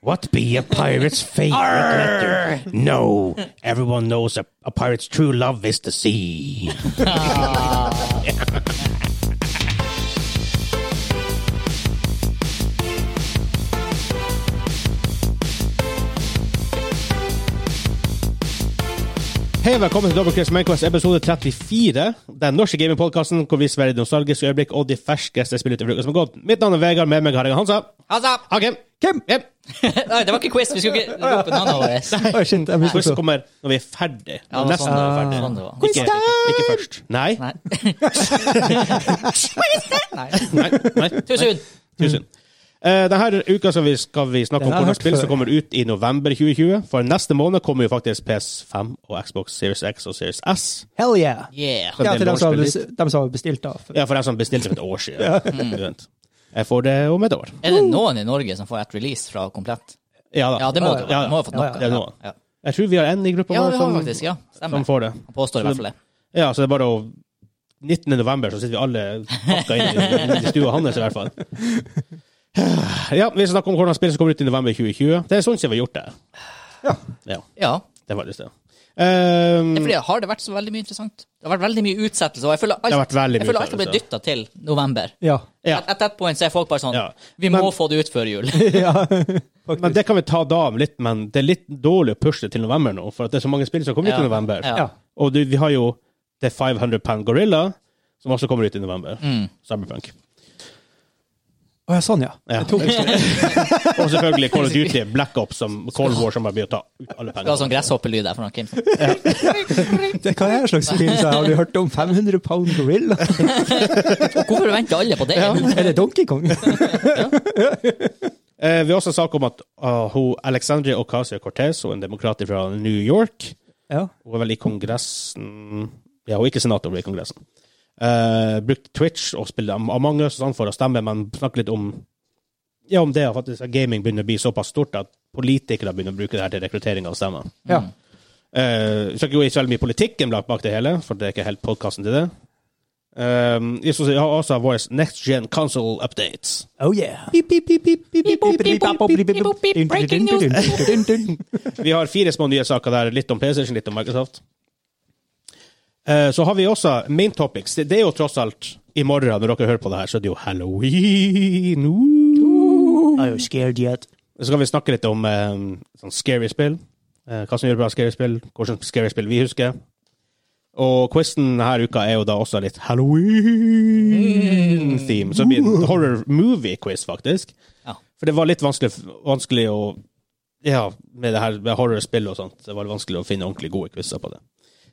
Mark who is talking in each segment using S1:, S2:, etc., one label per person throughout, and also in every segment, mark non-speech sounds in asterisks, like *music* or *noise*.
S1: What be a pirate's favorite letter? No, everyone knows a, a pirate's true love is the sea. *laughs* Hei og velkommen til Dobbeltkrigs Mainquest episode 34. Den norske gamingpodkasten hvor vi sverger nostalgiske øyeblikk og de ferskeste spillene til uka som har gått. Mitt navn er Vegard, med meg har jeg Hansa.
S2: Altså,
S1: Hagen. Kim. Yep.
S2: *laughs* nei, det var ikke quiz. Vi skulle ikke rope navnet
S1: *laughs*
S2: vårt.
S3: Oi, shit, jeg
S1: Quiz
S3: misforsto.
S1: kommer når vi er ferdig.
S2: Ja, det var
S1: Nesten
S2: sånn
S1: når
S2: det-
S1: vi er ferdig.
S2: sånn det var.
S1: Ikke, ikke, ikke først. Nei.
S2: Nei.
S1: Nei. Nei.
S2: Tusen.
S1: Tusen. Eh, denne uka skal vi, skal vi snakke
S3: Den
S1: om
S3: har jeg
S1: hvordan
S3: hørt
S1: spill
S3: før.
S1: som kommer ut i november 2020. For neste måned kommer jo faktisk PS5 og Xbox Series X og Series S.
S3: Hell yeah!
S2: Yeah.
S1: Ja, det
S3: Ja, til
S1: er
S3: dem som, har
S1: launchbillig.
S3: bes- dem som har bestilt, da.
S1: Ja, for jeg som bestilte for et år siden. Mm. Du vet. Jeg får det om et år.
S2: Er det noen i Norge som får et release fra Komplett?
S1: Ja da.
S2: Ja, det må
S1: Ja,
S2: det være.
S1: ja.
S2: De Må ha fått noe.
S3: Ja, ja,
S1: det er noe.
S2: Ja,
S1: Jeg tror vi har en i gruppa
S2: Ja,
S1: vår
S2: vi har
S1: som,
S2: faktisk. Ja,
S1: som
S2: stemmer.
S1: får det.
S2: Han påstår i hvert fall det.
S1: Ja, så det er bare å 19. november, så sitter vi alle pakka inn i, i stua hans, i hvert fall. *sighs* Ja, vi snakker om hvordan spill som kommer ut i november 2020. Det er sånn siden vi har gjort det.
S3: Ja.
S1: Ja,
S2: Ja.
S1: det er faktisk det. Ehm,
S2: Det er fordi, har det vært så veldig mye interessant? Det har vært veldig mye utsettelse, og jeg føler alt,
S1: Det har vært veldig
S2: jeg
S1: mye
S2: føler alt har blitt dytta til november.
S3: Ja.
S1: ja.
S2: At- At that point så er folk bare sånn
S1: Ja.
S2: Vi må
S1: Men-
S2: få det ut før
S1: *laughs*
S2: jul.
S3: ja.
S1: Men det kan vi ta da om litt, men det er litt dårlig å pushe det til november nå, for at det er så mange spill som kommer ut
S2: Ja.
S1: i november.
S2: Ja.
S3: ja.
S1: Og du, vi har jo The 500 Pound Gorilla, som også kommer ut i november.
S2: Mm.
S1: Cyberpunk.
S3: Å ja, sånn, ja.
S1: Ja. *laughs* og selvfølgelig Call of Duty, Black Ops, som Cold War, som bare blir å ta ut alle
S2: Det var
S1: pengene.
S2: sånn gresshoppelyd der fra Kim.
S3: Det, hva er det slags spill? Så Har du hørt om 500 pound gorilla?
S2: Hvorfor venter alle på det? *laughs*
S3: Eller Donkey Kong?
S1: Eh, vi har også en sak om at ah, hun, Alexandria Ocasio-Cortez, hun er en demokrat fra New York,
S3: Ja.
S1: hun er vel i Kongressen Ja, hun er ikke senator, hun er i Kongressen. Eh, brukte Twitch og spilte Am- Among Us og sånn for å stemme, men snakke litt om ja, om det at faktisk at gaming begynner å bli såpass stort at politikere begynner å bruke det her til rekruttering av stemmer.
S3: ja.
S1: Eh, vi skal ikke gå i så veldig mye politikken bak, bak det hele, for det er ikke helt podkasten til det. Eh, vi skal også ha også vår Next Gen Console Updates.
S3: Oh yeah. Beep, beep, beep, beep, beep, beep, beep, beep, beep, beep, beep, beep, beep.
S2: Breaking news.
S3: Dun, dun, dun, dun, dun.
S1: Vi har fire små nye saker der. Litt om PlayStation, litt om Microsoft. Eh, Så har vi også main topics. Det det er jo tross alt i morgen, når dere hører på det her, så er det jo halloween. Uh.
S3: Are you scared yet?
S1: Så kan vi snakke litt om eh, sånn scary spill. Eh, Hva som gjør bra scary spill, hvordan scary spill vi husker. Og quizen denne uka er jo da også litt halloween-theme. Så det blir en horror movie-quiz, faktisk.
S2: Ja.
S1: For det var litt vanskelig, vanskelig å Ja, med det her med horrorspill og sånt. Det var litt vanskelig å finne ordentlig gode quizer på det.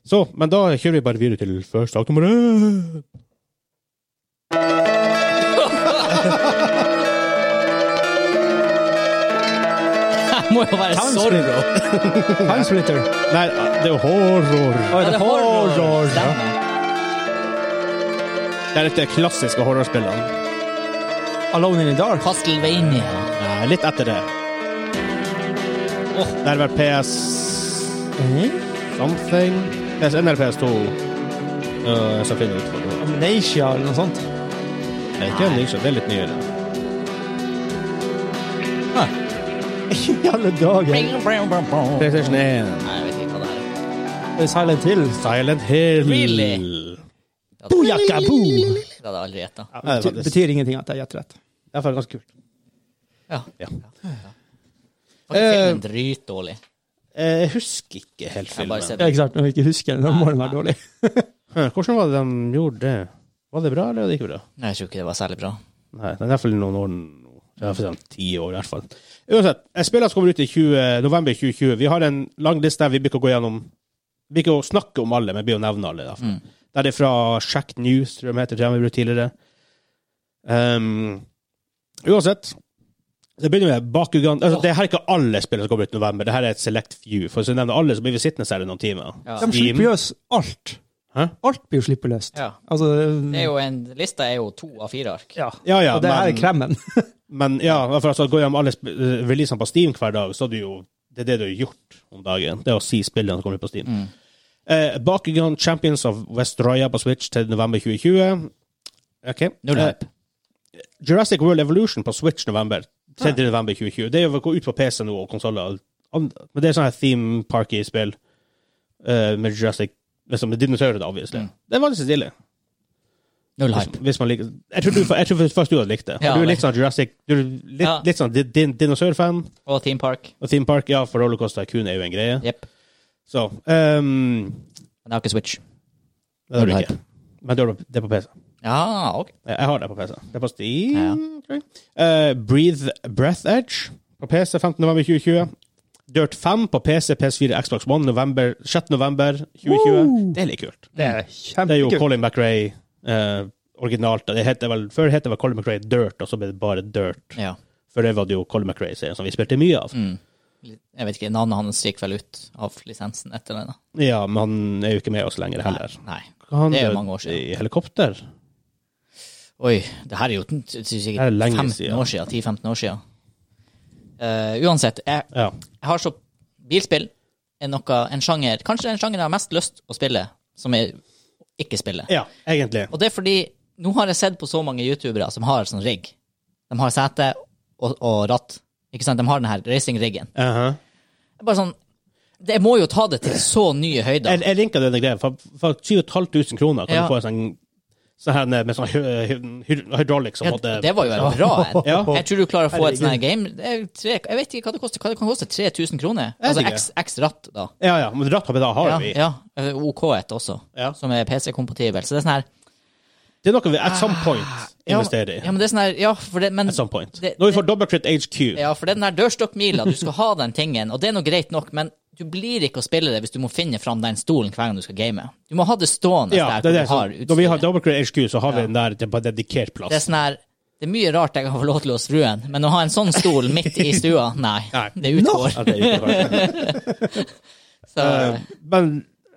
S1: Så, men da kjører vi bare videre til første sak nummer én.
S2: Det må jo være sorg.
S3: Time Splitter.
S1: Nei, det er horror.
S3: Å, er det horror?
S2: Stemmer.
S1: Det er litt de klassiske horrorspillene.
S3: Alone in the Dark.
S2: Castlevania.
S1: Nei, litt etter det.
S2: Åh.
S1: Det er vel PS
S3: Eh?
S1: something PSN eller PS2 uh, som finner ut for det.
S3: Amnesia eller noe sånt.
S1: Det er ikke en ny, så det er litt nyere.
S3: I alle dager.
S2: Nei,
S1: PlayStation 1.
S2: jeg vet ikke hva det er.
S3: Silent Hill.
S1: Silent Hill.
S2: Really?
S1: Booyaka, boo!
S2: Det hadde jeg aldri gjetta.
S1: Ja, det er
S3: Det
S1: faktisk-
S3: betyr ingenting at jeg gjetter rett.
S1: det er faktisk ganske kult.
S2: Ja.
S1: Ja.
S2: Faktisk filmen dritdårlig.
S1: Eh, Jeg husker ikke helt
S2: Jeg har
S1: filmen.
S2: bare sett
S3: Ja, ikke sant, når vi ikke husker det, da må den være dårlig.
S1: Hæ, Hvordan var det de gjorde det? Var det bra, eller var det ikke bra?
S2: Nei, jeg tror ikke det var særlig bra.
S1: Nei, det er i hvert fall noen år nå. Det er for sånn ti år, i hvert fall. Uansett, et spill som kommer ut i 20, november 2020. Vi har en lang liste her vi blir ikke å gå gjennom Vi blir ikke å snakke om alle, men vi blir å nevne alle. i hvert fall.
S3: Mm.
S1: Der er fra Shack News, tror jeg de heter, som vi brukte tidligere. Um, uansett Det begynner med Bakugan altså, Det her er ikke alle spill som kommer ut i november. Det her er et select few. For hvis vi nevner alle, så blir vi sittende her i noen timer.
S2: Ja.
S3: De slipper løs alt.
S1: Hæ?
S3: Alt blir jo slippet løst.
S2: Ja.
S3: Altså,
S2: Det er jo en, lista er jo to av fire ark.
S3: ja.
S1: Ja, ja,
S3: Og det her
S1: men-
S3: er kremmen.
S1: Men ja, for altså, gå gjennom alle sp- eh, releasene på Steam hver dag, så er det jo det er det du har gjort om dagen. Det er å si spillene som kommer ut på Steam.
S2: Mm.
S1: Eh, Bakugan Champions of Westroya på Switch til november 2020. Ok.
S2: Null
S1: Eh, Jurassic World Evolution på Switch november. 3. november 2020. Det er jo gå ut på PC nå og konsoller. Men det er sånn her theme parky-spill eh, med Jurassic liksom, Med dinosaurer, da, obviously.
S2: Mm.
S1: Det er veldig så stille.
S2: Null
S1: Hvis,
S2: hype.
S1: hvis man liker Jeg tror, du, jeg tror først du hadde likt det.
S2: Ja,
S1: du er
S2: vel.
S1: litt sånn Jurassic Du er litt,
S2: Ja.
S1: litt sånn din, din, dinosaur-fan.
S2: Og Team Park.
S1: Og theme park, ja, for rollercoaster kun er jo en greie.
S2: Jepp.
S1: Så ehm,
S2: Men jeg har ikke Switch.
S1: Det har du
S2: Null
S1: ikke. Men det har du- det er på PC.
S2: Ja, ok.
S1: Jeg jeg har det på PC. Det er på Steam,
S2: Ja.
S1: tror jeg. Eh, Breathe Breath Edge på PC 15. november 2020. Dirt 5 på PC, PS4, Xbox One november, 6. november 2020. Det er litt kult.
S3: Det er
S1: Det er jo
S3: kjempekult.
S1: Colin McRae eh, originalt. Det heter vel, før het det vel Colin McRae Dirt, og så ble det bare Dirt.
S2: Ja.
S1: For det var det jo Colin McRae-serien som vi spilte mye av.
S2: Mm. Jeg vet ikke, navnet hans gikk vel ut av lisensen etter det, da.
S1: Ja, men han er jo ikke med oss lenger heller.
S2: Nei.
S1: Han
S2: Det er jo
S1: døde
S2: mange år siden.
S1: I helikopter?
S2: Oi, det her er jo t- t-
S1: Det her er
S2: sikkert
S1: lenge
S2: 15
S1: siden.
S2: år siden. 10-15 år siden. Eh, uansett, jeg,
S1: Ja.
S2: jeg har så Bilspill er noe, en sjanger Kanskje den sjangeren jeg har mest lyst å spille, som jeg ikke spiller.
S1: ja, egentlig.
S2: Og det er fordi Nå har jeg sett på så mange youtubere som har sånn rigg. De har sete og, og ratt. Ikke sant? De har den her racing-riggen.
S1: Aha.
S2: Det er bare sånn Det må jo ta det til så nye høyder.
S1: Jeg, jeg linka denne greia. For, for 7500 kroner kan
S2: Ja.
S1: du få en sånn, sånn her med sånn hy- hy- hy- hydraulic som
S2: Ja,
S1: måtte
S2: det var jo en bra en.
S1: Ja.
S2: Jeg tror du klarer å få et sånn her game det er jo tre, Jeg vet ikke hva det koster. Hva det kan koste 3000 kroner?
S1: Jeg vet
S2: Altså
S1: ikke.
S2: X, X ratt, da.
S1: Ja, ja, men ratthoppet da har
S2: Ja,
S1: vi.
S2: ja. eh, OK1 også,
S1: Ja.
S2: som er PC-kompatibel. Så det er sånn her
S1: Det er noe vi at some point
S2: Ah. ja,
S1: investerer i.
S2: Ja, men det er sånn her Ja, for det, men
S1: At some point.
S2: det-
S1: Når vi
S2: det-
S1: får dobbeltkritt HQ.
S2: Ja, for det er den der dørstokkmila, du skal ha den tingen, og det er nå greit nok, men du blir ikke å spille det hvis du må finne fram den stolen hver gang du skal game. Du må ha det stående
S1: Ja,
S2: der
S1: det er det.
S2: hvor du
S1: som-
S2: har
S1: Når vi har
S2: utstyret.
S1: dobbeltkritt HQ, så har vi den der til- på dedikert
S2: Det er
S1: plass.
S2: sånn her Det er mye rart jeg kan få lov til å skru en, men å ha en sånn stol midt i
S1: *laughs*
S2: stua, nei.
S1: Nei.
S2: Det utgår.
S1: Ja, det er jo ikke
S2: *laughs*
S1: rart.
S2: Så,
S1: Eh, men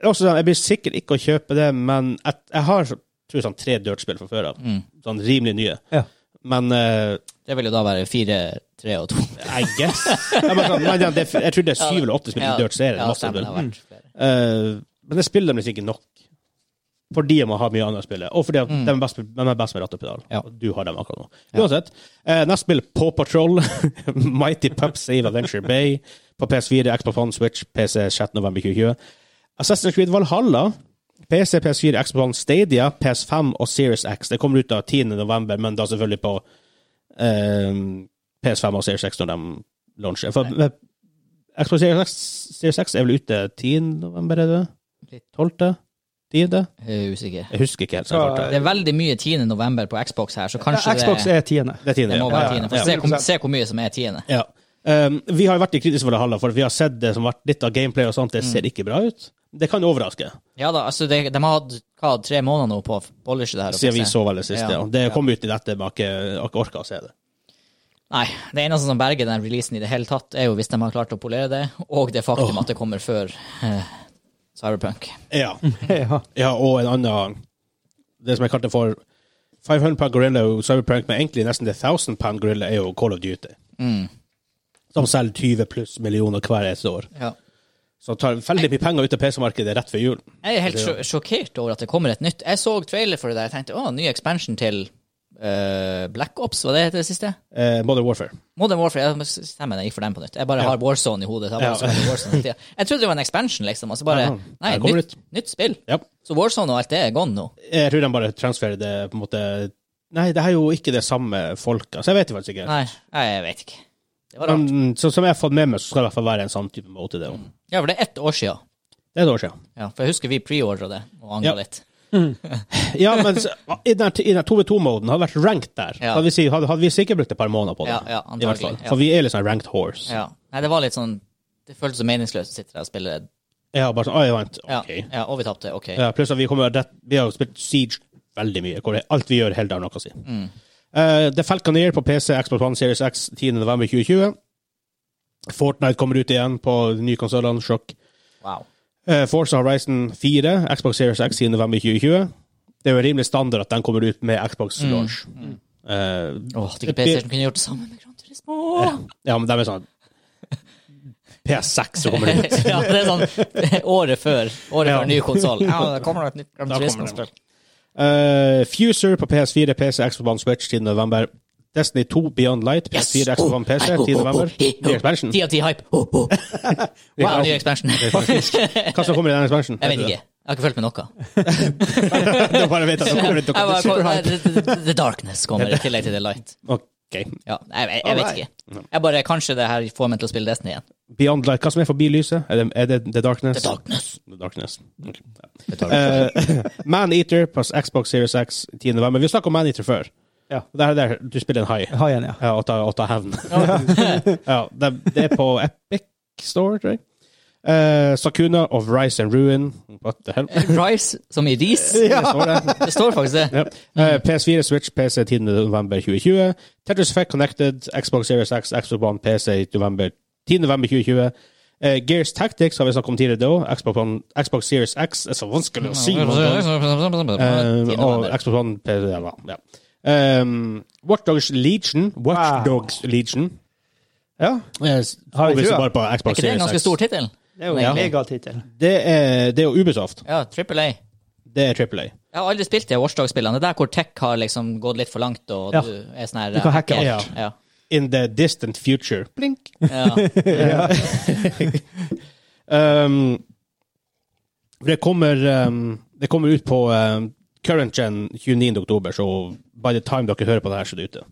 S1: også, sånn, jeg blir sikkert ikke å kjøpe det, men jeg, jeg har så- tror jeg, sånn tre dørtspill fra før av.
S2: Mm.
S1: Sånn rimelig nye.
S3: Ja.
S1: Men eh,
S2: det vil jo da være fire, tre og to.
S1: I guess. *laughs* Jeg, bare, sånn, men, ja, det, jeg tror det er syv eller åtte spill i
S2: Ja,
S1: Dirt-serien.
S2: ja,
S1: masse
S2: stemmer, det
S1: spill.
S2: har vært flere.
S1: Eh, men jeg spiller dem liksom ikke nok. Fordi man har mye annet å spille, og fordi at de, er best, de er best med ratt og pedal.
S2: Ja.
S1: Og du har dem akkurat nå. Uansett. eh, neste spill, Paw Patrol. *laughs* Mighty Pup Save Adventure Bay. På PS4, Xbox One, Switch, PC 6.11.2020. Assassin's Creed Valhalla. PC, PS4, Xbox One, Stadia, PS5 og Series X. Det kommer ut da 10.11., men da selvfølgelig på eh, PS5 og Series X når de launcher. For eh, Xbox Series X, Series X er vel ute 10.11., er det? det? 12.? 10.?
S2: Jeg er usikker.
S1: Jeg husker ikke helt. så jeg
S3: Ja,
S1: klarte
S2: Det er veldig mye 10. november på Xbox her, så kanskje
S3: Xbox
S2: det,
S3: er tiende.
S1: Det er tiende.
S2: det må
S1: ja,
S2: være
S1: ja,
S2: 10. For
S1: ja.
S2: se, hvor- se hvor mye som er 10.
S1: Ja. Um, vi har jo vært i kritiske Valhalla, for vi har sett det som har vært litt av gameplay og sånt. Det
S2: Mm.
S1: ser ikke bra ut. Det kan overraske,
S2: Ja da, altså det, de har hatt hva, tre måneder nå på å polishe det her. og
S1: siden vi
S2: fikse.
S1: så vel det siste.
S2: Ja.
S1: og Det kom ut i dette, men jeg har ikke- jeg har ikke orka å se det.
S2: Nei, det eneste som berger den releasen i det hele tatt, er jo hvis de har klart å polere det, og det faktum at det kommer før eh, Cyberpunk.
S1: Ja.
S3: Ja.
S1: ja, og en annen Det som jeg kalte for 500 pound gorilla og cyberprank, men egentlig nesten det 1000 pound gorilla er jo Call of Duty.
S2: Mm.
S1: Som selger 20 pluss millioner hver eneste år.
S2: Ja.
S1: Så tar veldig mye penger ut av PC-markedet rett før jul.
S2: Jeg er helt sjo- sjokkert over at det kommer et nytt. Jeg så trailer for det der, jeg tenkte å, ny expansion til eh, Black Ops, var det det siste?
S1: Eh, Modern Warfare.
S2: Modern Warfare, jeg, stemmer, jeg gikk for den på nytt. Jeg bare har Warzone i hodet. så Jeg,
S1: Ja.
S2: bare spiller Warzone hele tiden. jeg trodde det var en expansion, liksom, og så bare,
S1: Ja,
S2: nei,
S1: jeg kommer
S2: nytt, nytt spill.
S1: Ja.
S2: Så Warzone og alt det er gone nå.
S1: Jeg tror de bare transferer det på en måte Nei, det er jo ikke det samme folka, så jeg vet faktisk ikke.
S2: Nei, nei, jeg vet ikke. Det var rart.
S1: Men så, som jeg har fått med meg, så skal det i hvert fall være en sånn type måte. Det, også.
S2: Ja, for det er ett år siden.
S1: det er et år siden.
S2: Ja, for jeg husker vi preordra det og angra
S1: Ja.
S2: litt.
S1: Ja, men så,
S2: *laughs*
S1: i den, i den 2v2-moden hadde vært ranked der.
S2: Ja.
S1: Hadde, vi, si- hadde, hadde vi sikkert brukt et par måneder på det.
S2: Ja, ja,
S1: I hvert fall.
S2: antagelig. Ja.
S1: For vi er litt sånn ranked horse. Ja,
S2: Ja. Nei, det var litt sånn Det føltes så meningsløst å sitte der og spille.
S1: bare sånn, «Å, jeg vant,
S2: Ja,
S1: ok.
S2: ja og vi tapte. OK.
S1: Ja, pluss at vi, kommer, rett- vi har jo spilt Siege veldig mye, hvor det- alt vi gjør helt har noe å si. Eh, The Falconeer på PC, Xbox One Series X 10.11.2020. Fortnite kommer ut igjen på de nye konsollene, sjokk.
S2: Wow.
S1: Eh, Forza Horizon 4, Xbox Series X i november 2020. Det er jo rimelig standard at den kommer ut med Xbox launch. Eh,
S2: Åh, tenk at PlayStation kunne gjort det samme med Gran Turismo!
S1: ja, men de er sånn PS6 så kommer det ut.
S2: *laughs* ja, det er sånn året før. Året
S1: Ja.
S2: før ny konsoll. Ja, da kommer det et nytt Gran
S1: Da kommer det.
S2: Turismo-spill.
S1: Eh, Fuser på PS4, PC, Xbox One Switch 10. november. Destiny 2 Beyond Light,
S2: Yes!
S1: PS4, Xbox One, PC, 10.
S2: *laughs*
S1: november. Ny expansion.
S2: Ti av ti hype. Oh, oh. Wow, ny expansion. Jeg
S1: Hva som kommer i den expansion? *laughs*
S2: vet ikke. Jeg har ikke fulgt med noe.
S1: Du bare vet at det kommer et
S2: *laughs* Jeg var,
S1: dokument.
S2: Nei, the, the, the Darkness kommer i tillegg til The Light.
S1: Ok.
S2: Ja, jeg, jeg, jeg vet ikke. Jeg bare, Kanskje det her får meg til å spille Destiny igjen.
S1: Beyond Light, hva som er forbi lyset? Er det, er det The Darkness?
S2: The Darkness.
S1: The Darkness. Ok. Eh, *laughs* Maneater pluss Xbox Series X 10. november. Vi snakket om Maneater før.
S3: Ja.
S1: Det er der du spiller en hai
S3: Haien, ja.
S1: ja, og tar, og tar hevn. *laughs* ja, det, det er på Epic Store, tror jeg. Eh, Sakuna of Rise and Ruin. What the hell?
S2: Rise, Eh, som i ris.
S1: Det står det.
S2: Det står faktisk det.
S1: Ja. Eh, PS4, Switch, PC 10. november 2020. Tetris Effect Connected, Xbox Series X, Xbox One, PC i november, 10. november 2020. Eh, Gears Tactics har vi snakket om tidligere da. Xbox, One, Xbox Series X er så vanskelig å si. Eh, og Xbox One, PC, ja. ja. Um, Watchdogs Legion. Watchdogs Legion.
S3: ja.
S1: Eh,
S3: Har vi
S1: fokuset
S3: trua?
S1: bare på
S2: Er
S1: Xbox
S2: ikke det en
S1: Series
S2: ganske
S1: X.
S2: stor tittel?
S3: Det er jo en
S2: Ja.
S3: megatittel.
S1: Det er, det er jo Ubisoft.
S2: Ja, Triple A.
S1: Det er Triple A.
S2: Jeg har aldri spilt de Watchdog-spillene. Det er der hvor tech har liksom gått litt for langt, og
S3: Ja.
S2: du er sånn her
S3: Du kan hacke
S2: hacker.
S1: alt.
S2: Ja.
S1: In the distant future. Blink.
S2: Ja.
S1: Um, det, kommer, um, det kommer ut på um, current gen 29. oktober, så by the time dere hører på det her, så er det ute.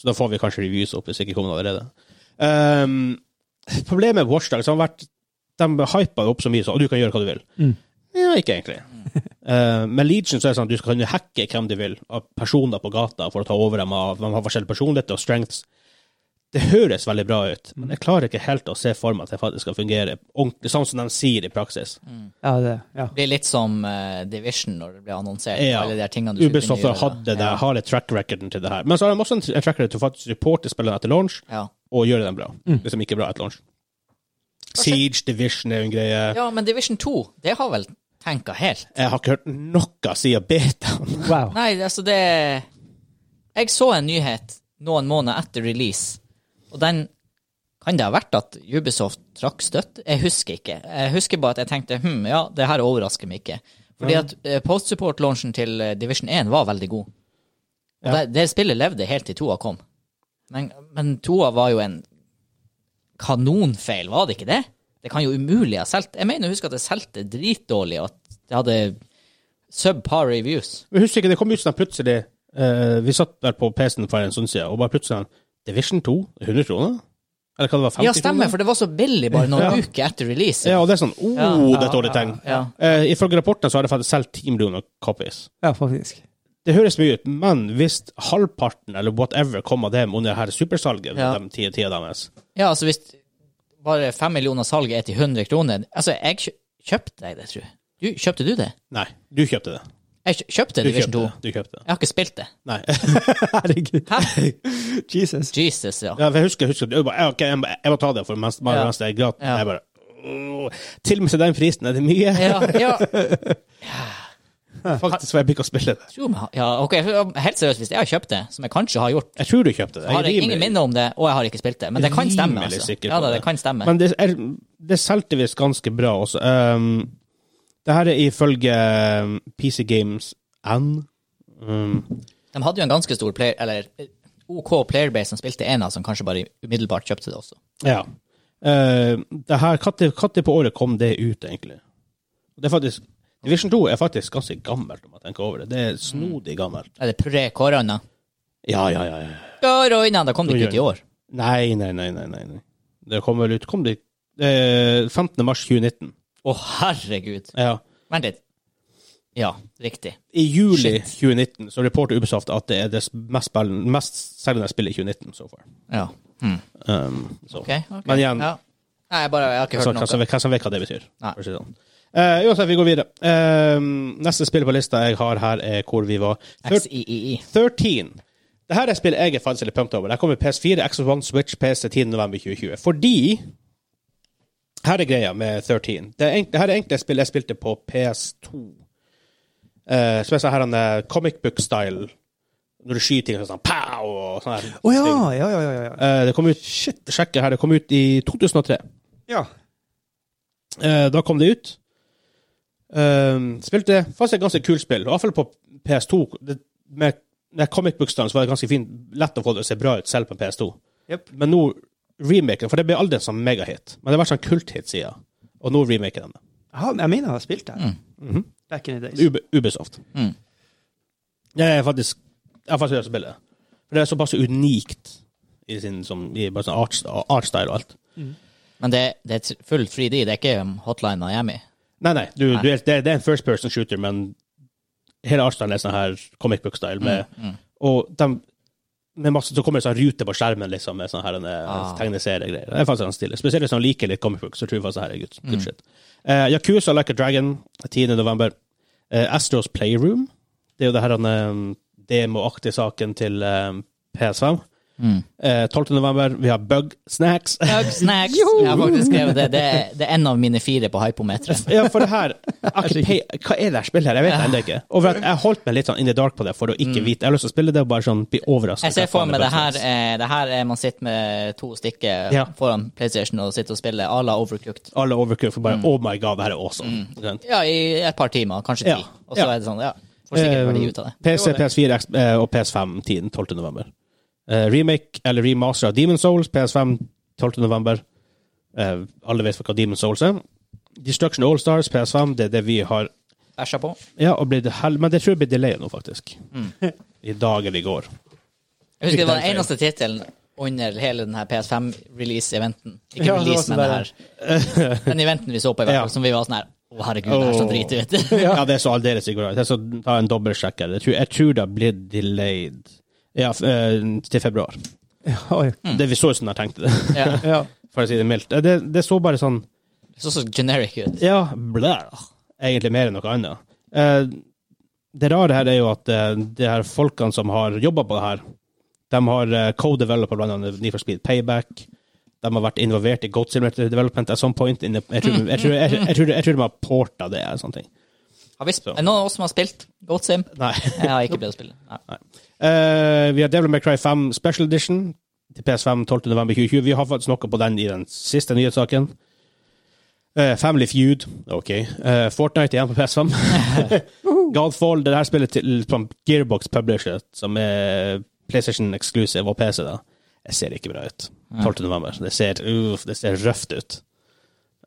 S1: Så da får vi kanskje reviews opp, hvis ikke kommer det allerede. Um, problemet med Watchdogs har vært de hyper opp så mye, så og du kan gjøre hva du vil. Ja, ikke egentlig. Uh, med Legion så er det sånn at du skal kunne hacke hvem du vil av personer på gata for å ta over dem. Av, de har forskjellige personligheter og strengths. Det høres veldig bra ut,
S2: Mm.
S1: men jeg klarer ikke helt å se for meg at det faktisk skal fungere ordentlig, sånn som de sier i praksis.
S2: Mm.
S3: Ja, det, ja.
S2: Det blir litt som eh, Division når det blir annonsert.
S1: Ja.
S2: Alle de her tingene du skulle kunne
S1: Ubisoft
S2: gjøre, da.
S1: hadde det, har et track recorden til det her. Men så har de også en en track record til å faktisk supporte spillene etter launch,
S2: Ja.
S1: og gjøre dem bra. Hvis de ikke er bra etter launch. Siege, Division er jo en greie.
S2: ja, men Division 2, det har vel tenka helt.
S1: Jeg har ikke hørt noe siden betaen. *laughs*
S3: Wow.
S2: Nei, altså det Jeg så en nyhet noen måneder etter release, og den kan det ha vært at Ubisoft trakk støtt? Jeg husker ikke. Jeg husker bare at jeg tenkte hm, ja, det her overrasker meg ikke. Fordi at eh, post-support-launchen til eh, Division 1 var veldig god. Og det, det spillet levde helt til toa kom. Men, men toa var jo en kanonfeil, var det ikke det? Det kan jo umulig ha solgt Jeg mener, husk at det solgte dritdårlig, og at det hadde subpar reviews.
S1: Men husker ikke, det kom ut sånn plutselig eh, Vi satt der på PC-en for en stund siden, og bare plutselig sånn, Division 2, 100 kroner? Eller hva det var, 50
S2: Ja, stemmer,
S1: kroner?
S2: for det var så billig bare noen
S1: Ja.
S2: uker etter release.
S1: Ja, og det er sånn, oh,
S2: Ja.
S1: det er et dårlig tegn.
S2: Ja.
S1: Eh, ifølge rapporten så har det faktisk solgt 10 millioner copies.
S3: Ja, faktisk.
S1: Det høres mye ut, men hvis halvparten eller whatever kommer dem under det her supersalget,
S2: Ja.
S1: de ti tida deres
S2: ja, altså hvis bare fem millioner salg er til 100 kroner Altså, jeg kjø- kjøpte jeg det, tror jeg. Du, kjøpte du det?
S1: Nei, du kjøpte det.
S2: Jeg kjø- kjøpte
S1: Du
S2: Division
S1: kjøpte
S2: 2.
S1: det. Du kjøpte det.
S2: Jeg har ikke spilt det.
S1: Nei. *laughs*
S3: Herregud.
S2: Hæ?
S3: Jesus.
S2: Jesus, ja.
S1: Ja, for jeg husker, jeg husker du bare, ja, ok, jeg, må, jeg må ta det, for mens mens-
S2: Ja.
S1: mens det er gratis.
S2: Ja.
S1: Jeg bare åh, Til og med til den prisen er det mye.
S2: Ja, ja.
S1: *laughs* Faktisk var jeg begynt å spille det.
S2: Tro meg. ja ok, helt seriøst, hvis jeg har kjøpt det, som jeg kanskje har gjort,
S1: Jeg tror du kjøpte det.
S2: så har jeg ingen
S1: rimelig-
S2: minne om det, og jeg har ikke spilt det. Men det kan stemme,
S1: rimelig
S2: altså.
S1: sikker på
S2: Ja, da,
S1: det.
S2: det kan stemme.
S1: Men det, er, det solgte visst ganske bra også. Um, det her er ifølge um, PC Games N. Um,
S2: De hadde jo en ganske stor player, eller eh, OK playerbase som spilte en av, som kanskje bare umiddelbart kjøpte det også.
S1: ja. Uh, det her, Når på året kom det ut, egentlig? Det er faktisk Division 2 er faktisk ganske gammelt, om jeg tenker over det. Det er snodig gammelt.
S2: Er det pre-korona?
S1: Ja, ja, ja. ja.
S2: Korona, da kom det ikke ut i år.
S1: Nei, nei, nei, nei. nei. nei. Det kom vel ut kom det, eh, 15. mars 2019.
S2: Å, herregud.
S1: Ja.
S2: Vent litt. Ja, riktig.
S1: I juli
S2: Shit.
S1: 2019 så rapporter Ubisoft at det er det mest, spillende- mest selgende spillet i 2019 so far.
S2: Ja. Hmm.
S1: Um, så.
S2: Ok, ok.
S1: Men igjen,
S2: ja. Nei, jeg, bare, jeg har ikke
S1: så,
S2: hørt
S1: hva, som,
S2: noe.
S1: hva som vet hva det betyr.
S2: Nei.
S1: for å si det sånn. Eh, uansett, vi går videre. Um, neste spill på lista jeg har her, er hvor vi var.
S2: E
S1: Thir-
S2: XIII.
S1: 13. Det her er spill jeg er faktisk litt pumped over. Der kommer PS4, Xbox One, Switch, PC 10. november 2020. Fordi Her er greia med 13. Det, er, egentlig- det her er egentlig et spill jeg spilte på PS2. Eh, som er sånn her en eh, comic book-style. Når du skyter ting sånn pow! og sånn her.
S3: Å ja, ja, ja, ja, ja.
S1: Eh, det kom ut Shit, sjekke her. Det kom ut i 2003.
S3: Ja.
S1: Eh, da kom det ut. Eh, spilte faktisk et ganske kult spill, iallfall på PS2. Det, med den comic book-stand så var det ganske fint, lett å få det å se bra ut selv på en PS2.
S2: Jep.
S1: Men nå remaker for det ble aldri en sånn megahit. Men det har vært sånn kulthit siden. Og nå remaker de det.
S3: Ja, jeg mener jeg har spilt det.
S1: Mhm.
S3: Back in the days.
S1: Ube, Ubisoft.
S2: Mm.
S1: Jeg er faktisk Jeg har faktisk lyst til å spille det. For det er såpass unikt i sin som, i bare sånn arts- artstyle og alt.
S2: Men det, det er full 3D, det er ikke um, Hotline Miami.
S1: Nei, nei, du, du er, det, det er en first person shooter, men hele artstylen er sånn her comic book-style. Med, Og de, med masse, så kommer det sånn rute på skjermen liksom, med sånne her, en,
S2: Ah.
S1: tegneseriegreier. Det er faktisk ganske stilig. Spesielt hvis man liker litt comic book, så tror jeg faktisk det her er good, good shit. Eh, Yakuza Like a Dragon, 10. november. Eh, Astros Playroom, det er jo det her um, demoaktige saken til um, PS5.
S2: Hmm.
S1: Eh, 12. november, vi har Bug Snacks.
S2: Hug *laughs* snacks! Jeg har faktisk skrevet det. Det er, det er en av mine fire på *laughs* hypometeren.
S1: Ja, for det her *laughs* jeg har ikke pei- Hva er det her spillet her? Jeg vet det ennå ikke. Og for at jeg holdt meg litt sånn in the dark på det for å ikke vite. Jeg har lyst til å spille det og bare sånn bli overrasket.
S2: Mm. Jeg ser for meg det her, eh, det her er man sitter med to stykker
S1: Ja.
S2: foran PlayStation og sitter og spiller à la Overcooked.
S1: Alle overcooked for bare
S2: Mm.
S1: Oh my god, det her er awesome. Ikke sant?
S2: Ja, i et par timer, kanskje ti.
S1: Ja.
S2: Og så
S1: Ja.
S2: er det sånn, ja. Får sikkert verdi ut av det.
S1: Eh, PC, PS4 X- eh, og PS5 10. 12. november. Eh, remake eller remaster av Demon's Souls, PS5 12. november. Eh, alle vet hva Demon's Souls er. Destruction Allstars, PS5, det er det vi har
S2: Bæsja på.
S1: Ja, og blir det hel men det tror jeg blir delay nå, faktisk.
S2: Mm.
S1: *laughs* I dag eller i går.
S2: Jeg husker det var den eneste tittelen under hele den her PS5-release-eventen. Ikke
S3: Ja, det var
S2: release,
S3: sånn
S2: men det her. Den eventen vi så på, i hvert
S1: Ja.
S2: fall, som vi var sånn her Å, herregud, det er
S1: Åh.
S2: så drit ut. *laughs*
S1: Ja, det er så aldeles ikke bra. Jeg skal ta en dobbeltsjekk her. Jeg tror, jeg tror det blir delayed ja, f- eh, til februar.
S3: Ja, oi.
S1: Det vi så ut som jeg tenkte det, *laughs*
S2: ja.
S3: ja.
S1: for å si det mildt. Eh, Det, det så bare sånn
S2: Det så så generic ut.
S1: Ja, blæ. Egentlig mer enn noe annet. Eh, det rare her er jo at eh, de her folkene som har jobba på det her, de har eh, co-developer blant annet Need for Speed Payback. De har vært involvert i Goat Simulator Development at some point. In the, jeg, tror, jeg, tror, jeg, tror, jeg, tror, jeg tror de har porta det. eller Sånne ting.
S2: Har vi sp-
S1: Så.
S2: er det noen av oss som har spilt Goat Sim?
S1: Nei.
S2: Jeg har ikke prøvd å spille. Nei.
S1: Eh, vi har Devil May Cry 5 Special Edition til PS5 12. november 2020. Vi har faktisk noe på den i den siste nyhetssaken. Eh, Family Feud, ok. Eh, Fortnite igjen på
S2: *laughs*
S1: PS5. Godfall, det her spillet til fra Gearbox Publisher, som er PlayStation Exclusive og PC, da. Det ser ikke bra ut. 12. november. Det ser, uff, det ser røft ut.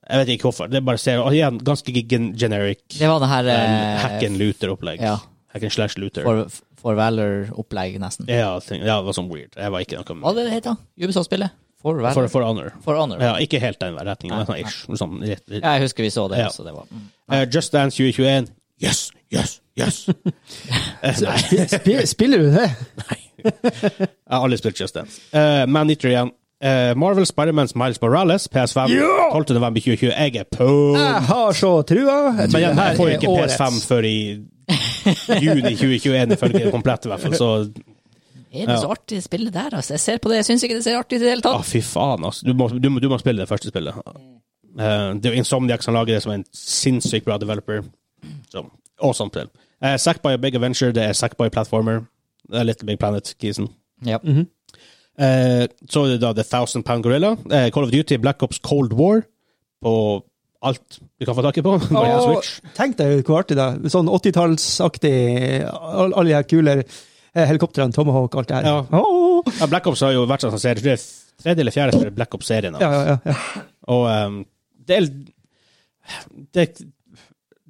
S1: Jeg vet ikke hvorfor. Det bare ser og igjen, ganske gen- generic.
S2: Det var det her
S1: eh, hack
S2: eh,
S1: and looter-opplegg.
S2: ja.
S1: Hack and slash looter.
S2: For, for Valor-opplegg, nesten.
S1: Ja, ting, ja, det var sånn weird. Jeg var ikke noe
S2: Hva er det det heter? Ubisoft-spillet? For
S1: For,
S2: Valor?
S1: for honor.
S2: For Honor.
S1: Ja, ikke helt den retningen, men
S2: Nei,
S1: sånn ish. Sånn, litt, litt.
S2: Ja, jeg husker vi så det.
S1: Ja.
S2: Så det var, mm.
S1: Eh, Just Dance 2021. Yes, yes,
S2: *laughs*
S1: yes! Eh, nei,
S3: Spi- Spiller du det?
S1: jeg har aldri spilt Just Dance. Eh, Man Eater igjen. Eh, Marvel Spidermans Miles Morales, PS5,
S3: Ja!
S1: 12. november 2020. Jeg er på!
S2: Ah!
S3: Jeg har så trua. Jeg
S1: Men
S3: tror
S1: igjen,
S3: det
S1: jeg får
S3: er
S1: ikke
S3: årets.
S1: PS5 før i juni 2021, ifølge det komplette, i hvert fall. Så
S2: Er det så artig spillet der, altså? Jeg ser på det, jeg syns ikke det ser artig ut i det hele
S1: ah,
S2: tatt.
S1: fy faen, altså. Du må, du, må, du må spille det første spillet. Eh, det er jo Insomniac som lager det, som er en sinnssykt bra developer. Så, awesome spill. Uh, Sackboy og Big Adventure, det er Sackboy Platformer. Det er Little Big Planet-kisen.
S2: Ja.
S1: Eh, så er det da The Thousand Pound Gorilla. eh, Call of Duty, Black Ops Cold War. På alt du kan få tak i på. *laughs* Bare en
S3: Og
S1: Switch.
S3: tenk deg hvor artig det er. Sånn 80-tallsaktig, all- alle de her kule eh, helikoptrene, Tomahawk, alt det her.
S1: Ja.
S3: Åh!
S1: Ja, Black Ops har jo vært sånn som serie. Jeg tror det er Tredje eller fjerde spiller Black Ops-serien. da.
S3: ja, ja, ja, ja.
S1: Og ehm, det, er, det,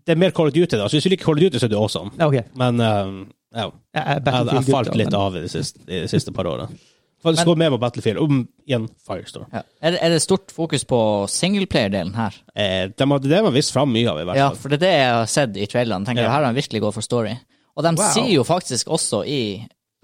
S1: det er mer Call of Duty, da. Så hvis du liker Call of Duty, så er det awesome.
S3: ja ok.
S1: Men ehm, ja,
S3: Jeg, er
S1: jeg, jeg
S3: Battlefield-gutta,
S1: falt litt
S3: men-
S1: av i de siste, i de siste par årene. Faktisk gå med på Battlefield. Om igjen Firestorm.
S2: Ja. Er, det- er det stort fokus på singleplayer-delen her?
S1: Eh, de hadde, det var visst fram mye av, i hvert
S2: Ja,
S1: fall.
S2: for det er det jeg har sett i trailerne. Tenker
S1: Ja.
S2: Her har han virkelig gått for story. Og de
S3: Wow.
S2: sier jo faktisk også i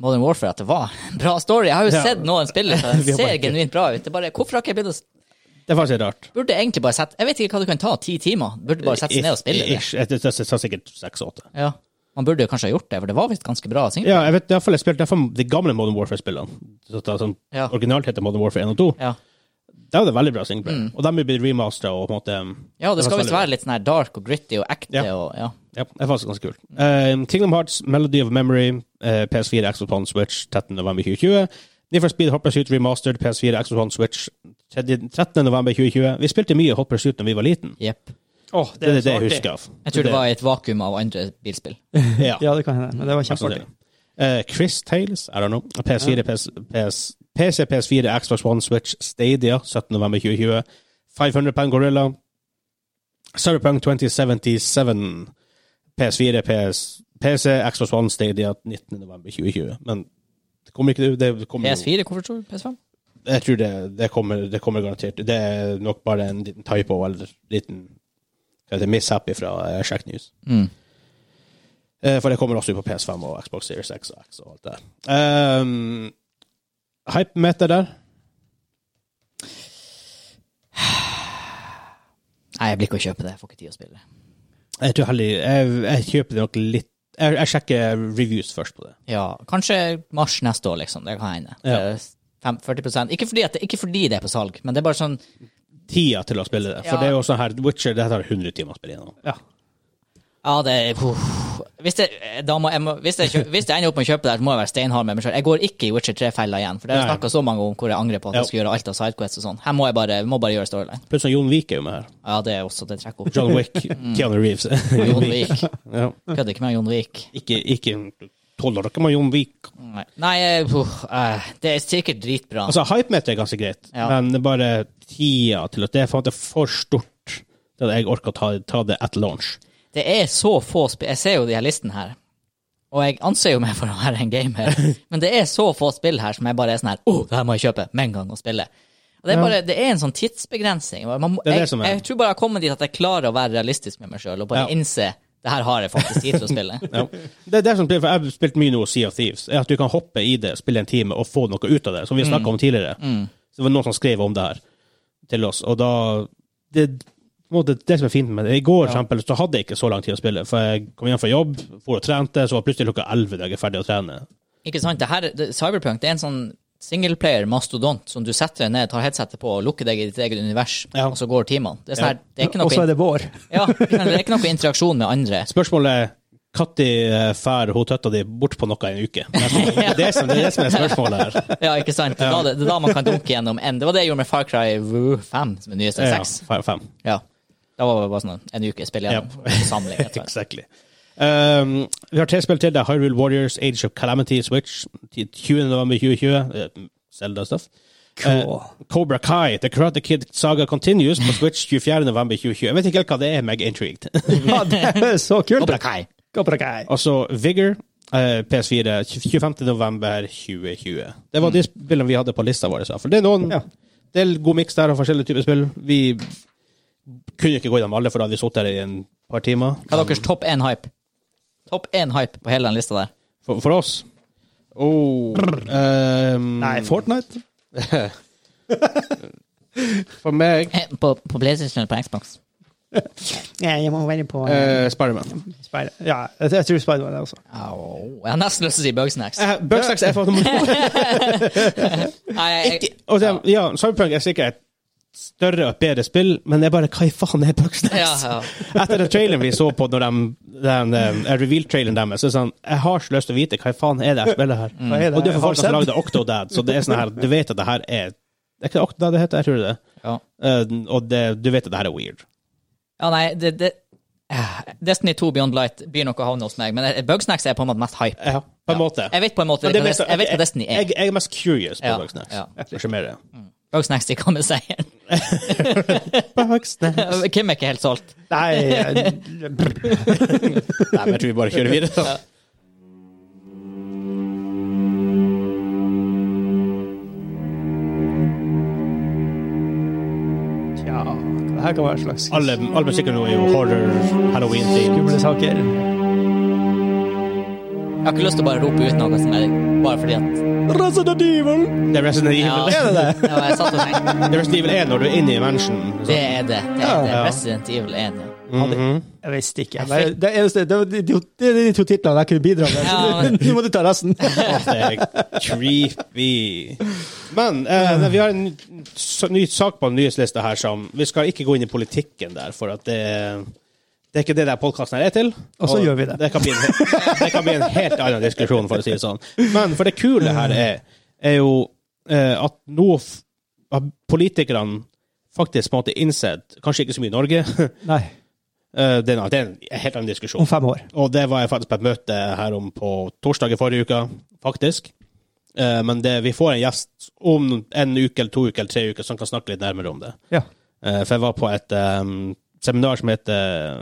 S2: Modern Warfare at det var en bra story. Jeg har jo
S1: Ja.
S2: sett noen spillere *laughs* som
S1: Vi har
S2: ser
S1: bare-
S2: genuint bra ut. Det er bare, hvorfor har ikke jeg begynt å s-
S1: Det er faktisk litt rart.
S2: Burde egentlig bare sette Jeg vet ikke hva det kan ta, ti timer? Burde bare sette seg ned og spille det.
S1: Ish. Jeg- Det det- det tar sikkert seks-åtte.
S2: Ja. Man burde jo kanskje ha gjort det, for det var visst ganske bra. singleplayer.
S1: Ja, jeg vet i hvert fall jeg spilte derfor de gamle Modern Warfare-spillene. Så det er Sånn,
S2: Ja.
S1: Originalt heter Modern Warfare 1 og 2.
S2: Ja. Mm.
S1: Det var det veldig bra singleplayer. Og de er blitt remastera og på en måte ehm,
S2: ja,
S1: var
S2: det
S1: veldig
S2: skal visst
S1: bra.
S2: være litt sånn her dark og gritty og ekte
S1: Ja.
S2: og ja.
S1: Ja, det er faktisk ganske kult. Eh, Kingdom Hearts, Melody of Memory, eh, PS4, Xbox One, Switch, 13. november 2020. Need for Speed, Hot Pursuit Remastered, PS4, Xbox One, Switch, 30 13. november 2020. Vi spilte mye Hot Pursuit når vi var liten.
S2: Jepp.
S3: Åh,
S1: Det er det,
S3: så
S1: jeg
S3: artig.
S1: husker av.
S2: Jeg tror det var i et vakuum av andre bilspill.
S1: Ja,
S3: Ja, det kan hende. Men det var
S1: mest sannsynlig.
S3: kjempeartig.
S1: Eh, Chris Tales, I don't know. PS4, PS, PS, PC, PS4, Xbox One, Switch, Stadia, 17.11.2020. 500 Pound Gorilla. Cyberpunk 2077. PS4, PS, PC, Xbox One, Stadia, 19.11.2020. Men det kommer ikke det kommer,
S2: PS4, hvorfor tror du PS5?
S1: Jeg tror det, det, kommer, det kommer garantert. Det er nok bare en liten typo eller liten hva heter det, mishap fra Shack News.
S2: Mm.
S1: Eh, For det kommer også ut på PS5 og Xbox Series X og X og alt det der. Um, Hypemeter der.
S2: Nei, jeg blir ikke å kjøpe det. Jeg får ikke tid å spille.
S1: Jeg tror heller jeg, jeg kjøper det nok litt jeg, jeg sjekker reviews først på det.
S2: Ja, kanskje mars neste år, liksom. Det kan hende.
S1: Ja.
S2: Det er fem- 40 ikke fordi, at det, ikke fordi det er på salg, men det er bare sånn
S1: Tida til å spille det. For
S2: Ja.
S1: det er jo sånn her Witcher det tar 100 timer å spille gjennom.
S2: Ja, det er uff. hvis, det, da må, jeg må, hvis, jeg, kjø- hvis jeg ender opp med å kjøpe det, her, så må jeg være steinhard med meg sjøl. Jeg går ikke i Witcher 3-fella igjen, for det har jeg
S1: Nei.
S2: snakka så mange om hvor jeg angrer på at jeg
S1: Ja.
S2: skulle gjøre alt av sidequests og sånn. Her må jeg bare, må bare gjøre storyline.
S1: Plutselig Jon Vik er jo med her.
S2: Ja, det er også det trekker opp.
S1: John
S2: *laughs*
S1: Wick,
S2: Mm.
S1: Keanu Reeves.
S2: Jon Vik.
S1: *laughs* ja.
S2: Kødder ikke med Jon Vik.
S1: Ikke, ikke tåler dere med Jon Vik.
S2: Nei, Nei eh, uff, eh, det er sikkert dritbra.
S1: Altså, hypemeter er ganske greit,
S2: Ja.
S1: men det er bare tida til at det er på en måte for stort til at jeg orker å ta, ta det at launch.
S2: Det er så få spill Jeg ser jo de her listene her, og jeg anser jo meg for å være en
S1: *laughs*
S2: gamer, men det er så få spill her som jeg bare er sånn her Å, det her må jeg kjøpe med en gang og spille. Og det, er bare, det er en sånn tidsbegrensning. Man må,
S1: Det er det
S2: jeg,
S1: som er.
S2: jeg tror bare jeg har kommet dit at jeg klarer å være realistisk med meg sjøl og bare
S1: Ja.
S2: innse det her har jeg faktisk tid til å
S1: *laughs*
S2: spille.
S1: Ja. Det er det som blir, for Jeg har spilt mye nå Sea of Thieves. er At du kan hoppe i det, spille en time og få noe ut av det. Som vi snakka om tidligere. Så Det var noen som skrev om det her til oss. Og da Det, på en måte, det som er fint med det I går for eksempel, så hadde jeg ikke så lang tid å spille. For jeg kom hjem fra jobb, for og trente, så var plutselig klokka elleve da jeg er ferdig å trene.
S2: Ikke sant? Det her, det, Cyberpunk det er en sånn singleplayer mastodont som du setter deg ned, tar headsetet på og lukker deg i ditt eget univers,
S1: Ja.
S2: og så går timene. Det, er sånn her- det, er ikke
S3: Og så
S2: noe
S3: er det vår. *laughs*
S2: in- *laughs* ja, det er ikke noe interaksjon med andre.
S1: Spørsmålet er når drar hun tøtta di bort på noe i en uke? Det er det som, det er, det som er spørsmålet her.
S2: Ja, ikke sant? Det er, da, det er da man kan dunke gjennom en. Det var det jeg gjorde med Far Cry Woo 5, som er nyeste
S1: Ja,
S2: seks.
S1: fem- fem.
S2: Ja. Da var det bare sånn en uke spille gjennom. Samling. rett og slett.
S1: Exactly. Um, vi har tre spill til. Det er Hyrule Warriors, Age of Calamity, Switch. 20. november Eh, 2020. Selda-stuff.
S3: Cool.
S1: Eh, Cobra Kai, The Karate Kid Saga Continues på Switch 24. november 2020. Jeg vet ikke helt hva det er, meg intrigued.
S3: Ja, det er så kult!
S2: Cobra Kai.
S3: Cobra Kai.
S1: Og så Altså, Vigor, eh, PS4, 25. november 2020. Det var de spillene vi hadde på lista vår. så. For det er noen
S3: Ja.
S1: det er god miks der av forskjellige typer spill. Vi kunne ikke gå gjennom alle, for da hadde vi sittet her i en par timer.
S2: Hva er deres topp én hype? Topp én hype på hele den lista der.
S1: For, for oss? Oh, ehm,
S3: Nei, Fortnite?
S1: For meg
S2: På, på PlayStation eller på Xbox?
S3: Nei, jeg må være på eh,
S1: uh, Spiderman.
S3: Spider. Ja, jeg, jeg tror Spiderman er også.
S1: Mm.
S2: Au, jeg har nesten lyst til å si *laughs* Bugsnacks.
S1: Uh, Bugstacks er *laughs* for
S2: Nei, jeg, jeg,
S1: Og det, ja, Cyberpunk er sikkert et større og et bedre spill, men det er bare hva i faen er
S2: ja,
S1: Bugstacks?
S2: ja.
S1: Etter den traileren vi så på, når de, den eh, reveal-traileren deres, så er det sånn Jeg har så lyst til å vite hva i faen er det her spillet her.
S2: Mm.
S3: Hva er det?
S1: Og det er for folk som
S3: Har du
S1: lagde Octodad, så det er sånn her Du vet at det her er Er ikke det Octodad det heter? Jeg tror det. er det.
S2: ja.
S1: Eh, og det, du vet at det her er weird.
S2: ja nei, det, det eh, Destiny 2 Beyond Light blir nok å havne hos meg, men eh, Bugsnacks er på en måte mest hype.
S1: Ja, på en måte.
S2: Jeg vet på en måte
S1: Men det
S2: hva
S1: meste-
S2: Des- jeg vet hva Destiny er.
S1: Jeg, jeg er mest curious på
S2: Ja,
S1: Bugsnax.
S2: ja. Mm.
S1: Kanskje mer det.
S2: Bugsnacks de kommer med
S1: *laughs*
S2: seieren. *laughs* Kim er ikke helt solgt.
S3: sett? Nei eh, jeg-
S1: Nei, men jeg tror vi bare kjører videre. da.
S3: Tja, det her kan være en slags
S1: Alle, all musikken nå er jo horror, halloween theme.
S3: skumle saker.
S2: Jeg har ikke lyst til å bare rope ut noe som er bare fordi at
S3: Resident Evil!
S1: Det er Resident Evil.
S2: Ja.
S1: Det er det.
S2: ja, jeg satt og tenkte
S1: Det er Resident Evil 1 når du er inne i mansion.
S2: Det er det. det, er det.
S1: Ja.
S2: Resident Evil 1. Ja.
S3: Jeg visste ikke. Jeg bare, det, eneste, det, var de, de, det er de to titlene jeg kunne bidra med. *laughs*
S2: Ja,
S3: så
S2: men-
S3: du- Nå må du ta *laughs* resten.
S1: Åh, det er creepy. Men eh, nei, vi har en ny- s- ny sak på nyhetslista her som Vi skal ikke gå inn i politikken der, for at det det er ikke det der podkasten er til.
S3: Og så gjør vi det.
S1: Det kan, bli en, det kan bli en helt annen diskusjon, for å si det sånn. Men for det kule her er, er jo eh, at nå f- har politikerne faktisk på en måte innsett, kanskje ikke så mye i Norge, *laughs*
S3: Nei.
S1: Eh, det, er en- det er en helt annen diskusjon.
S3: Om fem år.
S1: Og det var jeg faktisk på et møte her om på torsdag i forrige uke, faktisk. Eh, Men det, vi får en gjest om en uke eller to uker eller tre uker som kan snakke litt nærmere om det.
S3: Ja.
S1: Eh, For jeg var på et ehm, seminar som heter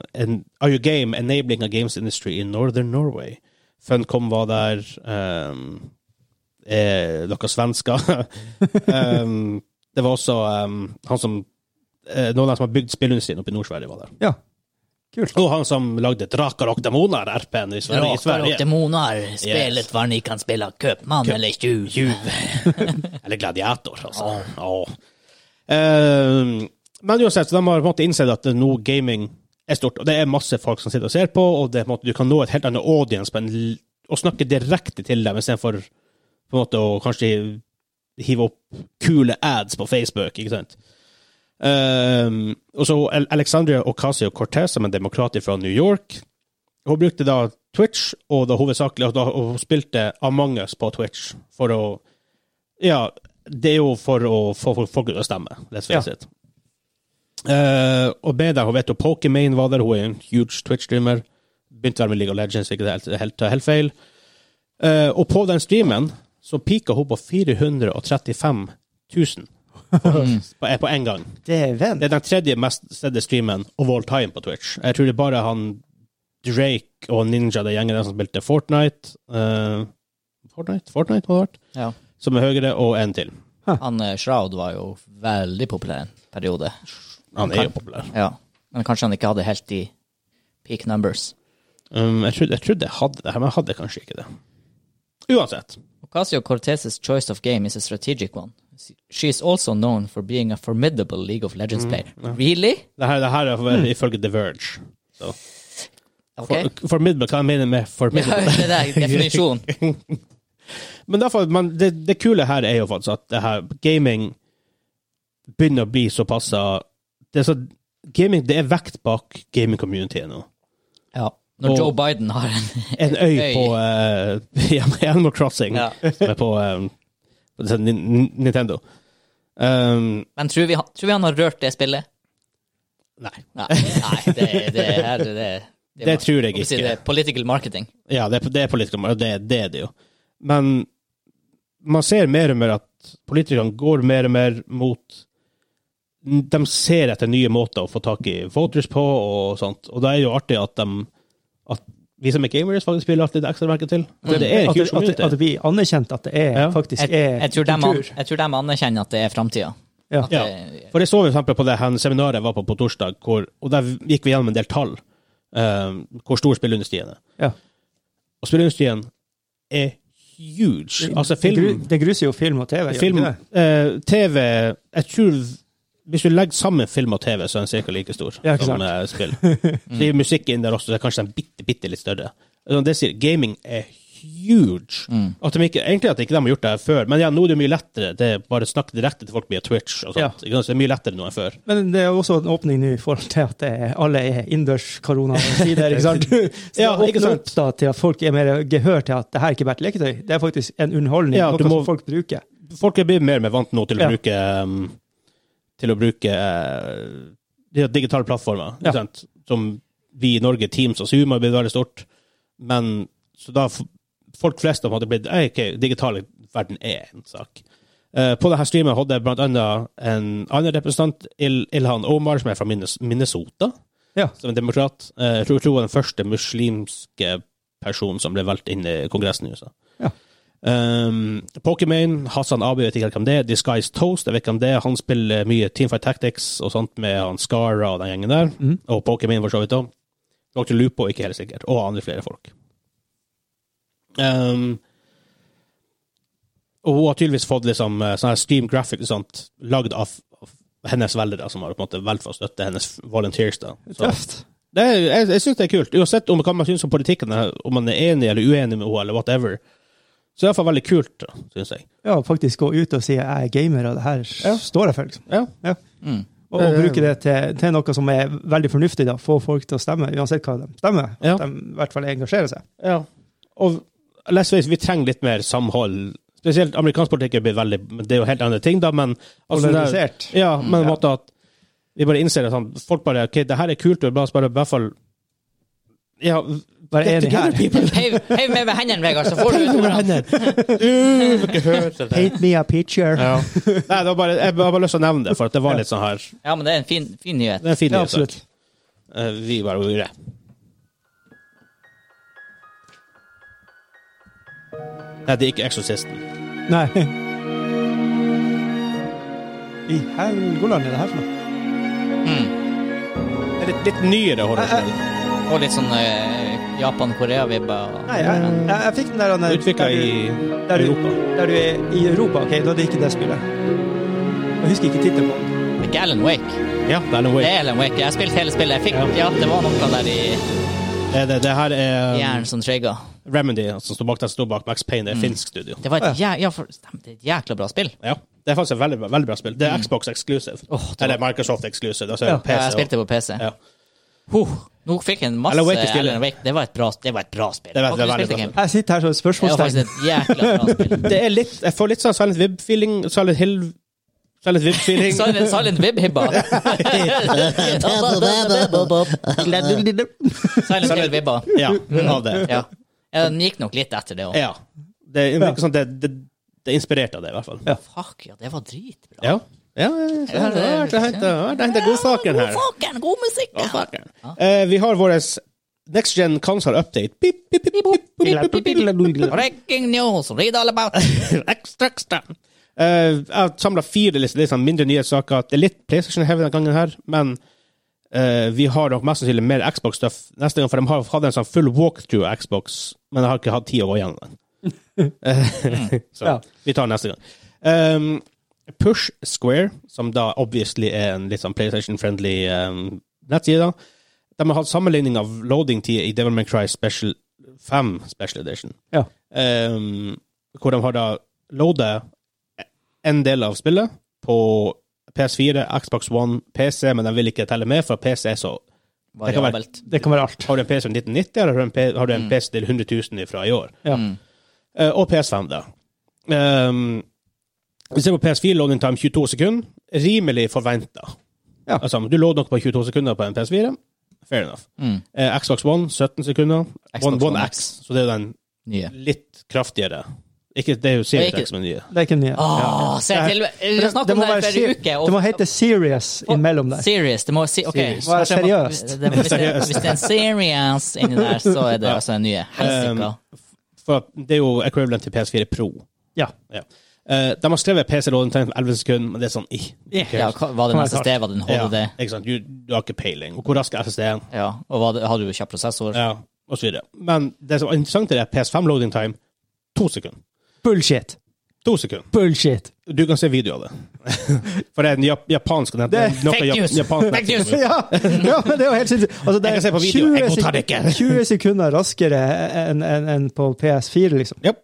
S1: eh, en- Are You Game? Enabling a Games Industry in Northern Norway. Funcom var der. Um, eh, dere svensker. *laughs* um, det var også ehm, han som eh, Noen av dem som har bygd spillindustrien oppe i Nord-Sverige, var der.
S3: ja. Kult.
S1: Og han som lagde Drakar og Demoner, RP-en i Sverige. i
S2: Drakar og
S1: Sverige.
S2: demoner,
S1: spillet
S2: spillet hvor ni kan spille køpmann eller tjuv.
S1: Eller Gladiator, altså. Ja. Eh, men uansett, så de har på en måte innsett at nå gaming er stort, og det er masse folk som sitter og ser på, og det er på en måte, du kan nå et helt annet audience på en, l- og snakke direkte til dem, istedenfor på en måte å kanskje hive opp kule ads på Facebook, ikke sant? Um, og så Al- Alexandria Ocasio-Cortez, som er en demokrat fra New York, hun brukte da Twitch, og da hovedsakelig og da hun spilte Among us på Twitch for å Ja, det er jo for å få folk- folk til å stemme, let's face
S3: Ja.
S1: it. Eh, og ble der, hun vet jo Pokimane var der, hun er en huge Twitch-streamer. Begynte å være med League of Legends, fikk det helt, helt, helt feil. Eh, og på den streamen så pika hun på 435 000 på, på en gang.
S3: Dæven.
S1: Det er den tredje mest sedde streamen of all time på Twitch. Jeg tror det er bare han Drake og Ninja, det gjengen der som spilte Fortnite eh, Fortnite? Fortnite, må det ha vært?
S2: Ja.
S1: Som er høyere, og en til.
S2: Han eh, Shroud var jo veldig populær en periode.
S1: Han er jo populær.
S2: Ja. Men kanskje han ikke hadde helt de peak numbers.
S1: Um, jeg, trodde, jeg trodde jeg hadde det her, men jeg hadde kanskje ikke det. Uansett.
S2: Ocasio Cortez's choice of game is a strategic one. She is also known for being a formidable League of Legends
S1: Mm,
S2: player. Really?
S1: Det her, det her
S2: Mm.
S1: er ifølge The Verge. Så.
S2: Ok.
S1: *laughs* For, formidable, hva jeg mener med
S2: Ja, *laughs*
S1: formidable? *laughs*
S2: det der definisjonen.
S1: Men derfor, man, det, det kule her er jo faktisk at det her, gaming begynner å bli såpass det er så, Gaming det er vekt bak gaming-communityet nå.
S2: Ja. Når
S1: Og-
S2: Joe Biden har en
S1: En øy,
S2: Øy.
S1: på eh, *laughs* i Animal Crossing,
S2: Ja.
S1: som er på, eh, på sånn Nin- Nin- Nintendo. Um,
S2: *laughs* Men tror vi, han- tror vi han har rørt det spillet?
S1: nei.
S2: Nei, nei det, det, her, det, det,
S1: Det tror jeg
S2: må si
S1: ikke.
S2: Det er political marketing.
S1: Ja, det, er- det er politikerne, og det, det er det jo. Men man ser mer og mer at politikerne går mer og mer mot De ser etter nye måter å få tak i voters på og sånt, og det er jo artig at de at vi som er gamers, faktisk spiller alltid det ekstra merke til. For det er en
S3: Mm. At
S1: huge
S3: det, at, det, at
S1: community.
S3: det blir anerkjent at det er,
S1: Ja.
S3: faktisk
S2: Jeg,
S3: er
S2: jeg, tror de, an-
S3: kultur.
S2: jeg tror de anerkjenner at det er framtida.
S3: Ja.
S2: At
S1: Ja.
S2: det-
S1: For det så vi for eksempel på det her seminaret jeg var på på torsdag, hvor, og der gikk vi gjennom en del tall. eh, hvor stor spilleindustrien er.
S3: Ja.
S1: Og spilleindustrien er huge. Altså,
S3: Det
S1: film
S3: gru- Det gruser jo Mm. film og TV. gjør det
S1: Film,
S3: ikke det?
S1: eh, TV Jeg tror hvis du legger sammen film og TV, så er den cirka like stor
S3: Ja, ikke
S1: som
S3: sant?
S1: eh,
S3: *laughs*
S1: spill. Det er musikk inn der også, så det er kanskje den bitte, bitte litt større. Så Det sier, gaming er huge.
S3: Mm.
S2: mm,
S1: At de ikke, egentlig at ikke de har gjort det her før, men ja, nå er det mye lettere. Det er bare å snakke direkte til folk via Twitch og sånt.
S3: Ja.
S1: Ikke sant? Så det er mye lettere nå enn før.
S3: Men det er også en åpning nå i forhold til at det er, alle er innendørs koronasider, ikke sant? *laughs* Så
S1: Ja,
S3: det
S1: ikke
S3: åpner
S1: sant?
S3: opp da til at folk er mer gehør til at det her er ikke bare et leketøy, det er faktisk en underholdning,
S1: Ja, du
S3: noe
S1: må-
S3: som folk bruker.
S1: Folk er blitt mer og mer vant nå til å
S3: Ja.
S1: bruke um, til å bruke eh, de digitale plattformer,
S3: Ja.
S1: ikke sant? som vi i Norge, Teams og Zoom har blitt veldig stort. Men så da f- folk flest har på en måte blitt «Ei, ok, digitale verden er en sak. Eh, på denne streamen hadde jeg blant annet en annen representant, Il Ilhan Omar, som er fra Minnes Minnesota,
S3: Ja.
S1: som er demokrat. Eh, jeg tror tror hun er den første muslimske personen som ble valgt inn i Kongressen i USA.
S3: Ja.
S1: Um, Pokimane, Hassan Abi, vet ikke helt hvem det er. Disguised Toast, jeg vet ikke hvem det er. Han spiller mye Teamfight Tactics og sånt med han Skara og den gjengen der. Og Pokimane, for så vidt òg. Dr. Lupo, ikke helt sikkert. Og andre flere folk. Um, og hun har tydeligvis fått liksom eh, sånn her Steam Graphic og sånt, lagd av, av hennes velgere, som har på en måte valgt for å støtte hennes volunteers. da. Så,
S3: Tøft.
S1: det er, jeg jeg syns det er kult. Uansett om hva man syns om politikken, om man er enig eller uenig med henne, eller whatever. Så det er iallfall veldig kult, syns jeg.
S3: Ja, faktisk gå ut og si jeg er gamer, og det her står jeg for, liksom.
S1: Ja.
S3: Ja.
S2: Mm.
S3: Og, og bruke det til, til noe som er veldig fornuftig, da. Få folk til å stemme, uansett hva de stemmer.
S1: Ja.
S3: At de i hvert fall engasjerer seg.
S1: ja. Og let's face, it, vi trenger litt mer samhold. Spesielt amerikansk politikk er blitt veldig Det er jo helt andre ting, da, men altså, det er-
S3: Polarisert.
S1: Ja, men
S3: Ja.
S1: måtte at Vi bare innser at sånn, folk bare OK, det her er kult, og la oss bare i hvert fall Ja,
S3: Bare
S1: get
S3: er det
S1: together,
S3: her.
S1: people. *laughs*
S2: Heiv heiv meg med hendene, Vegard, så får du autograf.
S1: Du får ikke høre det der.
S3: Paint me a picture.
S1: Ja. Nei, det var bare, jeg har bare lyst til å nevne det, for at det var litt sånn her
S2: Ja, men det er en fin, fin nyhet.
S1: Det er en fin
S3: Ja,
S1: nyhet.
S3: absolutt.
S1: Eh, Vi bare gjorde det. Nei, det er ikke Exorcisten.
S3: Nei. I Helgoland er det her for noe?
S2: Mm.
S1: Det er litt, litt nyere
S2: Eh,
S1: horrorspill.
S2: Og litt sånn eh, Japan-Korea-vibber. og-
S3: Nei, jeg, jeg, jeg fikk den der han,
S1: Utvikla
S3: der
S1: i
S3: du- der du,
S1: Europa.
S3: Der du er i Europa. Ok, da er det ikke det spillet. Jeg husker ikke tittelen på den.
S2: Det er Ikke Alan Wake.
S1: Ja, det er noe
S2: Det er Alan Wake. Jeg har spilt hele spillet. Jeg fikk, ja, det var noe der i
S1: Det, det, det her
S2: i
S1: er um,
S2: hjernen som trigga.
S1: Remedy som står bak den som står bak Max Payne. Det er
S2: Mm.
S1: et finsk studio.
S2: Det var et, jæ ja, for, stemmer, det er et jækla bra spill.
S1: Ja. Det er faktisk et veldig, veldig bra spill. Det er Xbox exclusive.
S2: Mm. Åh, det var-
S1: Eller Microsoft exclusive. Altså
S3: Ja,
S1: PC,
S2: Ja, jeg spilte på PC.
S1: Ja.
S2: Huh, nå fikk jeg en masse
S1: Alan Wake er stilig.
S2: Alan Wake. Det var et bra, det var et bra spill.
S1: Det var- det var
S2: Har du
S1: veldig
S2: spilt
S1: bra
S3: Jeg sitter her som et
S2: det, Kim? det var
S3: spørsmålstegn.
S2: faktisk et jækla bra
S1: *laughs*
S2: spill.
S1: Det er litt, jeg får litt sånn Silent Vib-feeling. Silent Hill Silent
S2: *laughs*
S1: Vib-feeling.
S2: Silent, Silent
S1: *laughs*
S2: Vib-hibba. Silent Hill-vibba.
S1: *laughs* ja, av det.
S2: Ja. ja, den gikk nok litt etter det òg.
S1: Ja. Det, er ikke sånn, det, det, det er inspirert av det, i hvert fall.
S3: Ja.
S2: Fuck, ja, det var dritbra.
S1: Ja. ja, ja, ja. Det har vært- det har vært- det har vært en god saken her.
S2: Fucken, god musikk! Ja.
S1: Eh, vi har vår Next Gen Console Update. Pip, pip, pip, pip, pip, pip, pip.
S2: Breaking news, read all about it.
S1: *laughs* Ekstra, ekstra. Eh, jeg har samla fire litt, litt sånn mindre nyhetssaker. Det er litt PlayStation-heavy denne gangen, her, men eh, vi har nok mest sannsynlig mer Xbox-stuff neste gang, for de har hatt en sånn full walkthrough av Xbox, men jeg har ikke hatt tid å gå gjennom den. Eh, *laughs* Så
S3: Ja.
S1: vi tar neste gang. Um, Push Square, som da obviously er en litt sånn PlayStation-friendly um, nettside, da. de har hatt sammenligning av loading-tid i Devil May Cry Special 5 Special Edition.
S3: Ja.
S1: Um, hvor de har da loadet en del av spillet på PS4, Xbox One, PC, men de vil ikke telle med, for PC er så kan være-
S2: Variabelt.
S3: Det kan være alt.
S1: Har du en PC fra 1990, eller har du en, P har du en PC til 100 000 fra i år?
S3: Ja.
S2: Mm.
S1: Eh, og PS5, da. Ehm, vi ser på PS4 loading time 22 sekunder. Rimelig forventa.
S3: Ja.
S1: Altså, du lå nok på 22 sekunder på en PS4. Fair enough.
S2: Mm.
S1: Eh, Xbox One 17 sekunder.
S2: Xbox
S1: One, One
S2: One
S1: X, så det er jo den
S2: Nye.
S1: litt kraftigere. Ikke, det er jo Series
S2: Det er ikke-
S1: X, men nye.
S3: Det er ikke nye.
S2: Åh, se
S3: Det er-
S2: til Vi har snakket
S3: Det
S2: om
S3: må
S2: det her
S3: være
S2: i
S3: ser-
S2: flere uker. og-
S3: Det må hete serious imellom der.
S2: Serious. Det må si OK.
S1: Serious.
S3: Må være
S2: kanskje jeg må-
S3: seriøst.
S2: det- det- Hvis det- hvis det er en serious inni der, så er det altså en ny helsike.
S1: Um, For det er jo equivalent til PS4 Pro.
S3: Ja.
S1: Ja. Eh, de har skrevet PC Loading Time 11 sekunder, men det er sånn ih, who
S2: Ja,
S1: cares?
S2: hva- var det en SSD? Var det en HDD?
S1: Ja, ikke sant? Du, du har ikke peiling. Og hvor rask er SSD-en?
S2: Ja. Og var det, hadde du kjapp prosessor?
S1: Ja, og så videre. Men det som er interessant, er PS5 Loading Time to sekunder.
S3: Bullshit.
S1: To sekunder.
S3: Bullshit.
S1: Du kan se video av det. *laughs* For det er en jap japansk det er noe
S2: Fake
S1: jap-
S2: news!
S1: japansk
S2: Fake news!
S1: nettside.
S3: Ja, ja, men det er jo helt sinnssykt. Altså, det
S1: Jeg
S3: er
S1: kan se på video. Jeg
S3: 20 sek-
S1: godtar det
S3: *laughs*
S1: ikke.
S3: 20 sekunder raskere enn enn- enn på PS4, liksom.
S1: Japp.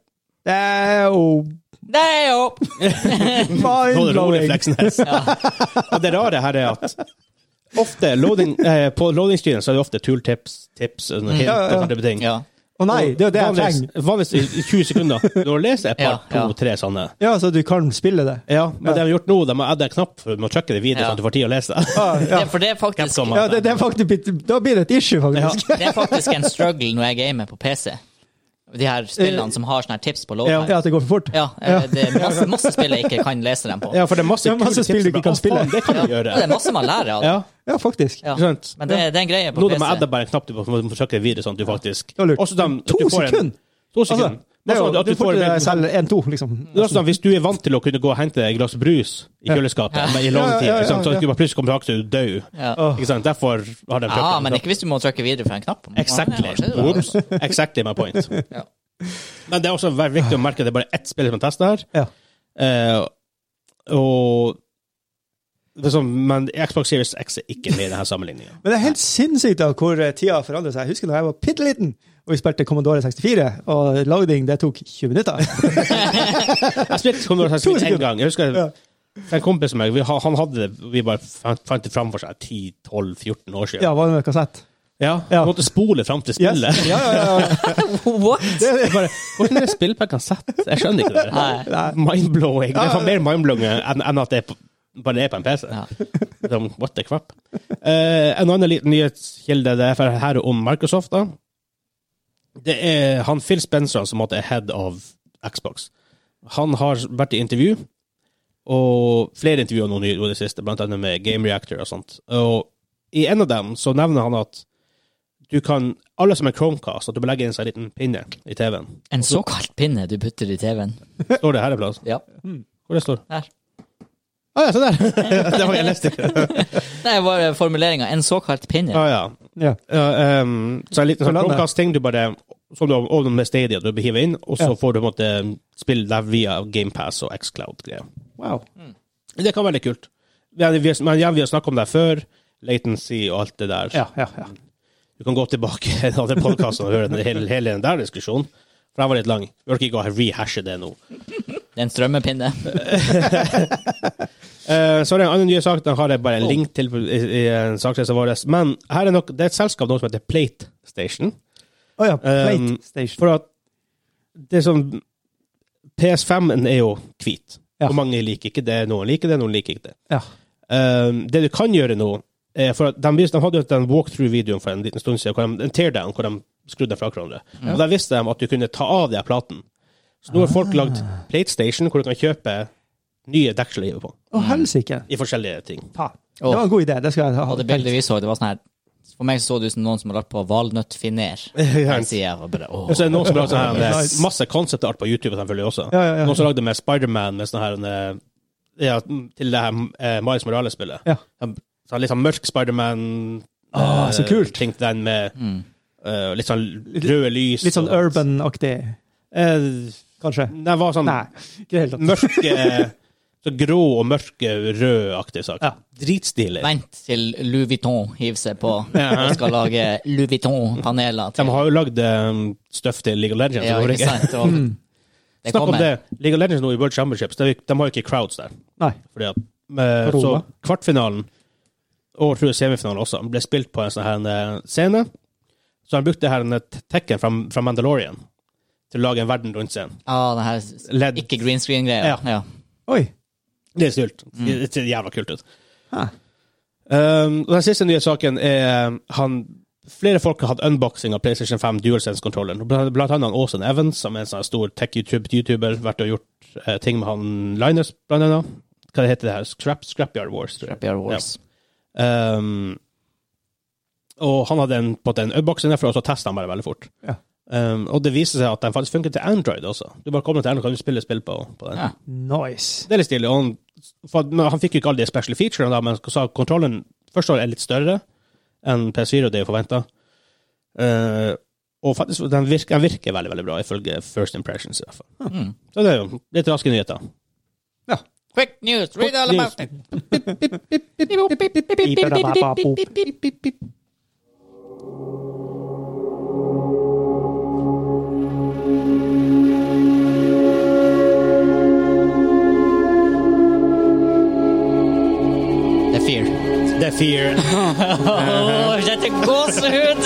S3: Det er jo
S2: Det er jo
S1: *laughs* Nå er det rolig,
S3: mind-blowing.
S1: Fleksnes. Og det rare her er at ofte loading, eh, på loading-stilen så er det ofte tooltips, tips og sånne helt
S3: Ja, ja, ja.
S1: type ting.
S2: Mm. Ja.
S3: Å nei, det er jo det jeg trenger.
S1: Vanligvis, vanligvis i- i 20
S2: *laughs*
S1: sekunder. Du har lest et par,
S2: Ja, ja.
S1: to, tre sånne.
S3: Ja, så du kan spille det.
S1: Ja, men det
S3: Ja.
S1: de har gjort nå, de har adda en knapp for å trykke det videre,
S2: Ja.
S1: sånn at du får tid å lese
S3: *laughs*
S1: det.
S3: Ja, ja.
S2: Det, for det er faktisk
S1: Capcom,
S3: ja det, det er faktisk blitt- Da blir det et issue, faktisk.
S2: Det er faktisk en struggle når jeg gamer på PC. De her spillene som har sånne her tips på
S3: Ja,
S2: låter.
S3: at det går for fort.
S2: Ja, eh, det er masse, masse spill jeg ikke kan lese dem på.
S1: Ja, for det er masse,
S3: Det er masse
S1: kule tips
S3: spill du ikke
S1: som
S3: kan
S1: bare, «Å, faen, Det kan du
S2: Ja, Det
S1: gjøre.
S2: er masse man lærer av.
S1: Ja,
S3: Ja, faktisk.
S2: Ja.
S1: ikke sant?
S2: Men det, det er en greie på
S1: Nå
S2: PC.
S1: de har adda bare en knapp du må må trykke det videre, sånn at du faktisk
S3: Det var lurt.
S1: Også dem- at
S3: To
S1: du får en-
S3: sekunder!
S1: To
S3: Altså,
S1: sekunder.
S3: det er
S1: Også
S3: jo,
S1: at
S3: du får
S1: en-
S3: til deg selv 1-2, liksom.
S1: Det er også sånn, hvis du er vant til å kunne gå og hente et glass brus i
S3: Ja.
S1: kjøleskapet men i lang
S3: Ja, ja,
S1: tid,
S3: ja, ja,
S1: ikke sant? så
S3: ja.
S1: at du bare plutselig kommer tilbake til du død.
S2: Ja.
S1: Ikke sant? Derfor har de
S2: Ja,
S1: trykket
S2: men
S1: den.
S2: ikke hvis du må trykke videre for en knapp.
S1: Exactly.
S2: Ja, det er jo-
S1: Whoops. Exactly my point.
S2: *laughs* Ja.
S1: Men det er også veldig viktig å merke at det er bare ett spill som er testet her.
S3: Ja.
S1: Eh, og det er sånn, Men Xbox Series X er ikke med i denne
S2: *laughs*
S1: sammenligningen
S3: Men det er helt sinnssykt da hvor eh, tida forandrer seg. Jeg husker da jeg var bitte liten og vi spilte Commodore 64, og lagding det tok
S1: *laughs*
S3: 20 minutter.
S1: Jeg spilte Commodore 64 en gang. Jeg husker
S3: Ja.
S1: en kompis som jeg, vi, han hadde det Vi bare fant, fant det fram for seg 10-12-14 år siden.
S3: Ja, var det med kassett?
S1: Ja,
S3: Ja.
S1: Måtte spole fram til
S3: Yes.
S1: spillet.
S3: Ja, ja, ja, ja.
S2: *laughs* What?
S1: Jeg bare, Hvordan er det spill på en kassett? Jeg skjønner ikke det.
S2: Nei.
S1: Mindblowing. Det er faen mer mindblowing enn enn at det er på, bare er på en PC.
S2: Ja.
S1: Liksom, What the crap? Eh, en annen liten nyhetskilde det er for her om Microsoft. da. Det er han Phil Spencer som måtte er head av Xbox. Han har vært i intervju, og flere intervjuer nå i det siste, blant annet med Game Reactor og sånt. Og i en av dem så nevner han at du kan, alle som er Chromecast, at du bør legge inn seg en liten pinne i TV-en.
S2: En såkalt pinne du putter i TV-en.
S1: Står det her en plass?
S2: Ja.
S1: Hvor det står?
S2: Her.
S1: Å ja, se der! *laughs* det var jeg leste ikke.
S2: Det er bare formuleringa. En såkalt pinne.
S1: Å ja.
S3: Ja.
S1: Ja, ehm, så en liten
S3: Så
S1: sånn
S3: landet.
S1: Chromecast-ting du bare som du har og med Stadia du hiver inn, og så
S3: Ja.
S1: får du på en måte spille der via GamePass og xCloud-greier.
S3: Wow.
S1: Det kan være litt kult. Vi har, vi har, men igjen, vi har snakket om det før. Latency og alt det der.
S3: Ja, ja, ja.
S1: Du kan gå tilbake *laughs* i den andre podkasten og høre den, hele, hele den der diskusjonen, for den var litt lang. Vi orker ikke å rehashe det nå.
S2: Det er en strømmepinne.
S1: Eh, så er det en annen ny sak. Den har jeg bare en
S3: Oh.
S1: link til i, i en saksresa vår. Men her er nok, det er et selskap nå som heter Plate Station.
S3: Å ja. Plate
S1: Um,
S3: Station.
S1: For at det som PS5-en er jo hvit.
S3: Ja.
S1: Og mange liker ikke det. Noen liker det, noen liker ikke det.
S3: Ja.
S1: Um, det du kan gjøre nå er for at de, vis- de hadde jo den walkthrough-videoen for en liten stund siden, hvor de, en teardown hvor de skrudde dem fra hverandre. Og Der visste de at du kunne ta av den platen. Så nå har
S3: Ah.
S1: folk lagd PlateStation, hvor du kan kjøpe nye dekkselgiver på.
S3: Å, helsike.
S1: I forskjellige ting.
S3: Faen. Det var en god idé. Det skal jeg ha.
S2: Og det bildet vi så, det var sånn her For meg så det ut som noen som har lagt på valnøttfiner.
S1: *laughs* Ja.
S2: Den sida var bare åh.
S1: Og så er det noen som har lagd sånn her, eh,
S3: Nice.
S1: masse concept-art på YouTube sånn selvfølgelig også.
S3: Ja, ja, ja.
S1: Noen som lagde med Spiderman med sånn her eh, ja, til det her eh, Miles Morales-spillet.
S3: Ja.
S1: Så han litt sånn mørk Spiderman. eh,
S3: Ah, så kult.
S1: Ting til den med
S2: Mm.
S1: eh, litt sånn røde lys.
S3: Litt sånn
S1: og-
S3: urban-aktig,
S1: Eh,
S3: kanskje.
S1: Den var sånn
S3: Nei, ikke i det hele tatt.
S1: mørke *laughs* Så grå og mørke rød-aktig sak.
S3: Ja.
S1: Dritstilig.
S2: Vent til Louis Vuitton hiver seg på
S1: Ja.
S2: og skal lage Louis Vuitton-paneler.
S1: De
S2: til-
S1: har jo lagd eh, støff til League of Legends.
S2: Ja,
S1: i Norge.
S2: ikke sant? Og det
S1: Mm. Snakk om
S2: kommer.
S1: det. League of Legends nå i World Championships, de, de har jo ikke crowds der.
S3: Nei.
S1: Fordi at, eh,
S3: Roma.
S1: så kvartfinalen, og tror jeg semifinalen også, ble spilt på en sånn her eh, scene. Så han brukte her en tekken fra, fra Mandalorian til å lage en verden rundt scenen.
S2: Ah, den her s-
S1: Ledd.
S2: ikke green
S1: Ja.
S2: screen-greia. Ja.
S3: Oi.
S1: Det er stilt. Det ser jævla kult ut.
S3: Hæ.
S1: Um, og den siste nye saken er eh, han Flere folk har hatt unboxing av PlayStation 5 DualSense-kontrolleren. Blant blant annet han Åsen Evans, som er en sånn stor tech-YouTuber. Vært og gjort eh, ting med han Linus, blant annet. Hva det heter det her? Scrap, Scrapyard Wars, tror jeg.
S2: Scrapyard Wars.
S1: Um, og han hadde en, på en måte en unboxing derfor, og så testet han bare veldig fort.
S3: Ja.
S1: Um, og det viser seg at den faktisk funker til Android også. Du bare kommer til Android, kan du spille spill på, på den.
S2: Ja.
S3: Nice.
S1: Det er litt stilig. Og han, for, at- men han fikk jo ikke alle de special featurene, da, men han sa at kontrollen først og fremst er litt større enn PS4, og det er jo forventa. Uh, og faktisk, den virker, den virker veldig veldig bra, ifølge First Impressions. i hvert fall.
S2: Mm.
S1: Så det er jo litt raske nyheter.
S2: Quick news, read all about it!
S1: *laughs*
S2: Det er fear.
S1: Det er Fear.
S2: Åh, dette er gåsehud!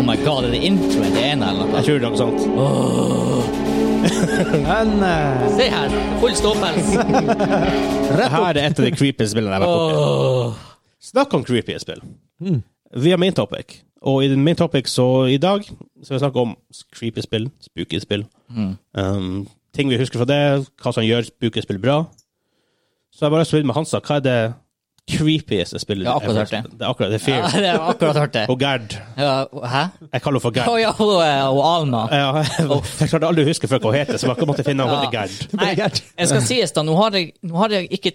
S2: Oh my god, er det introen det ene eller noe?
S1: Jeg tror det er noe sånt.
S3: Men eh,
S2: Se her, full ståpels.
S1: Det her er et av de creepy spillene jeg har vært borti. Snakk om creepy spill.
S2: Mm.
S1: Vi har main topic, og i den main topic så i dag skal vi snakke om creepy spill, spooky spill.
S2: Mm.
S1: Um, ting vi husker fra det, hva som gjør spooky spill bra. Så jeg bare spør med Hansa, hva er det creepieste spillet?
S2: Jeg har akkurat
S1: jeg-
S2: hørt det.
S1: Det er akkurat det er
S2: Ja,
S1: Fear.
S2: det har jeg akkurat hørt det.
S1: Og Gerd.
S2: Ja, Eh, hæ?
S1: Jeg kaller henne for
S2: Å
S1: Gerd.
S2: ja, og, og eh, Alma.
S1: Ja, *laughs* jeg klarte aldri å huske før hva hun heter, så jeg måtte finne henne til Gerd.
S2: Nei,
S3: gærent.
S2: jeg skal sies da, nå har jeg, nå har jeg ikke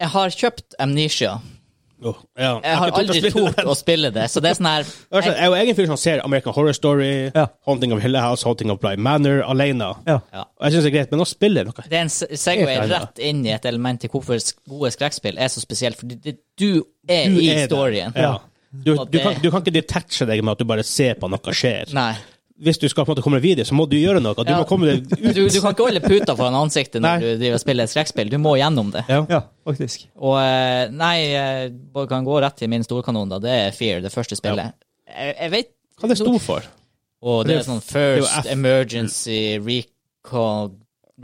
S2: Jeg har kjøpt Amnesia.
S1: Åh, ja.
S2: Jeg har
S1: ikke tort å
S2: aldri
S1: spille
S2: tort
S1: den.
S2: å spille det, så det er sånn
S1: *laughs*
S2: her
S1: Altså, jeg er jo egen fyr som ser American Horror Story,
S3: Ja.
S1: Haunting of Hill House, Haunting of Bly Manor alene.
S3: ja.
S2: ja.
S1: Og jeg syns det er greit, men å spille noe
S2: Det er en se- segway
S1: Helt annet.
S2: rett inn i et element til hvorfor sk- gode skrekkspill er så spesielt, fordi det, du er
S1: Du
S2: i
S1: er der.
S2: storyen.
S1: Ja. Du,
S2: Og
S1: du,
S2: det-
S1: kan, du kan ikke detache deg med at du bare ser på noe skjer.
S2: Nei.
S1: Hvis du skal på en måte komme deg videre, så må du gjøre noe. Du
S2: Ja.
S1: må komme deg ut.
S2: Du, du kan ikke holde puta foran ansiktet når
S1: Nei.
S2: du driver og spiller et skrekkspill. Du må gjennom det.
S1: Ja.
S3: ja, faktisk.
S2: Og eh, nei, eh, bare kan gå rett til min storkanon, da. Det er Fear, det første spillet. Jeg, jeg vet
S1: Hva det sto for?
S2: Og
S1: Det
S2: det er
S1: er er
S2: sånn
S1: jo
S2: First
S1: F-
S2: Emergency Recog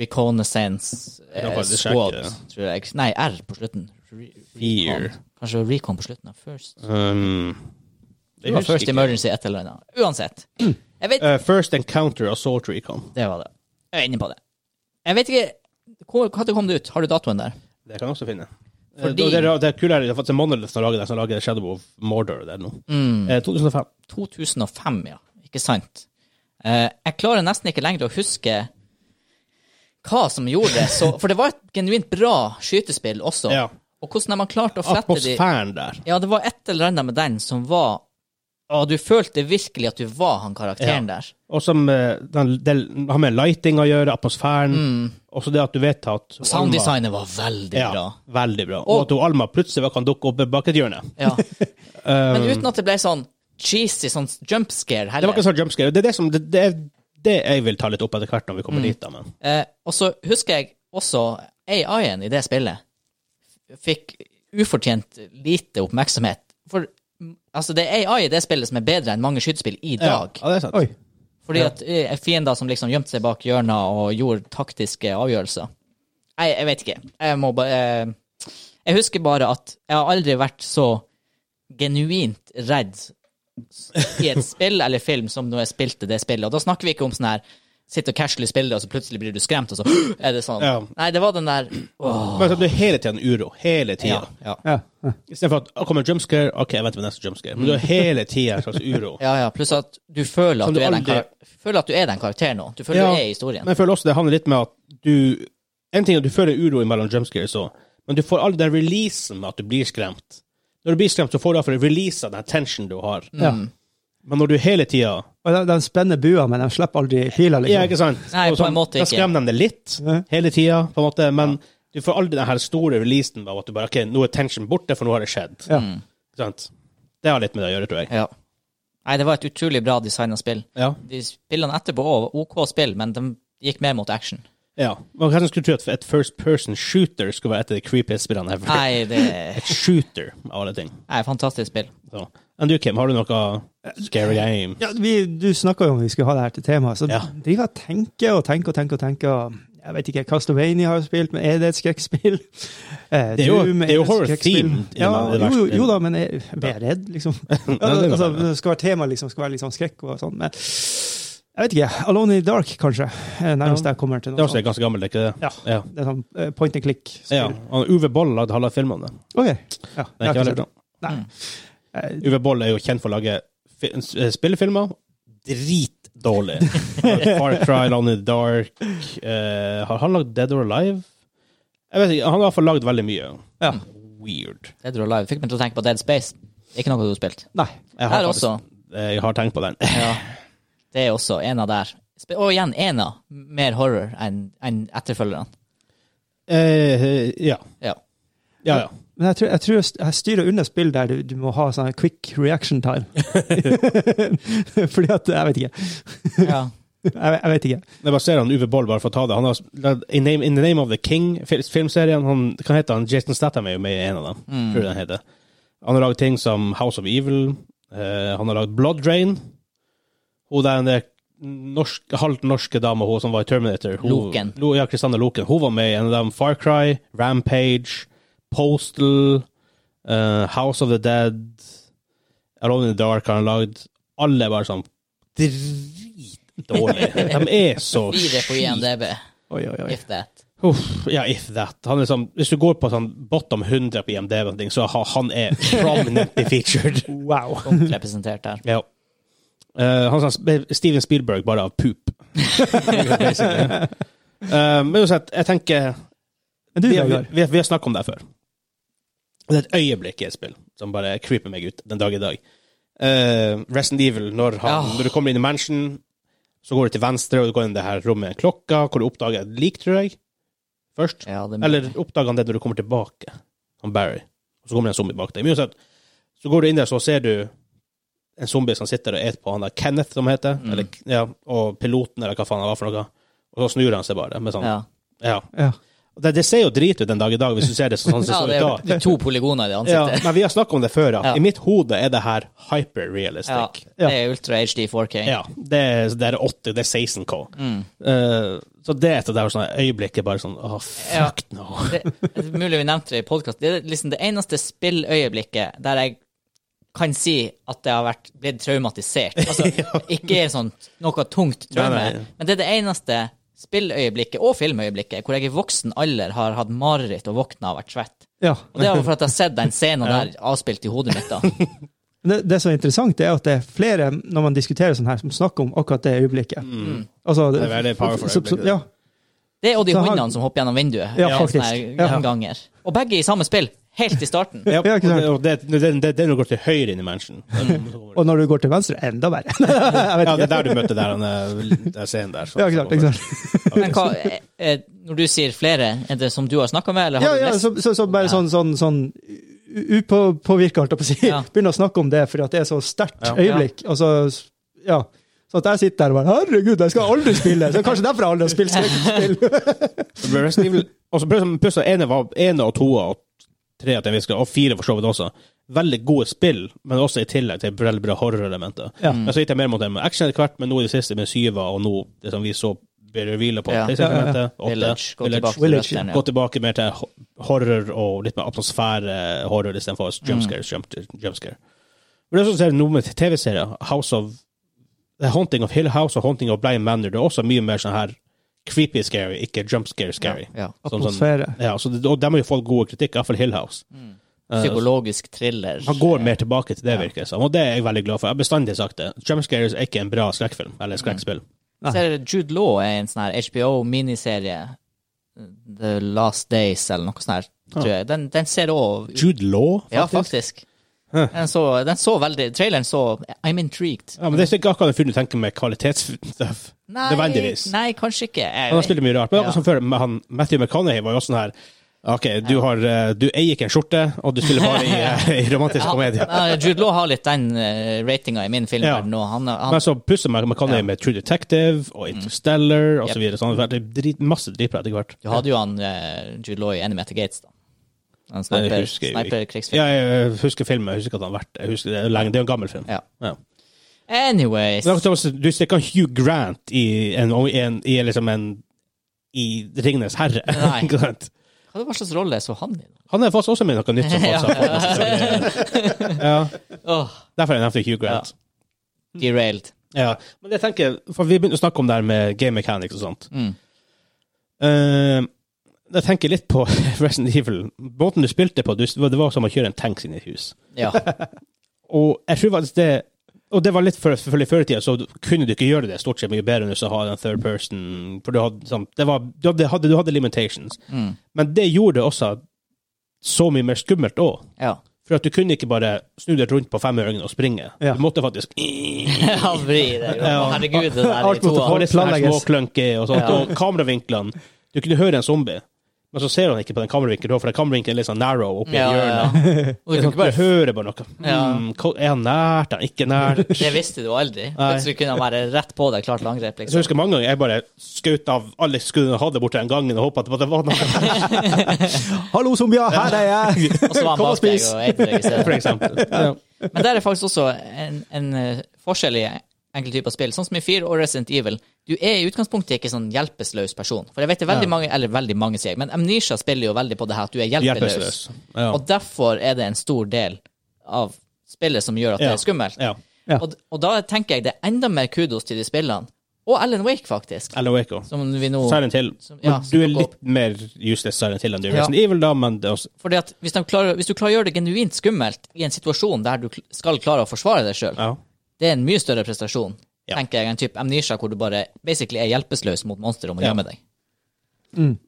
S2: Reconnaissance
S1: Da
S2: eh,
S1: kan du sjekke
S2: Squad,
S1: det.
S2: tror jeg. Nei, R på slutten. Re
S1: Fear.
S2: Recon. Kanskje det var Recon på slutten. av First.
S1: Um,
S2: Det var First Emergency et eller annet. Uansett. Jeg vet
S1: Eh, first Encounter Assault Recon.
S2: Det var det. Jeg er inne på det. Jeg vet ikke hvor- Når kom det ut? Har du datoen der?
S1: Det kan jeg også finne. Eh,
S2: Fordi-
S1: Det, er- det er kulere, det er faktisk Monolith som lager det, som lager Shadow of Mordor der nå.
S2: Mm.
S1: Eh, 2005.
S2: 2005, ja. Ikke sant? Eh, jeg klarer nesten ikke lenger å huske hva som gjorde det. Så, for det var et genuint bra skytespill også.
S1: Ja.
S2: Og hvordan har man klart å flette de
S1: Atmosfæren der.
S2: Ja, det var et eller annet med den som var Å, du følte virkelig at du var han karakteren der.
S1: Og som eh, den, det har med lighting å gjøre, atmosfæren.
S2: Mm.
S1: Også det at du vet at
S2: Sounddesignet var veldig
S1: ja,
S2: bra.
S1: *laughs* Veldig bra. Og,
S2: Og-
S1: at du, Alma plutselig kan dukke opp bak et hjørne.
S2: Ja. Men uten at det ble sånn cheesy sånn
S1: Um,
S2: jumpscare
S1: Det var
S2: heller.
S1: ikke sånn jumpscare. Det er det, som, det, det, er det jeg vil ta litt opp etter hvert når vi kommer dit. da, men.
S2: Eh, og så husker jeg også AI-en i det spillet f- fikk ufortjent lite oppmerksomhet. For mm, altså, det er AI i det spillet som er bedre enn mange skytespill i dag.
S1: Ja, det er sant.
S3: Oi.
S2: Fordi at eh, fiender som liksom gjemte seg bak hjørner og gjorde taktiske avgjørelser. Nei, jeg vet ikke. Jeg må bare eh, Jeg husker bare at jeg har aldri vært så genuint redd s- i et spill eller film som når jeg spilte det spillet. Og da snakker vi ikke om sånn her Sitt og casually spille, og så plutselig blir du skremt, og så er det sånn.
S1: Ja.
S2: Nei, det var den der åh,
S1: Men så det er hele tiden uro. Hele
S2: ja,
S1: tida.
S2: ja,
S3: Ja. ja.
S1: I stedet for at «Å, kommer jumpscare, OK, jeg venter på neste jumpscare. Men du har hele tida en slags uro.
S2: ja, ja. Pluss at du føler
S1: Som
S2: at
S1: du
S2: du, er den
S1: aldri-
S2: kar- føler at du er den karakteren nå. Du føler
S1: *laughs* Ja,
S2: du er i historien.
S1: Men jeg føler også det handler litt med at du En ting er at du føler uro mellom jumpscares, også, men du får all den releasen med at du blir skremt. Når du blir skremt, så får du iallfall release av den tensionen du har.
S3: ja.
S1: Men når du hele tida
S3: Og de, de spenner bua, men de slipper aldri pila,
S1: Ja,
S3: liksom.
S1: ikke sant?
S2: Nei,
S1: Og
S2: på
S1: sånn,
S2: en måte
S1: da
S2: ikke.
S1: skremmer de deg litt
S3: Ja.
S1: hele tida, på en måte, men du får aldri den her store releasen av at du bare OK, nå er tension borte, for nå har det skjedd.
S3: Ja.
S1: Ikke sant? Det har litt med det å gjøre, tror jeg.
S2: Ja. Nei, det var et utrolig bra designa spill.
S1: Ja.
S2: De spillene etterpå òg var OK spill, men de gikk mer mot action.
S1: ja. Man kanskje skulle tro at et first person shooter skulle være et av de creepiest spillene ever.
S2: Nei, det er
S1: Et shooter, av alle ting.
S2: et fantastisk spill.
S1: Så. Enn du, Kim, har du noe scary game?
S3: Ja, vi, du snakka jo om vi skulle ha det her til tema, så
S1: Ja.
S3: driver jeg og tenker og tenker og tenker. og tenker, og jeg vet ikke, Castlevania har jeg spilt, men er det et skrekkspill? *laughs* Eh,
S1: er jo-
S3: Doom,
S1: det er jo
S3: et
S1: horror
S3: skrekkspill?
S1: themed,
S3: Ja,
S1: i det
S3: jo, jo,
S1: verste.
S3: jo da, men jeg jeg blir redd, liksom.
S1: *laughs*
S3: Ja,
S1: det
S3: *laughs*
S1: kan
S3: altså,
S1: være.
S3: det skal være tema, liksom, skal være litt sånn skrekk og sånn, men jeg vet ikke. Alone in the Dark, kanskje. eh, Nærmest jeg kommer til
S1: Det er
S3: noe
S1: også
S3: sånt.
S1: ganske gammelt, ikke det?
S3: Ja.
S1: Ja.
S3: Det er sånn eh, point and click.
S1: ja. Og Uwe Boll lagde halve filmen om det.
S3: OK. Ja,
S1: Det er
S3: jeg har
S1: ikke
S3: ikke
S1: veldig
S3: sett
S1: bra.
S3: det. Nei. Eh,
S1: Uwe Boll er jo kjent for å lage fi- eh, spillefilmer. Dritdårlig. *laughs* Far Cry, Lone in the Dark eh, Har han lagd Dead or Alive? Jeg vet ikke, Han har i hvert fall lagd veldig mye.
S3: Ja.
S1: Weird.
S2: Dead or Alive fikk meg til å tenke på Dead Space. Ikke noe du har spilt.
S3: Nei.
S1: Jeg
S2: Her
S1: faktisk-
S2: også.
S1: eh, Jeg har tenkt på den.
S2: Ja. Det er også ena der. Sp- Og igjen ena. Mer horror enn enn etterfølgerne.
S1: Eh, ja.
S2: Ja.
S1: Ja, ja.
S3: Men jeg tror, jeg tror jeg st- jeg styrer unna spill der du, du må ha sånn quick reaction *laughs* time. Fordi at Jeg vet ikke.
S2: ja.
S3: Jeg, jeg vet ikke.
S1: Jeg bare ser han Uwe Boll, bare for å ta det. Han har, lagd in, name, in the Name of the King, fil- filmserien han, Hva heter han? Jason Statham er jo med i en av dem. Tror jeg den heter. Han har lagd ting som House of Evil. eh, han har lagd Blood Drain. Hun der den der norsk, halvt norske dama hun som var i Terminator. Hun,
S2: Loken.
S1: Lo, ja, Kristanne Loken. Hun var med i en av dem. Far Cry, Rampage, Postal, eh, House of the Dead, Alone in the Dark har han lagd. Alle er bare sånn dritdårlige. De er så
S2: Fire på INDB.
S3: Oi, oi, oi.
S2: If that.
S1: Uff, ja, if that. Han er sånn, hvis du går på sånn bottom 100 på IMDb, og ting, så ha- han er prominently featured.
S3: Wow.
S2: Godt representert der.
S1: ja. Eh, han sa sp- Steven Spielberg bare av poop. *laughs* Basically. Eh, men uansett, jeg tenker
S3: Men du,
S1: Vi, vi,
S3: Vegard.
S1: vi, vi har snakket om det før. Det er et øyeblikk i et spill som bare creeper meg ut den dag i dag. Uh, Resident Evil, når, han,
S2: Ah.
S1: når du kommer inn i mansion, så går du til venstre, og du går inn i det her rommet med klokka, hvor du oppdager et lik, tror jeg. Først.
S2: Ja, det
S1: Eller oppdager han det når du kommer tilbake, han Barry. Og så kommer det en zombie bak deg. Men uansett, så går du inn der, så ser du en zombie som sitter og et på han der Kenneth, som han heter,
S2: Mm.
S1: eller, ja, og piloten, eller hva faen han var for noe. Og så snur han seg bare med sånn,
S2: ja.
S1: ja.
S3: Ja.
S1: Og Og Det, det ser jo drit ut den dag i dag, hvis du ser det
S2: *laughs*
S1: sånn som det
S2: Ja,
S1: så
S2: det er
S1: ut
S2: jo
S1: da.
S2: det er to polygoner i det
S1: Ja,
S2: ansiktet.
S1: men vi har snakka om det før. At
S2: Ja.
S1: I mitt hode er det her
S2: Ja,
S1: hyper-realistic.
S2: det er ultra HD 4K.
S1: Ja, det, er- det er 80, det er 16K.
S2: Mm.
S1: Eh, så det er et av de sånne øyeblikket bare sånn Åh,
S2: Ja.
S1: fuck no.
S2: Det, det er mulig vi nevnte det i podkast. Det er liksom det eneste spilløyeblikket der jeg kan si at jeg har vært, blitt traumatisert.
S3: *laughs*
S2: Altså, ikke sånn noe tungt traume,
S1: Nei, nei.
S2: men det er det eneste spilløyeblikket, og filmøyeblikket, hvor jeg i voksen alder har hatt mareritt og våkna og vært svett.
S3: Ja.
S2: Og det er jo for at jeg har sett den
S3: *laughs*
S2: scenen der avspilt i hodet mitt, da.
S3: Det, det som er interessant, er at det er flere når man diskuterer sånn her, som snakker om akkurat det øyeblikket. Altså,
S1: Mm. Det er veldig powerful
S3: så- så-
S1: øyeblikk, det.
S3: Ja,
S2: Det og de
S3: Så han-
S2: hundene som hopper gjennom vinduet.
S3: Ja,
S2: sånne
S3: faktisk.
S2: her
S3: Ja.
S2: gjenganger. Og begge i samme spill, helt i starten.
S1: Ja,
S3: Ja,
S1: og
S3: ikke sant.
S1: det, og det, det, det, det er når du går til høyre inn i
S2: *laughs*
S1: mansion.
S3: og når du går til venstre, enda verre. *laughs* Jeg vet
S1: Ja, det er
S3: ikke.
S1: der du møtte der, den der scenen der. så-
S3: Ja, klart, ikke sant.
S2: Men hva, eh, eh, når du sier flere, er det som du har snakka med, eller
S3: Ja,
S2: har
S3: ja,
S2: du lest?
S3: så, så, så bare sånn, sånn, sånn upåvirka, holdt jeg på å si.
S2: Ja.
S3: *laughs* Begynner å snakke om det fordi at det er så sterkt
S1: Ja.
S3: øyeblikk. Altså, ja. Så at jeg sitter der og bare Herregud, jeg skal aldri spille! Så kanskje derfor jeg aldri har
S1: *laughs*
S3: spilt
S1: Sånn,
S3: skrekkspill.
S1: Det ble Resident Evil Og så ble det som plutselig ene, var, ene og toa og tre at jeg visker, og fire for så vidt også. Veldig gode spill, men også i tillegg til veldig bra horrorelementer.
S3: Ja.
S1: Men så gikk jeg mer mot det med action etter hvert, men nå i det siste med syva, og nå det som vi så ble revealet på.
S2: Ja.
S1: PlayStation-elementet, åtte,
S2: Village, gå
S1: Village.
S2: tilbake til
S3: Village,
S2: røttene.
S1: Gå tilbake mer til ho- horror og litt mer atmosfære-horror istedenfor
S2: Mm.
S1: jumpscare. Jump, jumpscare. Men det er sånn som noe med TV-serier. House of The Haunting of Hill House og Haunting of Blind Manor. Det er også mye mer sånn her creepy scary, ikke jumpscare scary.
S2: Ja.
S1: Sånn, sånn,
S3: Atmosfære.
S1: ja, så det, og dem har jo fått gode kritikk, iallfall Hill House.
S2: Mm.
S1: Eh,
S2: Psykologisk thriller.
S1: han går mer tilbake til det, virker det som, og det er jeg veldig glad for. Jeg har bestandig sagt det. Jumpscares er ikke en bra skrekkfilm,
S2: Mm.
S1: eller skrekkspill.
S2: Så er det Jude Law er en sånn her HBO-miniserie. The Last Days, eller noe sånt. her, Tror jeg. Den, den ser òg
S1: Jude Law, faktisk.
S2: Ja, faktisk. Den så, den så veldig Traileren så I'm intrigued.
S1: Ja, men det er ikke akkurat den fyren du tenker med kvalitetsstuff.
S2: Nei,
S1: Nødvendigvis.
S2: nei kanskje ikke. Jeg,
S1: Han har spilt mye rart. Men
S2: Ja.
S1: akkurat som før, med han, Matthew McConaughey var jo også sånn her OK, du, har, eh, du eier ikke en skjorte, og du spiller bare i,
S2: *laughs*
S1: eh, i romantisk komedie.
S2: Ja, Jude Law har litt den uh, ratinga i min film
S1: Ja.
S2: her nå. Han, han,
S1: Men så pusser Mac- McConaughey
S2: Ja. Mm.
S1: med True Detective og Interstellar og
S2: Yep.
S1: så videre. Sånn. Det er drit, masse dritbra etter hvert.
S2: du hadde jo han eh, Jude Law i Enemy at the Gates, da. En
S1: Nei,
S2: sniper,
S1: jeg husker jo ikke.
S2: sniperkrigsfilm.
S1: Ja, jeg husker filmen, jeg husker ikke at han har vært jeg husker, det, er lenge, det er jo en gammel film.
S2: Ja.
S1: Ja.
S2: Anyways.
S1: Men akkurat som Du stikker Hugh Grant i en, i en, i liksom en i Ringenes herre. *laughs*
S2: Nei.
S1: Ikke sant?
S2: Hva hva slags rolle så han i?
S1: han er faktisk også med i noe
S2: *laughs*
S1: nytt. Som
S2: Ja.
S1: faktisk har fått masse- ja.
S2: *laughs* Åh,
S1: Derfor er jeg nevnte Hugh Grant.
S2: Mm. derailed.
S1: Ja, men jeg tenker, for vi begynte å snakke om det her med game mechanics og sånt.
S2: Mm.
S1: Eh, jeg tenker litt på *laughs* Resident Evil. Måten du spilte på, du, det var som å kjøre en tanks inn i et hus.
S2: Ja.
S1: Og jeg tror faktisk det Og det var litt for, selvfølgelig før i tida, så kunne du ikke gjøre det stort sett mye bedre enn å ha en third person, for du hadde, sånn, det var, du hadde, hadde, du hadde limitations.
S2: Mm.
S1: Men det gjorde det også så mye mer skummelt òg.
S2: Ja. *laughs*
S1: For at du kunne ikke bare snu deg rundt på femøringen og springe.
S3: Ja.
S1: Du måtte faktisk
S2: ja, vri det. jo.
S1: Ja.
S2: Herregud, det der i
S3: Alt måtte
S2: toa.
S1: Og litt sånn her
S3: planlegges.
S1: småklønke og sånt.
S2: Ja.
S1: Og kameravinklene. Du kunne høre en zombie, men så ser han ikke på den kameravinkelen, du har, for den kameravinkelen er litt sånn narrow oppi
S2: Ja,
S1: et hjørne.
S2: ja. Og du
S1: Det er
S2: kan
S1: sånn,
S2: ikke bare
S1: du hører bare noe.
S2: Ja.
S1: Mm, hva- er han nært? Er han ikke
S2: *laughs*
S1: nært?
S2: Det visste du aldri.
S1: Nei.
S2: Plutselig kunne han være rett på deg, klart til
S1: Så
S2: angrep.
S1: jeg *laughs*
S2: Liksom.
S1: husker mange ganger jeg bare skjøt av alle skuddene jeg hadde borti den gangen og håpet at det var noe, *laughs*
S3: Hallo, zombier, her er jeg!
S2: Og så var han
S3: Kom og
S2: bak deg
S3: spis.
S2: og eide deg i
S1: for *laughs*
S2: stedet.
S1: eksempel. Ja.
S2: Men der er faktisk også en, en eh, forskjell i enkelte typer spill. Sånn som i Fear og Resident Evil. Du er i utgangspunktet ikke sånn hjelpeløs person. For jeg vet det er veldig
S1: Ja.
S2: mange, eller veldig mange sier jeg, men Amnesia spiller jo veldig på det her at du er hjelpeløs.
S1: Hjelpeløs. Ja.
S2: Og derfor er det en stor del av spillet som gjør at det
S1: Ja.
S2: er skummelt.
S1: ja.
S3: Ja.
S2: Og, og da tenker jeg det er enda mer kudos til de spillene. Og Ellen Wake, faktisk.
S1: Alan Wake også.
S2: Som vi nå
S1: E Silent Hill.
S2: Som- ja,
S1: Men du er
S2: som-
S1: litt mer useless Silent Hill enn du er
S2: Ja.
S1: Resident Evil, da, men det er også
S2: Fordi at hvis, de klarer, hvis du klarer å gjøre det genuint skummelt i en situasjon der du kl- skal klare å forsvare deg sjøl,
S1: Ja.
S2: det er en mye større prestasjon,
S1: Ja.
S2: tenker jeg, enn type amnesia, hvor du bare basically er hjelpeløs mot monster og må
S1: Ja.
S2: gjemme deg.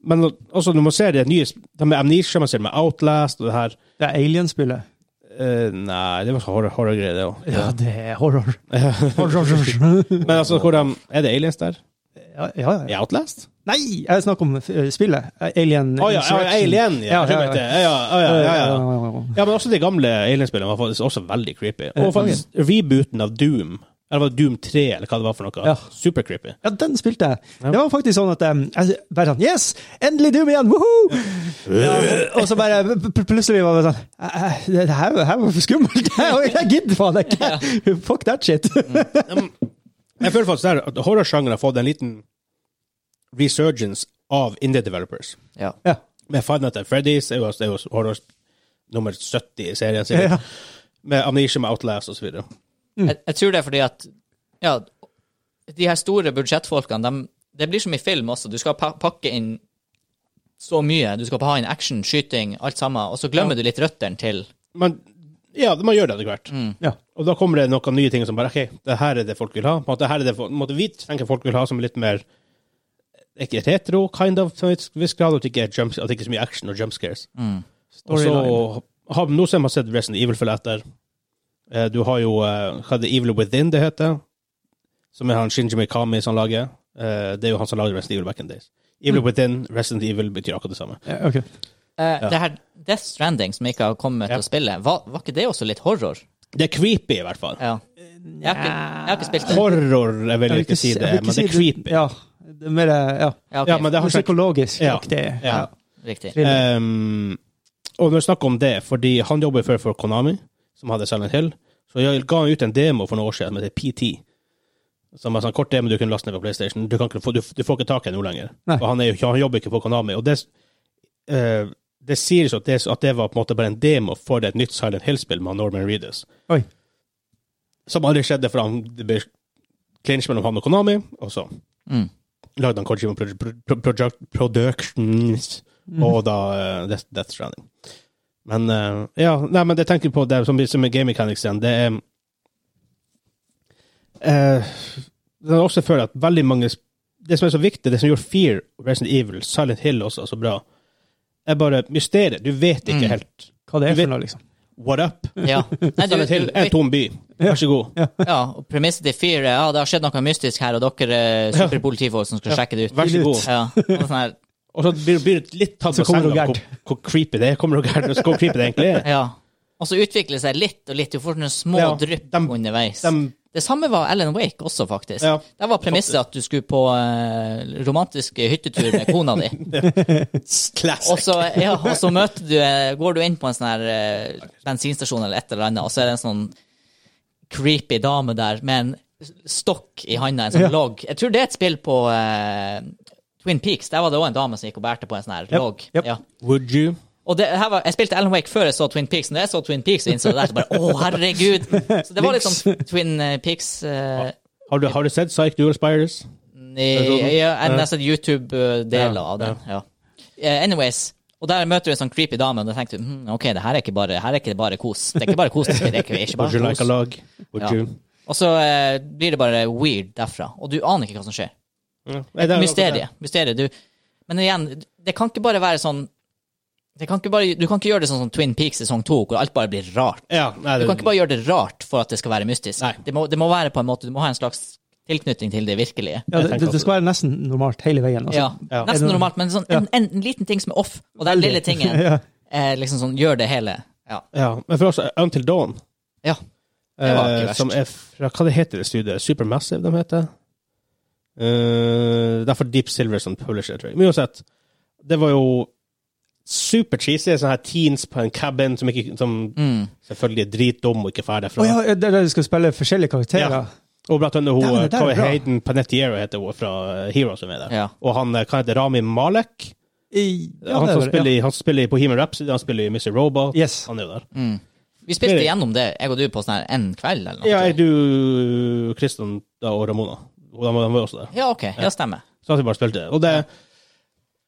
S1: Men også når man ser det nye Det med Amnesia, man ser det med Outlast og det her
S3: Det er Alien-spillet.
S1: Eh, nei, det var horror- horror-greier, det òg.
S3: Ja, det er horror.
S1: *laughs*
S3: horror.
S1: Men altså, hvor de, er det aliens der?
S3: Ja, ja, ja.
S1: I Outlast?
S3: Nei, jeg snakker om eh, spillet. Alien
S1: Å ja, ja, alien! Ja, ja, ja, ja, ja, ja, ja.
S3: ja, ja.
S1: ja men også de gamle alien-spillene var faktisk også veldig creepy. Og faktisk rebooten av Doom Eller var det Doom 3, eller hva det var for noe?
S3: Ja.
S1: Super creepy.
S3: Ja, den spilte jeg. Det var faktisk sånn at um, jeg bare sånn Yes! Endelig Doom igjen! Woho! Ja, og så bare pl- pl- plutselig var det sånn «Æ, æ, Det det her, det her var for skummelt! *laughs* Jeg, jeg gidder faen ikke! Fuck that shit! *laughs*
S1: Jeg føler faktisk der at horrorsjangeren har fått en liten resurgence av indie developers.
S2: Ja.
S3: Ja.
S1: Med Five Nights at Freddy's er jo, er jo horror nummer 70 i serien, sikkert.
S3: Ja.
S1: Med Amnesia, med Outlast og så videre. Mm.
S2: Jeg, jeg tror det er fordi at ja, de her store budsjettfolkene, dem- det blir som i film også. Du skal pa pakke inn så mye. Du skal ha inn action, skyting, alt sammen. Og så glemmer du litt røttene til
S1: Men ja, man gjør det etter hvert.
S3: ja.
S1: Og da kommer det noen nye ting som bare OK, det her er det folk vil ha. På en måte, her er det folk, på en måte, vi tenker folk vil ha som er litt mer ikke retro, kind of, til en viss grad, at det ikke er, jump, at det ikke er så mye action og jump scares. Og så
S3: Storyline.
S1: har nå som jeg har sett Resident Evil følge etter. Eh, Du har jo eh, hva er det Evil Within det heter, som er han Shinji Mikami som lager. Eh, Det er jo han som lager Resident Evil back in days. Evil Within, Resident Evil betyr akkurat det samme.
S3: Ja, ok.
S2: eh, det her Death Stranding, som jeg ikke har kommet
S1: Ja.
S2: til å spille. Var, var ikke det også litt horror?
S1: Det er creepy, i hvert fall.
S2: Ja. Jeg har ikke, jeg har ikke spilt det.
S1: Horror, jeg vil
S3: Jeg vil
S1: ikke si
S3: si-
S1: det,
S3: jeg vil ikke
S1: men det er
S3: si
S1: creepy.
S3: Ja. Det er mer eh, ja.
S2: Ja, ok,
S1: Ja, men det har ikke
S3: psykologisk
S1: Ja.
S3: aktig.
S1: Ja.
S2: Riktig.
S3: Thriller.
S1: Ehm, og når vi snakker om det, fordi han jobber før for Konami, som hadde Silent Hill, så jeg ga han ut en demo for noen år siden som heter PT. Som er sånn kort demo du kunne laste ned på PlayStation. Du, kan ikke, få- du, du får ikke tak i den nå lenger.
S3: Nei.
S1: For han, er jo, ikke- han jobber ikke for Konami. Og det, eh, det sies at det, at det var på en måte bare en demo for et nytt Silent Hill-spill med Norman Reedus.
S3: Oi.
S1: Som aldri skjedde, for han, det ble clinch mellom han og Konami, og så
S2: Mm.
S1: lagde han Kojima Pro- Pro- Pro- Project Productions
S2: Mm.
S1: og da eh, Death, Death Stranding. Men eh, ja, nei, men det tenker jeg på det som, som er game mechanics igjen, det er eh, Det er også føler at veldig mange sp- Det som er så viktig, det som gjør Fear, Resident Evil, Silent Hill også så bra, er bare mysteriet. Du vet ikke
S2: Mm.
S1: helt
S3: Hva det
S1: Du
S3: er
S1: vet-
S3: for noe, liksom.
S1: what up.
S2: Ja. Nei, du,
S1: Silent Hill er en
S2: du,
S1: tom by. Vær så god.
S2: ja, og premisset til Fear er ja, det har skjedd noe mystisk her, og dere er superpolitifolk som skal sjekke det ut.
S1: Vær så god.
S2: Ja, og sånn her,
S1: Og så blir blir du litt tatt
S3: Så
S1: på
S3: kommer
S1: senga
S3: det
S1: hvor,
S3: Gerd.
S1: hvor creepy det er. Kommer det Gerd, og så hvor creepy det egentlig
S2: *laughs*
S1: er.
S2: ja. Og så utvikler det seg litt og litt. Du får sånne små
S1: Ja,
S2: drypp
S1: dem-
S2: underveis.
S1: dem-
S2: det samme var Alan Wake også, faktisk.
S1: Ja.
S2: Der var premisset at du skulle på eh, romantisk hyttetur med kona di.
S1: Classic.
S2: Og så, ja, og så møter du, eh, går du inn på en sånn her eh, bensinstasjon eller et eller annet, og så er det en sånn creepy dame der med en stokk i handa, en sånn
S3: Ja.
S2: logg. Jeg tror det er et spill på eh, Twin Peaks. Der var det òg en dame som gikk og bærte på en sånn her logg.
S3: jep.
S2: Ja.
S1: Would you?
S2: Og det her var, jeg spilte Alan Wake før jeg så Twin Peaks. Når jeg så Twin Peaks, så innså jeg det der, så bare å, herregud. Så det var litt sånn Twin eh, Peaks eh,
S1: Har du, har du sett Psych Dual Spiders?
S2: i- ja, en nesten YouTube-deler
S1: Ja,
S2: av den. Ja. Eh, anyways, og der møter du en sånn creepy dame, og da tenkte du hm, ok, det her er ikke bare, her er ikke bare kos. Det er ikke bare kos. Det er ikke, det er ikke
S1: Would you
S2: bare
S1: like a
S2: kos.
S1: log? Would
S2: Ja.
S1: you?
S2: Og så eh, blir det bare weird derfra, og du aner ikke hva som skjer.
S1: Nei, det er-
S2: Mysteriet. Mysteriet. Du, men igjen, det kan ikke bare være sånn det kan ikke bare, Du kan ikke gjøre det sånn som Twin Peaks sesong to, hvor alt bare blir rart.
S1: Ja, nei,
S2: Du
S1: det,
S2: kan ikke bare gjøre det rart for at det skal være mystisk.
S1: Nei.
S2: Det, må, det må være på en måte, Du må ha en slags tilknytning til det virkelige.
S3: Ja,
S1: Jeg
S3: det,
S1: tenker
S3: det skal være nesten normalt hele veien. Altså.
S2: Ja,
S1: Ja.
S2: Nesten normalt, men sånn, en, en, liten ting som er off, og den lille tingen
S3: *laughs* Ja.
S2: eh, liksom sånn, gjør det hele. Ja.
S1: ja, men for oss, Until Dawn,
S2: ja. Det var ikke
S1: eh,
S2: verst.
S1: som er fra Hva det heter det studiet? Supermassive, de heter? Eh, det er for Deep Silver som publisher, tror jeg. Men uansett, det var jo super cheesy, sånne her teens på en cabin som, ikke, som
S2: Mm.
S1: selvfølgelig er dritdum og ikke ferdig fra.
S3: Å ja, det er der du skal spille forskjellige karakterer.
S1: Ja. Og blant annet hun,
S3: Ja, men det der er
S1: Chloe
S3: bra.
S1: Hayden Panettiere heter hun fra eh, Heroes som er der.
S2: Ja.
S1: Og han, eh, hva heter Rami Malek?
S3: I- ja,
S1: han,
S3: det er
S1: som
S3: det,
S1: spiller, i- han spiller i Bohemian Rhapsody, han spiller i Mr. Robot.
S3: Yes.
S1: Han er jo der.
S2: Mm. Vi spilte
S1: Spill.
S2: gjennom det, jeg og du, på sånn her en kveld eller noe.
S1: Ja, er du Kristian da, og Ramona? Og de, de var også der.
S2: Ja, ok. Ja, stemmer.
S1: Så at vi bare spilte det. Og, det,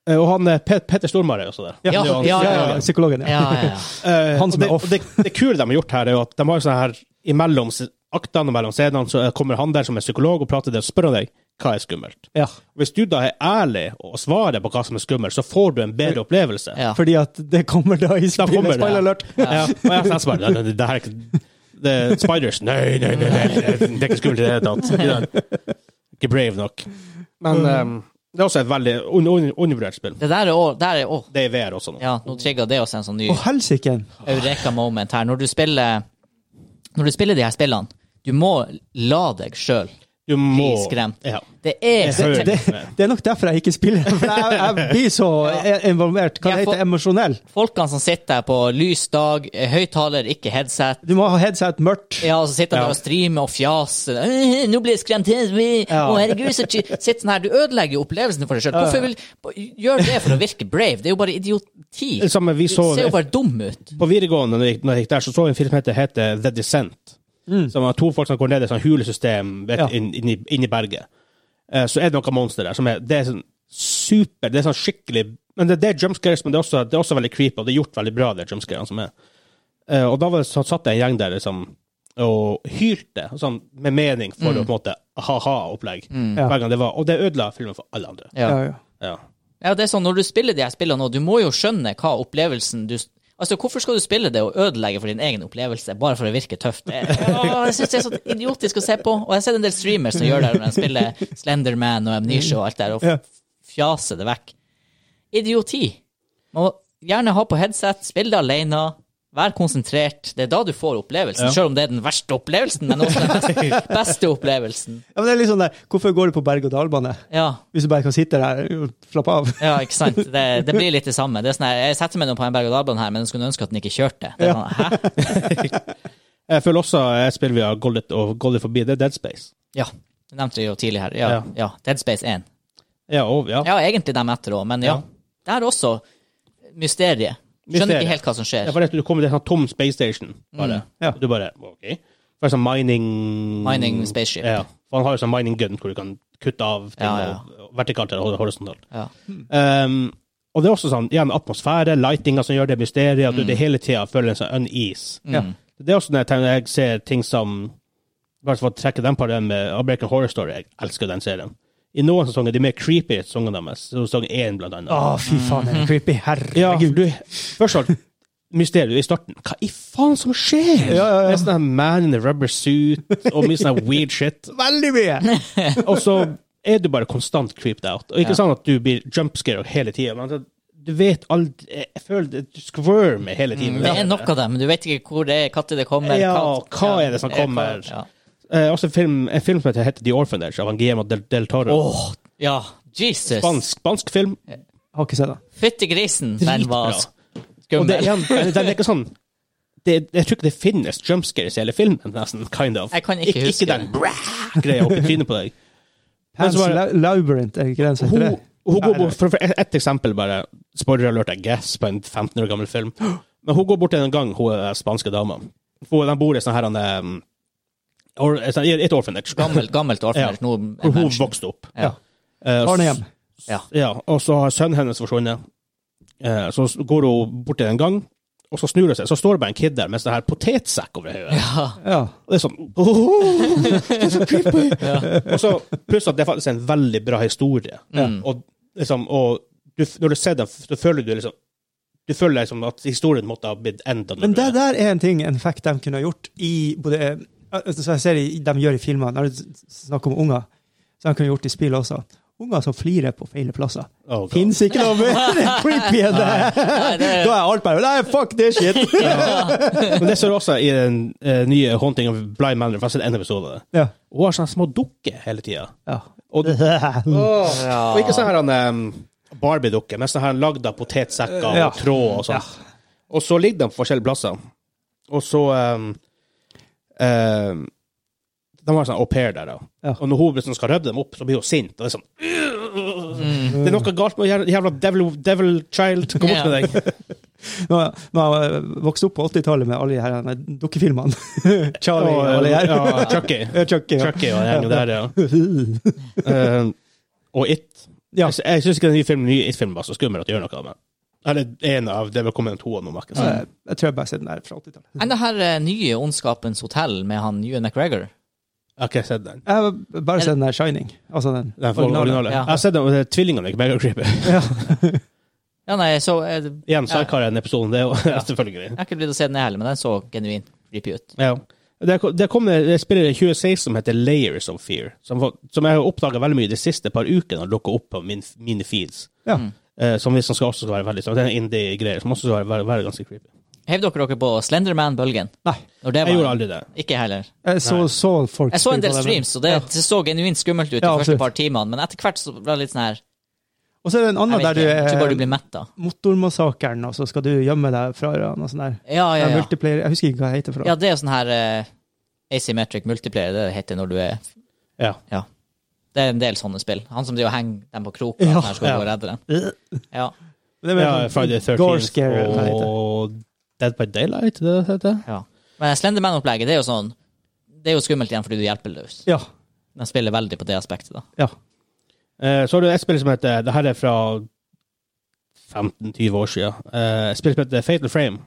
S1: eh, og han, eh, Pet Petter Stormare er også der.
S2: Ja,
S1: Det er jo han-
S2: ja,
S3: Ja, ja, ja, psykologen.
S2: Ja,
S3: Ja.
S2: ja, ja.
S1: Eh,
S3: Han som
S1: og
S3: er off.
S1: Det, og det, det kule de har gjort her, er jo at de har jo sånne her imellom se- aktene og mellom scenene, så eh, kommer han der som er psykolog og prater til deg og spør deg hva er skummelt.
S3: Ja.
S1: Hvis du da er ærlig og svarer på hva som er skummelt, så får du en bedre opplevelse.
S2: ja.
S3: Fordi at det kommer da i
S1: Da
S3: spillet.
S1: kommer det.
S3: Spoiler alert!
S1: Ja, og jeg jeg svarer, nei, nei, det her er ikke det er Spiders. Nei, nei, nei, nei, nei, det er ikke skummelt i det hele tatt. Ikke sant? Ikke brave nok. Men ehm, det er også et veldig un un undervurdert spill.
S2: Det der er òg der er også-
S1: Det er i VR også nå.
S2: Ja, nå trigga det oss en sånn ny
S3: Å, helsike!
S2: eureka moment her. Når du spiller Når du spiller de her spillene, Du må la deg sjøl
S1: Du
S2: bli
S1: må
S2: skremt.
S1: Ja.
S2: Det er
S1: Jeg hører
S2: det,
S1: det.
S3: Det er nok derfor jeg ikke spiller, for jeg, jeg blir så involvert. Hva
S2: Ja,
S3: det
S2: for-
S3: heter emosjonell?
S2: Folkene som sitter her på lys dag, eh, høyttaler, ikke headset
S3: Du må ha headset mørkt.
S2: ja, og så sitter han der og streamer og fjaser. «Øh, 'Nå blir jeg skremt!' Øh,
S3: Ja.
S2: 'Å, herregud, så chi-» Sitt sånn her. Du ødelegger jo opplevelsen for deg sjøl. Hvorfor vil Gjør det for å virke brave. Det er jo bare idioti.
S1: Det samme vi
S2: Du
S1: så
S2: ser jo bare dum ut.
S1: På videregående, når jeg, gikk- når jeg gikk der, så så jeg en film som heter, heter The Descent. Som var to folk som går ned i et sånt hulesystem vet,
S3: Mm. Ja.
S1: inn, inn, i, inn i berget. Eh, så er det noen monstre der som er Det er sånn super Det er sånn skikkelig Men det, det er jumpscares, men det er, også, det er også veldig creepy, og det er gjort veldig bra, de jumpscarene som er. Eh, og da var, det- så satt det en gjeng der liksom og hylte, og sånn med mening, for å på en måte ha-ha-opplegg.
S3: Mm. Ja.
S1: Hver gang det var Og det ødela filmen for alle andre.
S2: Ja.
S3: Ja, ja.
S1: Ja.
S2: Ja, det er sånn, Når du spiller de her spillene nå, du må jo skjønne hva opplevelsen du Altså, Hvorfor skal du spille det og ødelegge for din egen opplevelse bare for å virke tøft? Det- *laughs* Åh, Jeg synes det er så idiotisk å se på. Og jeg har sett en del streamers som gjør det når de spiller Slenderman og Amnesia og alt det der, og
S3: Ja.
S2: fjaser det vekk. Idioti. Man må gjerne ha på headset, spille det alene, vær konsentrert. Det er da du får opplevelsen,
S1: Ja.
S2: selv om det er den verste opplevelsen, men også den beste, beste opplevelsen.
S3: Ja, men det er litt sånn der, Hvorfor går du på berg-og-dal-bane
S2: Ja.
S3: hvis du bare kan sitte der og slappe av?
S2: Ja, ikke sant. Det, det blir litt det samme. Det er sånn her, jeg setter meg nå på en berg-og-dal-bane her, men jeg skulle ønske at den ikke kjørte. Det er sånn, hæ?
S1: *laughs* Jeg føler også jeg spiller via Goldet og Goldet forbi. Det er Dead Space.
S2: Ja, du nevnte det jo tidlig her. Ja,
S1: Ja.
S2: ja. Dead Space 1.
S1: Ja, og, ja.
S2: Ja, egentlig dem etter òg, men ja.
S1: Ja.
S2: Det er også mysteriet. Skjønner
S1: Mysteriet.
S2: ikke helt hva som skjer.
S1: Ja, for det, du kommer til en sånn tom space station, bare.
S2: Mm.
S3: Ja.
S1: Du bare OK. For sånn mining
S2: Mining spaceship.
S1: Ja. For han har jo sånn mining gun hvor du kan kutte av ting
S2: Ja, ja.
S1: og- og vertikalt eller hor- horisontalt.
S2: Ja.
S1: Um, og det er også sånn igjen atmosfære, lightinga som gjør det mysteriet, at du
S2: Mm.
S1: det hele tida føler en sånn unease. Det er også når jeg, tenker, når jeg ser ting som Bare for å trekke den parallellen med American Horror Story, jeg elsker den serien. I noen sesonger de er mer creepy sesongene deres, sesong én blant annet.
S3: Å, fy faen,
S2: Mm.
S3: det er creepy.
S1: Ja,
S3: Herregud.
S1: du, først og fremst mysteriet i starten. Hva i faen som skjer?
S3: Ja, ja, ja.
S1: Med sånn her man in a rubber suit og mye sånn her weird shit.
S3: Veldig mye!
S1: Og så er du bare konstant creeped out. Og ikke
S2: Ja.
S1: sånn at du blir jumpscared hele tida, men altså, du vet aldri Jeg føler det du skvørmer hele tiden.
S2: Det er nok av dem. Du vet ikke hvor det er, når det kommer.
S1: Ja, hva er det som
S2: eh, hva-
S1: kommer?
S2: Ja.
S1: Eh, også en film, en film som heter The Orphanage av Guillermo del, del Toro.
S2: Åh, ja. Jesus.
S1: Spansk, spansk film.
S3: Har ikke sett den.
S2: Fytti grisen, den var
S1: Dritbra. Og det,
S2: skummel.
S1: er igjen, det er ikke sånn det, Jeg tror ikke det finnes jumpscares i hele filmen, nesten. Kind of.
S2: Jeg kan ikke
S1: ikke,
S2: huske
S1: ikke den brrrr greia oppi trynet på deg. Men
S3: Pans
S1: så var det-
S3: Lau- Labyrinth, er det ikke den som heter det?
S1: Hun, hun går
S3: Nei, nei.
S1: bort, for, for et, et eksempel bare, spoiler alert, I guess, på en 15 år gammel film. Men hun går bort til en gang, hun eh, spanske dama. Hun, de bor i sånn her, han, eh, or, et, sånn- et orphanage.
S2: Gammelt, gammelt orphanage.
S1: Ja.
S2: Nå
S1: Hvor hun
S2: mansion.
S1: vokste opp.
S2: Ja.
S1: Eh,
S3: Barnehjem.
S2: Ja.
S1: Ja, og så har sønnen hennes forsvunnet. Eh, Så s- går hun bort til en gang, og så snur hun seg, så står det bare en kid der med sånn her potetsekk over hodet.
S2: Ja.
S3: Ja.
S1: Og det er sånn «Åh, Det er så *laughs* creepy! Og så, pluss at det er faktisk en veldig bra historie.
S2: Mm.
S1: Og, liksom, og du, når du ser den, så føler du liksom Du føler liksom at historien måtte ha blitt enda når
S3: Men
S1: du-
S3: det der er en ting en fact de kunne ha gjort i både eh, altså, Som jeg ser i- de gjør i filmer, når det er snakk om unger, så de kunne gjort i spill også. Unger som flirer på feil plasser.
S1: Oh, God.
S3: Fins ikke noe mer creepy enn det!
S2: Nei, det
S3: Da er alt bare Nei, fuck det shit! *laughs*
S1: Men det ser du også i den eh, nye Haunting of Blind Manor, for jeg har sett en episode av det.
S3: Ja.
S1: Hun har sånne små dukker hele tida.
S3: ja.
S1: Og,
S2: Ja.
S1: og ikke sånn her han, eh, Barbie-dukke, men sånn her lagd av potetsekker og
S3: Ja.
S1: tråd og sånt. Og så ligger de på forskjellige plasser. Og så um, um, De har en sånn au pair der, da.
S3: Ja.
S1: Og når hun liksom skal røve dem opp, så blir hun sint. Og det er sånn
S3: Mm.
S1: Det er noe galt med jævla- jævla devil, devil child. Kom bort
S2: Ja.
S1: med deg.
S3: Nå, nå har jeg vokst opp på 80-tallet med alle de her eh, dukkefilmene. *laughs* *laughs* Charlie og alle de her.
S1: ja, Chucky.
S3: Ja, Chucky, ja.
S1: Chucky og gjengen der, ja. *laughs* Um, og It.
S3: Ja.
S1: Jeg, jeg syns ikke den nye filmen, nye It-filmen var så skummel at det gjør noe med Eller en av Det er vel kommet en to av noen merker.
S3: Så
S1: jeg.
S3: jeg- Jeg tror jeg bare har sett den der fra 80-tallet.
S2: Enn det her eh, nye Ondskapens hotell med han Ewan McGregor?
S1: Jeg har ikke sett den.
S3: Jeg har bare sett den der Shining. Altså den
S1: Den originale.
S3: originale.
S2: ja.
S1: Jeg har sett den, og det er tvillingene er ikke
S2: *laughs*
S1: megacreepy.
S2: Ja, nei, så eh, Jeg
S1: Igjen, så har jeg den episoden, det er jo *laughs* selvfølgelig.
S2: har ikke blitt å se den jeg heller, men den så genuint creepy ut.
S1: Ja. Det, kom- det kom et spill i 2016 som heter Layers of Fear, som, var- som jeg har oppdaga veldig mye de siste par ukene har dukka opp på min, mine feeds.
S3: Ja.
S2: Mm.
S1: Eh, som, hvis- som skal også skal være veldig sånn, Det er en indie-greier som også skal være, være, være ganske creepy.
S2: Heiv dere dere på Slenderman-bølgen?
S3: Nei.
S2: Når det
S1: Jeg gjorde
S2: var?
S1: aldri det.
S2: Ikke heller.
S3: Jeg så,
S1: Nei.
S3: så folk
S2: Jeg så en
S3: spille
S2: del
S3: på det, men-
S2: streams, og det,
S3: Ja.
S2: det så genuint skummelt ut de
S3: Ja,
S2: første
S3: absolutt.
S2: par timene, men etter hvert så ble det litt sånn her
S3: Og så er det en
S2: Jeg
S3: annen der
S2: vet
S3: du
S2: ikke, jeg tror bare du
S3: er
S2: blir mett, da.
S3: Motormassakren, og så skal du gjemme deg fra hverandre og sånn der.
S2: Ja, ja,
S3: Ja,
S2: ja.
S3: Multiplayer Jeg husker ikke hva det heter. for noe.
S2: ja det er jo sånn her eh, asymmetric multiplayer, det det heter når du er
S1: Ja.
S2: Det er en del sånne spill. Han som driver og henger dem på kroken,
S3: Ja,
S2: ja, her skal
S1: ja.
S2: gå og redde dem.
S3: *laughs*
S2: Ja.
S3: Det er mer
S1: ja
S3: sånn
S1: Friday
S3: gore scare, eller hva
S1: 13
S3: det heter.
S1: og Dead by Daylight, det det heter
S2: Men Slenderman-opplegget, det er jo sånn Det er jo skummelt igjen fordi du er hjelpeløs.
S3: Ja.
S2: De spiller veldig på det aspektet, da.
S3: ja.
S1: Eh, Så har du et spill som heter Det her er fra 15-20 år siden. Eh, Et spill som heter Fatal Frame.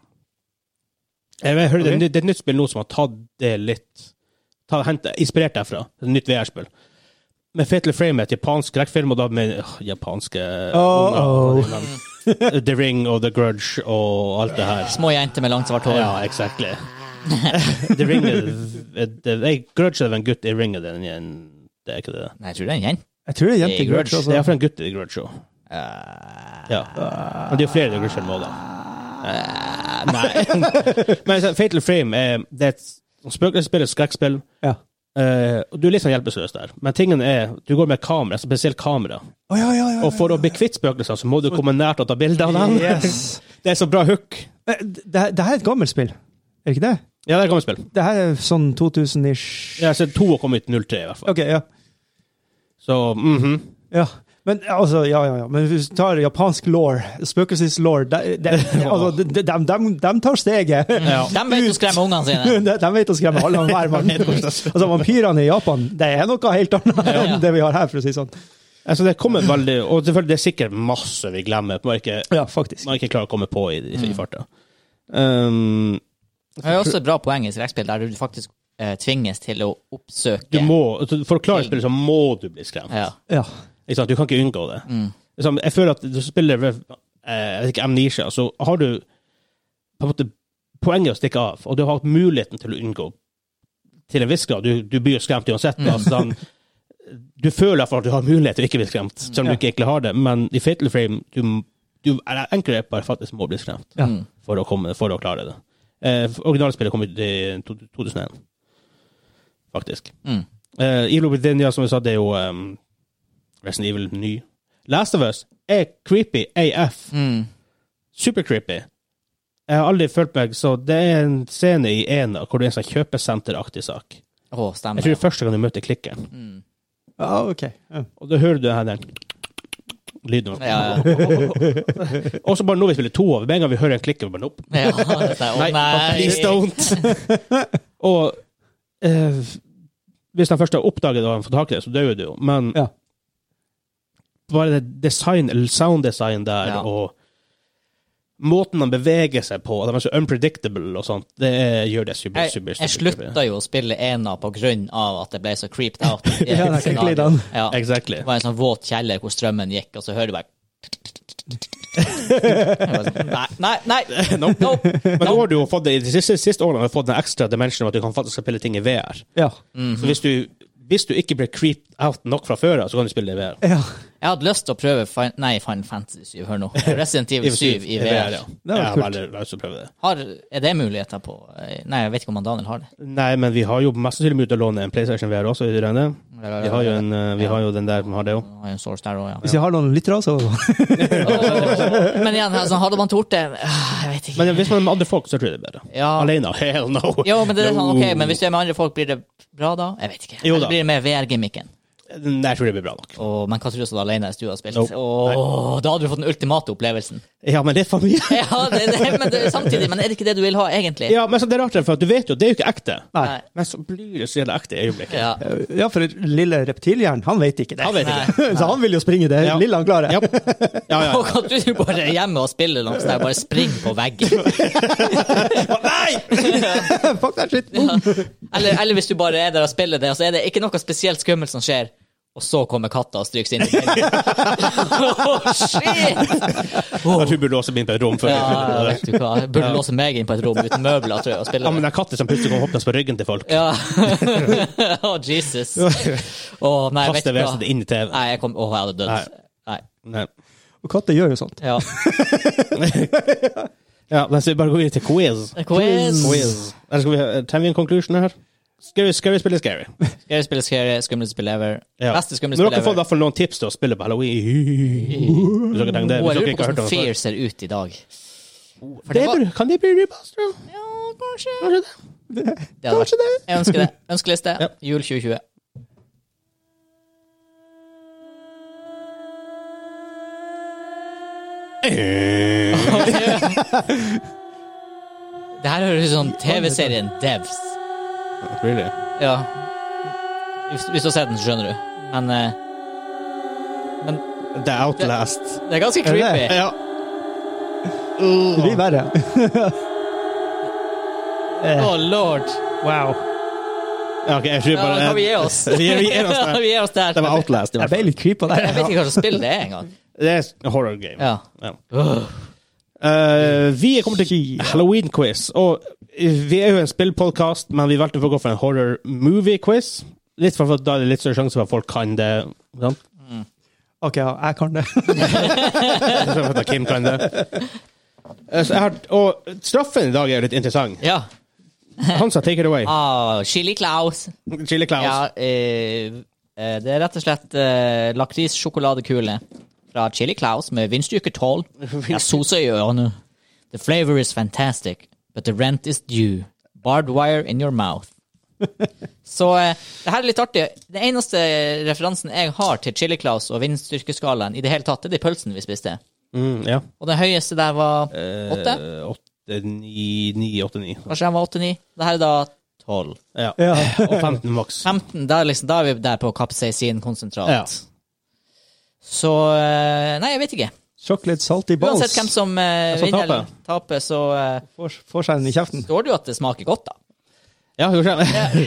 S1: Eh, Jeg vet, hører det, er
S3: Ok.
S1: et nytt- det er et nytt spill nå som har tatt det litt ta, hent, Inspirert derfra. Et nytt VR-spill. Men Fatal Frame er et japansk skrekkfilm, og da med åh, japanske
S3: Oh,
S1: unger. *laughs* The Ring og The Grudge og alt det her.
S2: Små jenter med langt svart hår.
S1: Ja, exactly. *laughs* The Ring er det- nei, Grudge er vel en gutt i Ring, og det er en- det er ikke det.
S2: Nei, jeg tror det er en jente.
S3: Jeg tror det
S2: Det
S3: er
S2: er
S3: jentegrudge.
S2: grudge.
S1: Det er
S3: Altså.
S1: iallfall en gutt i Grudge òg. Ja. Men det er jo flere Grudge enn Molda.
S2: Eh,
S1: Nei. *laughs* Men så, Fatal Frame er, det er et spøkelsesspill, et skrekkspill.
S3: Ja.
S1: Eh, og du er litt sånn hjelpeløs der. Men tingen er, du går med kamera, spesielt kamera.
S3: Å, ja, ja, ja, ja.
S1: Og for å bli kvitt spøkelser, så må du komme nært og ta bilde av dem.
S3: Yes.
S1: *laughs* Det er så bra hook.
S3: Men Det, det her er et gammelt spill, er det ikke det?
S1: Ja, det er et gammelt spill.
S3: Det her er sånn 2000-ish
S1: Jeg har sett to og kom ut 03, i hvert fall.
S3: Ok, ja.
S1: Så mhm.
S3: ja. Men altså, ja, ja, ja. Men hvis du tar japansk law, spøkelseslaw de,
S1: *laughs*
S3: de, altså, de, de, de- de tar steget.
S1: ja.
S2: De vet å skremme ungene sine.
S3: De, de vet å skremme alle og hver mann. Altså, vampyrene i Japan, det er noe helt annet
S2: Ja, ja.
S3: enn det vi har her, for å si det sånn.
S1: Altså, det kommer veldig Og selvfølgelig, det er sikkert masse vi glemmer. Man ikke,
S3: Ja, faktisk.
S1: man ikke klarer å komme på i, i, i farta. Um,
S2: Det er også et bra poeng i skrekkspill, der du faktisk eh, tvinges til å
S1: du
S2: oppsøke
S1: må, altså, for å klare spillet, så må du bli skremt.
S2: ja. Mm.
S3: Ja.
S1: Ikke sant? Du kan ikke unngå det. Liksom, jeg føler at du spiller eh, jeg vet ikke, Amnesia, så har du på en måte poenget å stikke av, og du har hatt muligheten til å unngå til en viss grad. Du, du blir jo skremt uansett. men Altså, sånn, du føler i hvert fall at du har mulighet til å ikke bli skremt, selv om
S3: Ja.
S1: du ikke egentlig har det, men i Fatal Frame du, du, eller enkelte bare faktisk må bli skremt
S3: Ja.
S2: Mm.
S1: for å, komme, for å klare det. Eh, originalspillet kom ut i to- 2001, faktisk.
S2: Mm.
S1: Uh, Evil Within, ja, som vi sa, det er jo um, Resident Evil ny. Last of Us er creepy AF.
S2: Mm.
S1: Super creepy. Jeg har aldri følt meg så Det er en scene i Ena hvor det er en sånn kjøpesenteraktig sak.
S2: Å,
S1: Jeg
S2: stemmer.
S1: tror det er første gang du møter klikken.
S2: Mm.
S3: ja, ok. Ja.
S1: Og da hører du den her den lyden.
S2: Ja, ja.
S1: *laughs* Og så bare nå vi spiller to over. Med en gang vi hører en klikk, er vi bare nope.
S2: ja *laughs* det er, å,
S1: Nei, please don't! *laughs* og eh, hvis de først har oppdaget det og de får tak i det, så dør du jo. Men
S3: Ja.
S1: bare det design, eller sounddesign der,
S2: Ja.
S1: og måten de beveger seg på, at de er så unpredictable og sånt, det er- gjør det super,
S2: Jeg,
S1: super, super
S2: jeg slutta jo å spille Ena på grunn av at det ble så creeped
S1: *laughs*
S2: out. i et
S3: Ja, det er ikke
S2: scenario.
S3: glidende.
S2: Ja.
S1: Exactly.
S2: Det var en sånn våt kjeller hvor strømmen gikk, og så hører du bare
S1: *laughs*
S2: Jeg var sånn, Nei, nei, nei!
S1: Nope.
S2: Nope.
S1: Men nå har du jo fått det, de siste, siste årene har du fått den ekstra dimensjonen at du kan faktisk spille ting i VR.
S3: Ja.
S1: Så hvis du, hvis du ikke blir creeped out nok fra før av, så kan du spille det i VR.
S3: ja.
S2: Jeg hadde lyst til å prøve fin Nei, Final Fantasy 7, hør nå. Resident
S1: *laughs*
S2: Evil 7 i VR.
S1: ja.
S3: Det var
S1: Jeg har
S3: kult.
S1: veldig lyst til å prøve det.
S2: Har, er det muligheter på eh, Nei, jeg vet ikke om han Daniel har det.
S1: Nei, men vi har jo mest sannsynlig mulighet til å låne en PlayStation VR også. Vi, regner. vi, har, jo en, eh, vi har jo den der som har det òg.
S2: Han har jo en source der også, ja.
S3: Hvis
S1: *laughs*
S3: jeg har noen lyttere, så
S2: Men igjen, altså, hadde man tort det Ah, Jeg vet ikke.
S1: Men hvis man er med andre folk, så tror jeg det er bedre.
S2: Ja.
S1: Alene? *laughs* Hell no!
S2: Jo, men det er sånn, ok,
S1: No.
S2: men hvis du er med andre folk, blir det bra da? Jeg vet ikke.
S1: Jo da.
S2: Eller blir det mer VR-gimmicken?
S1: Nei, jeg tror det blir bra nok.
S2: Og, men hva tror du så alene hvis du har spilt?
S1: Nope.
S2: Åh, da hadde du fått den ultimate opplevelsen. *laughs*
S1: Ja, men det er for mye. *laughs*
S2: Ja, det, det, men det, samtidig, men er det ikke det du vil ha, egentlig?
S1: Ja, men så det er rart, for at du vet jo, det er jo ikke ekte.
S3: Nei.
S1: Men så blir det så jævlig ekte i øyeblikket.
S2: Ja.
S3: Ja, for lille reptilhjernen, han vet ikke det.
S1: Han vet ikke.
S3: *laughs* Så han vil jo springe det
S1: Ja.
S3: lille han klarer.
S1: Ja. Ja,
S2: *laughs*
S1: ja,
S2: Og at du bare er hjemme og spiller noe sånt der, bare springer på veggen.
S1: Nei!
S3: *laughs* Fuck that shit!
S2: Ja. *laughs* Eller, eller hvis du bare er der og spiller det, og så er det ikke noe spesielt skummelt som skjer. Og så kommer katta og stryker inn i *laughs* oh, shit!
S1: Jeg tror du burde låse meg inn på et rom før.
S2: Ja,
S1: Ja,
S2: vet du hva. Jeg burde låse meg inn på et rom uten møbler, tror jeg, og spille
S1: men
S2: det.
S1: den katten som plutselig kommer hoppende på ryggen til folk,
S2: Ja. *laughs* Å, Jesus. Å, nei, vet
S1: kaster
S2: du hva.
S1: vesenet inn i TV.
S2: Nei, jeg kom Å, jeg hadde dødd.
S1: Nei.
S2: Nei.
S1: Nei.
S3: Og katter gjør jo sånt.
S2: Ja.
S1: *laughs* Ja, men så vi bare går videre til quiz.
S2: Quiz.
S1: Quiz. Der skal vi, trenger vi en conclusion her? Scary, scary spiller scary.
S2: *laughs* Scary spill, scary, skummelt spill ever.
S1: Ja.
S2: Beste skumle
S1: Når
S2: spill
S1: dere får i
S2: ever.
S1: hvert fall noen tips til å spille på
S2: *laughs*
S1: halloween Hvis dere tenker det, hvis
S2: Åh, jeg
S1: dere
S2: lurer
S1: ikke
S2: på
S1: har hørt om
S2: hvordan
S1: det.
S2: Fear ser ut i dag.
S1: det
S2: For det var
S1: blir- Kan det bli remaster? da?
S2: Ja, kanskje.
S1: Kanskje det?
S2: Det hadde vært
S1: Kanskje det?
S2: Jeg ønsker det. Ønskeliste.
S1: Ja.
S2: Jul 2020.
S1: Eh.
S2: Det her høres ut som TV-serien Devs.
S1: Really?
S2: Ja. Hvis, hvis du har sett den, så skjønner du. Men eh,
S1: The Outlast.
S2: det er ganske
S3: Er det det?
S2: creepy.
S1: Ja.
S3: Det blir verre.
S1: Eh.
S2: Å, lord.
S3: Wow.
S1: Ja, ok, jeg tror
S2: Ja,
S1: bare
S2: kan vi gi oss?
S1: *laughs* Vi vi gir
S2: *laughs*
S1: oss det.
S2: vi gir oss der.
S1: Det var Outlast. i hvert
S3: Jeg ble
S1: fall.
S3: litt creepa der.
S2: Jeg vet ikke hva slags spill det er engang.
S1: Det er et horror game.
S2: Ja.
S1: Ja. Eh, vi er kommet til Halloween-quiz. Og eh, vi er jo en spillpodkast, men vi valgte for å gå for en horror-movie-quiz. Litt for at Da er det litt større sjanse for at folk kan det. ikke sant?
S3: Ok, ja, jeg kan det. *laughs*
S1: For at Kim kan det. Eh, Så jeg har, og straffen i dag er jo litt interessant.
S2: Ja.
S1: Han sa 'take it away'.
S2: Ah, Chili Claus.
S1: Chili Claus.
S2: Ja, eh, eh, det er rett og slett eh, lakris-sjokoladekule fra Chili Claus med vindstyrke 12.
S1: *laughs*
S2: Jeg soser i ørene. The flavor is fantastic, but the rent is due. Barbed wire in your
S1: *laughs*
S2: mouth. Så eh, det her er litt artig. Den eneste referansen jeg har til Chili Claus og vindstyrkeskalaen i det hele tatt, det er de pølsene vi spiste.
S1: Mm, ja.
S2: Og den høyeste der var åtte.
S1: Eh, Åtte, ni, ni, åtte, ni.
S2: Kanskje den var åtte-ni. Det her er da tolv.
S1: Ja.
S3: Ja.
S1: Og 15 maks.
S2: 15, da, er liksom, da er vi der på kapseisin-konsentrat.
S1: Ja.
S2: Så eh, Nei, jeg vet ikke.
S3: Chocolate salty balls.
S2: Uansett hvem som eh,
S1: Som
S2: vinner
S1: taper.
S2: eller taper, så eh,
S3: Får, får seg den i kjeften.
S2: står det jo at det smaker godt, da.
S1: Ja, jo, skjønner.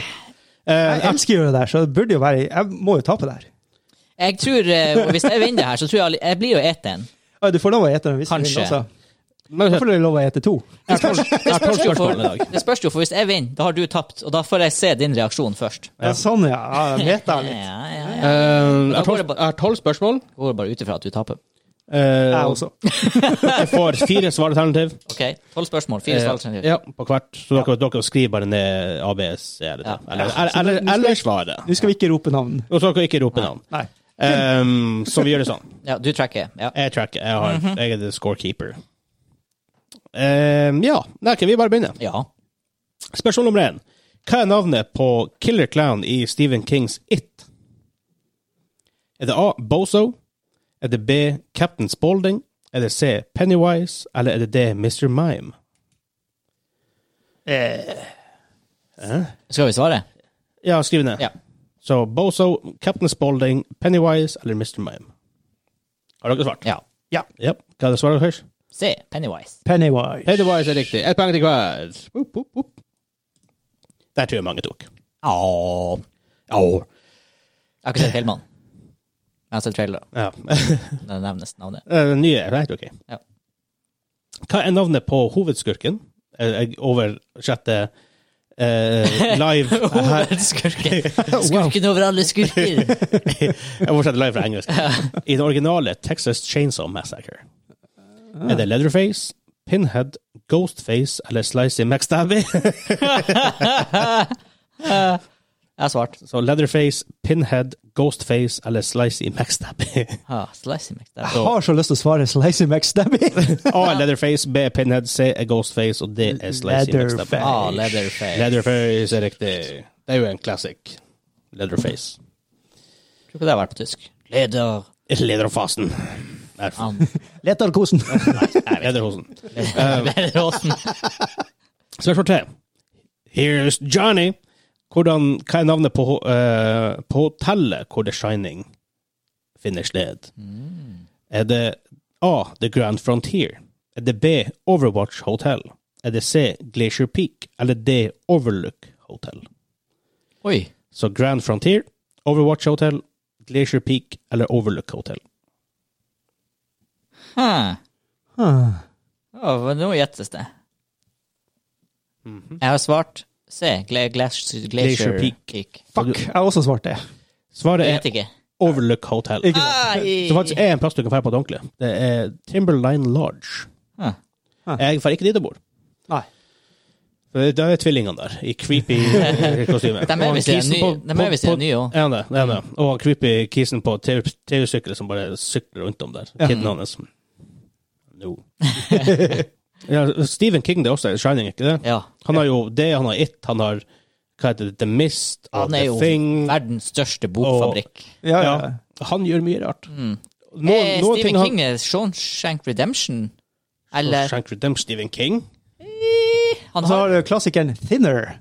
S3: Jeg elsker å gjøre det der, så det burde jo være Jeg må jo tape der.
S2: Jeg tror, eh, Hvis jeg vinner det her, så tror jeg aldri- jeg blir jo et en.
S3: Å, Du får lov å ete den hvis du
S2: Kanskje.
S3: vil altså. også.
S1: Men
S3: Da får du lov å ete to.
S1: jeg har tolv- jeg har tolv spørsmål i dag.
S2: Det spørs jo, for hvis jeg vinner, da har du tapt, og da får jeg se din reaksjon først.
S3: Ja, sånn, ja. ja Meta
S2: Ja,
S3: litt.
S2: ja,
S1: Eh,
S2: ja.
S1: Jeg har
S2: går
S1: tolv-
S2: det bare-
S1: jeg har tolv spørsmål.
S2: Jeg Går bare ut ifra at du taper.
S1: Eh,
S3: Jeg også.
S1: Jeg får fire svaralternativ.
S2: OK, tolv spørsmål, *laughs* fire
S1: Eh,
S2: svalgtrender.
S1: Ja, på hvert. Så dere, dere skriver bare ned ABS eller,
S2: Ja.
S1: eller, eller, eller, eller svaret.
S3: Nå skal vi ikke rope navn.
S1: Og så dere ikke roper navn.
S3: Nei.
S1: Ehm, så vi gjør det sånn.
S2: Ja, du tracker. Ja.
S1: Jeg tracker. Jeg,
S2: Mhm.
S1: har, jeg er the scorekeeper. Ehm, ja. Nei, ok, vi bare begynner.
S2: ja.
S1: Spørsmål nummer én. Hva er navnet på Killer Clown i Stephen Kings It? Er det A. Bozo? Er det B. Captain Spaulding? Er det C. Pennywise? Eller er det D. Mr. Mime?
S2: Skal vi svare?
S1: Ja, skriv ned.
S2: Ja.
S1: Så Bozo, Captain Spaulding, Pennywise eller Mr. Mime? Har dere svart?
S2: Ja.
S1: Ja. Hva er det svaret deres?
S2: Se, Pennywise.
S3: Pennywise.
S1: Pennywise er riktig. Ett poeng til hver. Opp, opp, opp. Der tror jeg mange tok.
S2: Åh.
S1: Oh.
S2: Jeg har ikke sett filmene. Jeg har sett trailere.
S1: Ja. *laughs*
S2: Det nevnes navnet.
S1: Den nye er helt ok.
S2: Ja.
S1: Hva er navnet på hovedskurken? Eh, jeg Oversette *laughs* eh, live her. *laughs*
S2: Hovedskurken. Skurken over alle skurker.
S1: Jeg oversetter live fra *laughs* engelsk. I den originale Texas Chainsaw Massacre. Er det Leatherface, Pinhead, Ghostface eller Slicey McStabby?
S2: Jeg har svart.
S1: Så Leatherface, Pinhead, Ghostface eller Slicey McStabby.
S2: Ah, slicey McDabby.
S3: Jeg har så lyst til å svare Slicey McStabby.
S1: *laughs*
S3: *laughs*
S1: A er Leatherface, B er Pinhead, C er Ghostface og D er Slicey McStabby.
S3: Leatherface.
S2: Ah, Leatherface.
S1: Leatherface er riktig. Det er jo en classic. Leatherface.
S2: Tror ikke det har vært på tysk. Leder.
S1: Lederfasen. Nei, faen.
S2: an.
S3: Letarkosen.
S1: *laughs* Lederhosen. Eh.
S2: Lederåsen.
S1: Spørsmål tre. Here's Johnny. Hvordan, hva er navnet på, eh, på hotellet hvor The Shining finner sted? Er det A. The Grand Frontier? Er det B. Overwatch Hotel? Er det C. Glacier Peak? Eller D. Overlook Hotel?
S2: Oi.
S1: Så Grand Frontier, Overwatch Hotel, Glacier Peak eller Overlook Hotel.
S2: Hæ.
S3: Ah.
S2: Ja, men nå gjettes det. Jeg har svart C. Gla glacier, glacier
S1: Mhm. Glacier Peak.
S2: Peak.
S3: Fuck, jeg har også svart det.
S1: Svaret
S2: Jeg
S1: er
S2: vet ikke.
S1: Overlook Hotel.
S3: Ikke sant?
S2: Ai.
S1: Så faktisk er en plass du kan dra på et ordentlig. Det er Timberline Lodge.
S2: Ah.
S3: Ja.
S1: Jeg får ikke dit jeg bor.
S3: Nei.
S1: For Da er tvillingene der, i *laughs* creepy kostyme.
S2: De er
S1: Og
S2: visst i en
S1: kisen
S2: ny-
S1: på-
S2: de er
S1: på-
S2: visst i en
S1: på-
S2: ny også.
S1: Ja, det, det er det. Og han creepy kisen på TV-sykkel som bare sykler rundt om der. Kiden hans. No. *laughs* ja, Stephen King det er også, Shining, ikke det?
S2: Ja.
S1: Han har jo det, han har It, han har hva heter det, The Mist,
S2: Han er
S1: Ah, The
S2: jo
S1: Thing.
S2: verdens største bokfabrikk.
S3: Ja, ja.
S1: Ja. Han gjør mye rart. Noen-
S2: Eh,
S1: noen ting
S2: Stephen
S1: han-
S2: King er Shawshank Redemption. Eller
S1: Shawshank Redemption, Stephen King?
S2: Han
S3: Og så
S2: har
S3: har du klassikeren Thinner,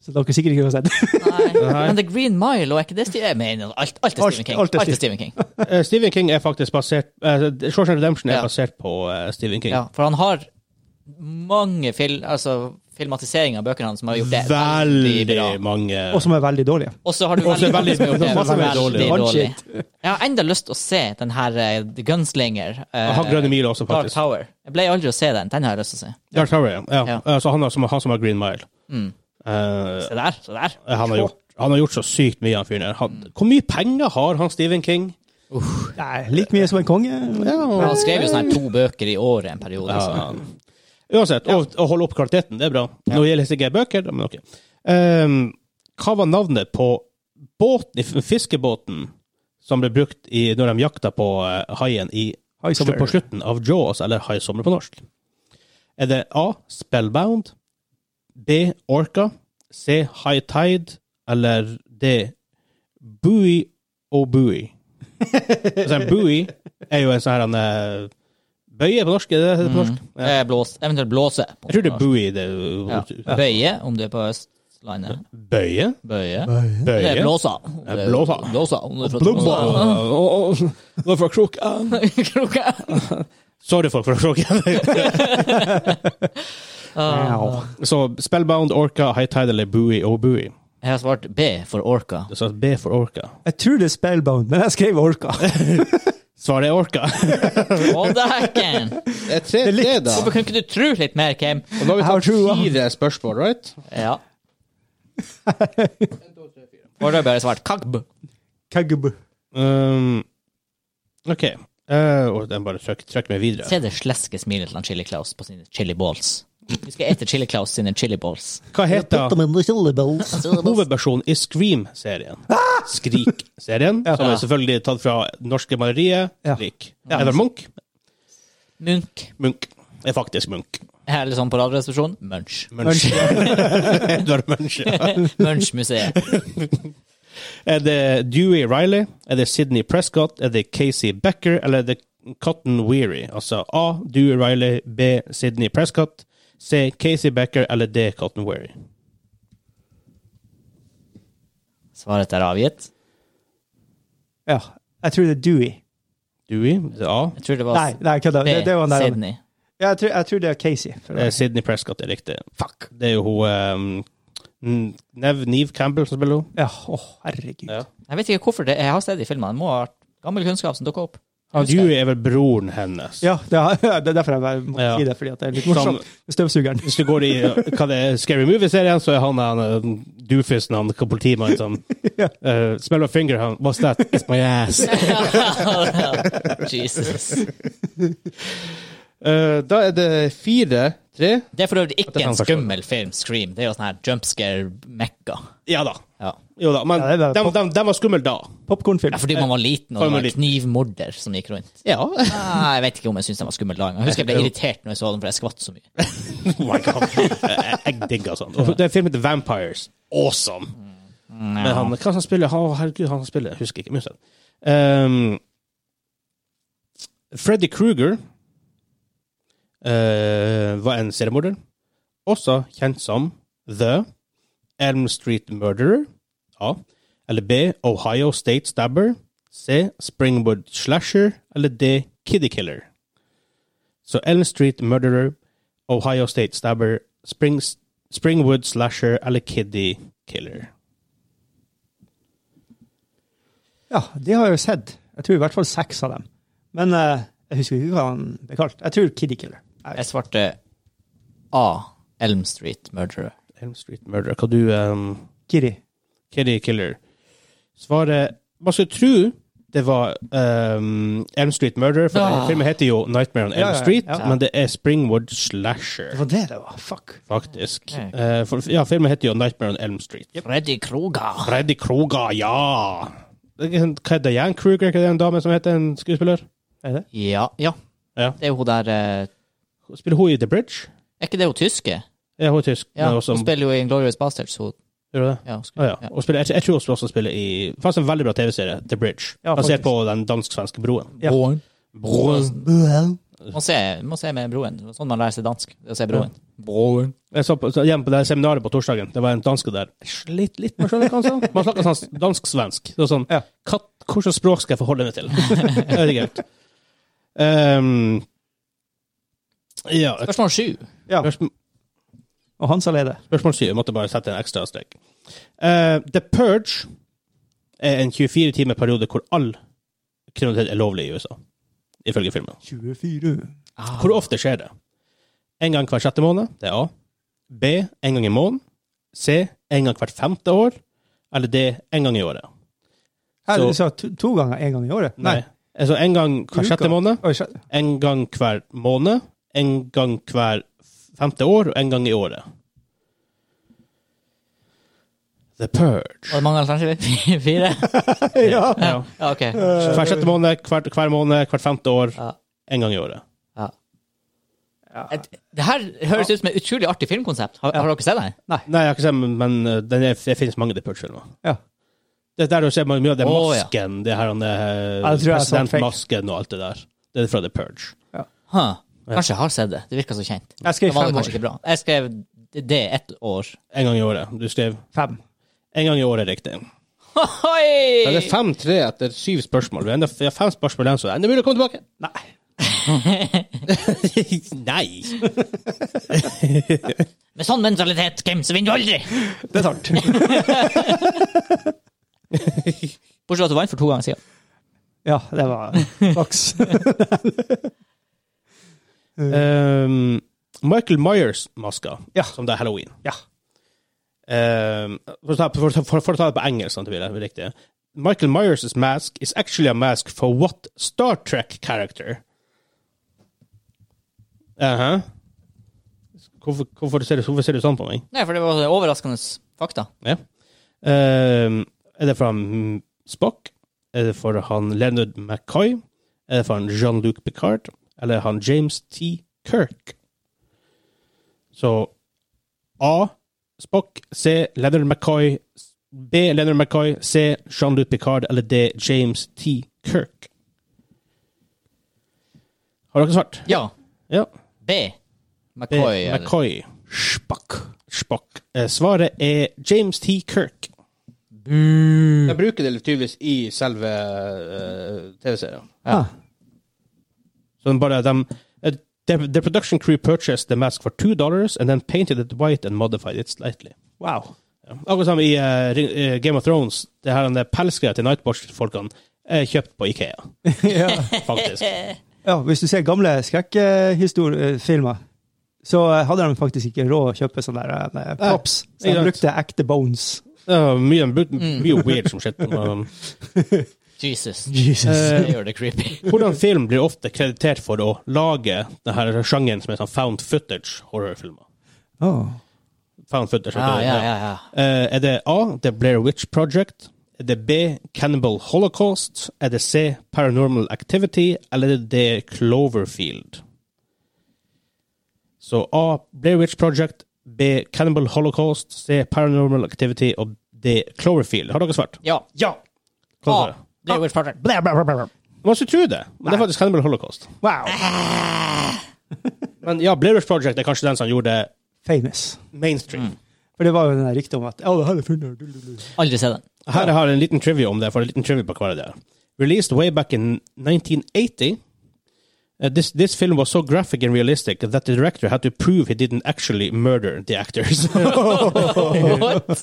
S3: som dere sikkert ikke har sett.
S2: Nei. Men The Green Mile, og er ikke det Stephen Jeg mener, alt, alt er
S3: Alt-
S2: Stephen King.
S3: alt er
S2: Alt er Stephen King.
S1: Eh, Stephen King er faktisk basert uh, Shawshank Redemption er
S2: Ja.
S1: basert på eh, Stephen King.
S2: Ja, for han har mange fil, altså, filmatiseringer av bøkene hans som har gjort det veldig
S1: Veldig
S2: bra.
S1: mange
S3: Og som er veldig dårlige.
S2: Og så har du
S1: Og så
S2: veldig
S1: er
S2: mange
S1: veldig-
S2: som har gjort det
S1: masse
S2: veldig
S1: veldig dårlig.
S2: dårlig.
S3: Shit.
S2: Jeg har enda lyst til å se den her eh, The Gunslinger. eh,
S1: Han Grønne Mil også,
S2: Dark
S1: faktisk.
S2: Tower. Jeg ble aldri å se den. Den har jeg lyst til å se.
S1: Dark Tower, ja. ja.
S2: Ja. Mm.
S1: Eh, Så han, har, som, han som har Green Mile.
S2: Se der, se der.
S1: Eh, han, har gjort, han har gjort så sykt mye, han fyren der.
S2: Mm.
S1: Han- Hvor mye penger har han Stephen King?
S3: Nei, like mye som en konge.
S2: Men Han skrev jo sånn her to bøker i året en periode. så-
S1: Uansett, å, å holde opp kvaliteten, det er bra. Nå gjelder ikke jeg bøker, men ok. Ehm, hva var navnet på båten, i f- fiskebåten som ble brukt i, når de jakta på eh, haien i,
S3: High Summer.
S1: på slutten av Jaws, eller High Summer på norsk? Er det A. Spellbound, B. Orca, C. High Tide, eller D. Buoy og buoy.
S3: *laughs*
S1: Altså, en buoy er jo en sånn her en, eh, bøye på norsk, er det det heter
S3: Mm.
S1: på norsk? Ja.
S2: Eh, Blås, eventuelt blåse. på
S1: Jeg tror det er
S2: norsk.
S1: buoy det
S2: Ja. Bøye, om du er på Østlandet.
S1: Bøye?
S2: Bøye. Det er
S1: Bøye?
S2: blåsa.
S1: Ja, blåsa.
S2: Blåsa. om du er fra Tromsø. *laughs*
S1: Det var fra Kroken.
S2: ah. Kroka.
S1: Sorry, folk fra Kroken.
S3: Wow.
S1: Så Spellbound, Orca, High Tide eller Buoy og Buoy.
S2: Jeg har svart B for orka.
S1: Så B for Orca.
S3: Jeg tror det er Spellbound, men jeg skrev *laughs* Orka.
S1: Svaret er Orca.
S2: Å, dæken!
S4: Det er tre,
S3: er litt-
S4: det, da.
S2: Hvorfor kunne ikke du tro litt mer, Kim?
S4: Og nå
S3: Jeg har
S4: har vi
S3: trua.
S4: tatt fire spørsmål, right?
S2: Ja. Foreløpig har jeg svart kagb.
S3: Kagub.
S1: Um, OK. Eh, og den bare trykk, trykk meg videre.
S2: Se det sleske smilet til han Chili Claus på sine chili balls. Vi skal ete Chili Claus sine chili balls.
S1: Hva heter
S2: Hove-
S1: hovedpersonen i Scream-serien. Skrik-serien, som er selvfølgelig tatt fra norske maleriet
S3: Ja.
S1: Skrik. Edvard Munch.
S2: Munch.
S1: Munch er faktisk Munch.
S2: Her er litt sånn på radioresepsjonen. Munch.
S1: Munch. *laughs* Edvard Munch. ja.
S2: Munch-museet.
S1: *laughs* Er det Dewey Riley? Er det Sidney Prescott? Er det Casey Becker? Eller er det Cotton Weary? Altså A. Dewey Riley. B. Sidney Prescott. C. Casey Becker. Eller D. Cotton Weary.
S2: Svaret er avgitt.
S3: Ja, jeg tror det er Dewey.
S1: Dewey? Det er A.
S2: Jeg tror det var
S3: Nei, nei kødda.
S2: B.
S3: Det, det var den der.
S2: Sydney.
S3: Ja, jeg, tror, jeg tror det er Casey. for å
S1: Eh,
S3: være-
S1: Sidney Prescott er riktig.
S3: Fuck.
S1: Det er jo hun um, Nev Neve Campbell som spiller henne.
S3: Ja, å, herregud.
S1: Ja.
S2: Jeg vet ikke hvorfor det Jeg har sett det i filmene. Det må ha vært gammel kunnskap som dukket opp.
S1: Han
S2: Husker
S1: Dewey er vel broren hennes.
S3: Ja, det er, *laughs* det er derfor jeg bare må
S1: Ja.
S3: si det, fordi at det er litt
S1: Som-
S3: morsomt.
S2: Sånn.
S3: Støvsugeren.
S1: Hvis du går i hva det er, Scary Movie-serien, så er han han eh, doofusen, han politimannen som eh, Smell my finger, han What's that? It's my
S2: *laughs*
S1: ass.
S2: Jesus.
S4: Eh, da er det fire, tre.
S2: Det er for øvrig ikke
S1: kan
S2: en
S1: jeg forstå.
S2: skummel film, Scream. Det er jo sånn her jumpscare-mekka.
S1: Ja da.
S2: Ja.
S1: Jo da, men
S3: Ja, det er bare
S1: de,
S3: pop-
S1: de, de var skumle da.
S3: Popkornfilm.
S2: Ja, fordi man var liten, og
S1: Fordi
S2: det
S1: man
S2: var
S1: var
S2: en knivmorder som gikk rundt.
S1: *laughs* Ja.
S2: Ah, jeg vet ikke om jeg syns den var skummel da engang. Jeg husker jeg ble irritert når jeg så den, for jeg skvatt så mye.
S1: Oh my god. Jeg, jeg digger sånt. Og den filmen heter Vampires. Awesome. Men han, hva som spiller han? Herregud, han som spiller, jeg husker ikke. men uansett. Um, Freddy Kruger eh, var en seriemorder. Også kjent som The Elm Street Murderer. A. Eller B. Ohio State Stabber. C. Springwood Slasher. Eller D. Kiddie Killer. Så Elm Street Murderer, Ohio State Stabber, Springs, Springwood Slasher eller Kiddie Killer.
S3: Ja, de har jeg jo sett. Jeg tror i hvert fall seks av dem. Men eh, jeg husker ikke hva han ble kalt. Jeg tror Kiddie Killer. Jeg
S2: Jeg svarte A. Elm Street Murderer.
S1: Elm Street Murderer. Hva du um,
S3: Kitty.
S1: Kiddie Killer. Svaret Man skulle tro Det var ehm, Elm Street Murder. For
S2: Ah.
S1: Filmen heter jo Nightmare on Elm
S3: Ja, ja, ja.
S1: Street,
S3: Ja.
S1: men det er Springwood Slasher,
S3: Det var det det var. Fuck.
S1: faktisk.
S2: Ok.
S1: Eh, for, ja, filmen heter jo Nightmare on Elm Street.
S2: Freddy Kruger.
S1: Freddy Kruger, ja! Det er en- Hva er det, Jan Kruger? Er ikke det en dame som heter en skuespiller?
S3: Er det?
S2: Ja, ja.
S1: Ja.
S2: Det er jo hun der eh,
S1: Spiller hun i The Bridge?
S2: Er ikke det hun tyske?
S1: Ja, hun er tysk.
S2: Ja,
S1: men
S2: hun
S1: også,
S2: spiller jo i Glorious Bastards. Hun,
S1: Gjør hun det?
S2: ja, hun skulle,
S1: Ah, ja. Og spiller, jeg, jeg tror hun også spiller i Faktisk en veldig bra TV-serie, The Bridge.
S3: Ja,
S1: Basert
S3: faktisk.
S1: på den dansk-svenske broen.
S3: Ja.
S2: Broren.
S1: Broen.
S2: Må se, må se med broen. Det er Sånn man lærer seg dansk. Det er å se broen. Broen.
S1: Jeg så på, så hjemme på det seminaret på torsdagen. Det var en danske der. Jeg Slit litt med sjølekansen. Man snakker sånn dansk-svensk. Det var sånn
S3: Ja.
S1: katt, Hvilket språk skal jeg forholde meg til? Jeg vet ikke helt. Ehm, ja, et
S2: Spørsmål sju.
S3: Ja.
S1: spørsmål,
S3: Og Hans alene.
S1: spørsmål syv. Jeg måtte bare sette en ekstra strek. Eh, The Purge er en 24-timerperiode hvor all kriminalitet er lovlig i USA, ifølge filmen.
S3: 24.
S1: Hvor ofte skjer det? En gang hver sjette måned, det er A. B. En gang i måneden. C. En gang hvert femte år. Eller D. En gang i året.
S3: Her,
S1: Så-
S3: du sa to, to ganger én gang i året?
S1: Altså en gang hver
S3: Uka.
S1: sjette måned,
S3: Oi, skjø-
S1: en gang hver måned, en gang hver femte år, og en gang i året. The Purge.
S2: Var det mange alternativer? *laughs* Fire?
S3: ja.
S2: Ja, ja OK.
S1: Hver sjette måned, hver, hver måned, hvert femte år,
S2: Ja.
S1: en gang i året.
S2: Ja. Et- Det her høres ut som et utrolig artig filmkonsept. Har, har dere sett det?
S1: Nei, jeg har ikke sett, men- men uh, den er, det finnes mange The Purge-filmer.
S3: Ja.
S1: Det er der du ser mye av den
S2: Å, ja.
S1: masken, det her, han, eh,
S3: Ja, det tror jeg er sånn fake.
S1: presidentmasken og alt det der. Det er fra The Purge.
S2: Huh. Kanskje jeg har sett det. Det virker så kjent.
S3: Jeg
S2: Det
S3: skrev
S2: var det
S3: fem
S2: kanskje
S3: år.
S2: ikke bra. Jeg skrev det ett år.
S1: En gang i året. Du skrev
S3: Fem.
S1: en gang i året riktig. Ja, det
S2: *laughs* Hoi!
S1: er fem-tre etter syv spørsmål. Vi er enda, vi har fem spørsmål igjen, så det er enda mulig å komme tilbake.
S3: Nei.
S1: *laughs* Nei!
S2: Med sånn mentalitet, Kim, så vinner du aldri!
S3: Det er sant.
S2: Bortsett fra at du vant for to ganger siden.
S3: *laughs* Ja, det var flaks.
S2: *laughs*
S1: Um, Michael Myers-maska,
S3: Ja.
S1: som det er halloween.
S3: ja.
S1: Um, for, å ta, for, å ta- for, for å ta det på engelsk, sånn at det blir riktig. Michael Myers' mask is actually a mask for what Star Trek character? Aha. hvorfor, hvorfor, ser du, hvorfor ser du sånn på meg?
S2: Nei, for det var overraskende fakta.
S1: Ja. Um, er det fra mm, Spock? Er det for han Leonard McCoy? Er det for han Jean-Luc Picard? Eller han James T. Kirk? Så A. Spock. C. Leonard McCoy. B. Leonard McCoy. C. Jean-Luc Picard. Eller D. James T. Kirk. Har dere svart?
S2: Ja.
S1: Ja.
S2: B.
S1: B.
S2: McCoy. eller-
S1: McCoy. Spock. Spock. Eh, Svaret er James T. Kirk.
S4: De bruker det tydeligvis i selve eh, TV-serien.
S3: Ah.
S1: So then, but uh, them, uh, the, the production crew purchased the mask for two dollars and then painted it white and modified it slightly.
S3: Wow.
S1: Ja. Akkurat som i eh, Ring- eh, Game of Thrones, det her den der pelsgreia til Nightwatch-folkene er kjøpt på Ikea,
S3: *laughs* ja.
S1: faktisk.
S3: ja, hvis du ser gamle skrekkfilmer, så eh, hadde de faktisk ikke råd å kjøpe sånne der, eh, props. Så
S1: ikke
S3: de
S1: sant.
S3: brukte ekte bones.
S1: Det var mye, mye weird som skjedde. Um,
S2: Jesus.
S3: Jesus.
S2: *laughs* Det gjør det creepy.
S1: Hvordan film blir ofte kreditert for å lage denne sjangeren som er sånn found footage-horrorfilmer?
S3: Oh.
S1: Found footage.
S2: Ja, Ah, ja, ja. ja.
S1: Eh, er det A, The Blair Witch Project? Er det B, Cannibal Holocaust? Er det C, Paranormal Activity? Eller er det D, Cloverfield? Så A, Blair Witch Project. B, Cannibal Holocaust. C, Paranormal Activity. Og D, Cloverfield. Har dere svart?
S2: ja.
S3: Ja.
S1: Hva
S2: Ah,
S1: er det?
S2: Blair Witch Project.
S3: Blah, blah, blah, blah.
S1: Man skulle tro det, men det er faktisk Cannibal Holocaust.
S3: Wow.
S1: Men ja, Blair Witch Project er kanskje den som gjorde det
S3: Famous.
S2: Mm.
S1: mainstream.
S3: For det var jo den der ryktet om at oh, det her er funnet. Du, du, du.
S2: Aldri se den.
S1: Her har jeg en liten trivia om det, for en liten trivia på hva det er. Released way back in 1980, uh, this, this film was so graphic and realistic that the director had to prove he didn't actually murder the actors. *laughs*
S2: *laughs* What?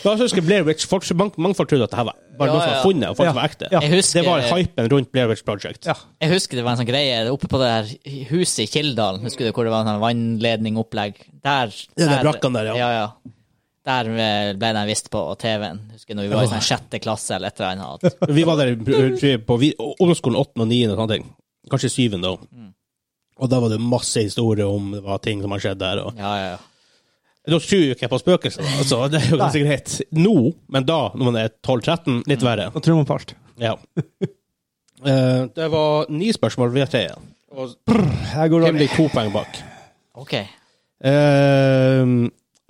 S1: Da husker jeg Blair Witch, folk, mange, mange folk trodde at det her var bare
S2: Ja,
S1: noe som
S2: ja.
S1: var funnet, og folk
S3: Ja,
S1: var ekte.
S3: ja.
S2: Jeg husker-
S1: Det var hypen rundt Blair Witch Project.
S3: Ja.
S2: Jeg husker det var en sånn greie oppe på det her huset i Kildalen, husker du hvor det var en sånn vannledningopplegg? Der.
S1: Ja, det
S2: der-
S1: brakkene der, ja.
S2: ja, ja. Der eh, ble den vist på TV-en. Husker når vi var i sånn sjette klasse eller et eller annet. at-
S1: Vi var der i- på vi- ungdomsskolen 8. og 9. og sånne ting. Kanskje 7. da. Og da var det masse historier om det var ting som har skjedd der. Og.
S2: *laughs* Ja, ja, ja.
S1: Da tror jo ikke jeg på spøkelser, da, altså, det er jo ganske greit. Nå, men da, når man er 12-13, litt verre.
S3: Nå tror man på alt.
S1: Ja. Eh, det var ni spørsmål, vet jeg.
S4: Og
S3: Her går
S1: Hvem
S3: det
S1: blir to poeng bak?
S2: OK.
S1: Eh,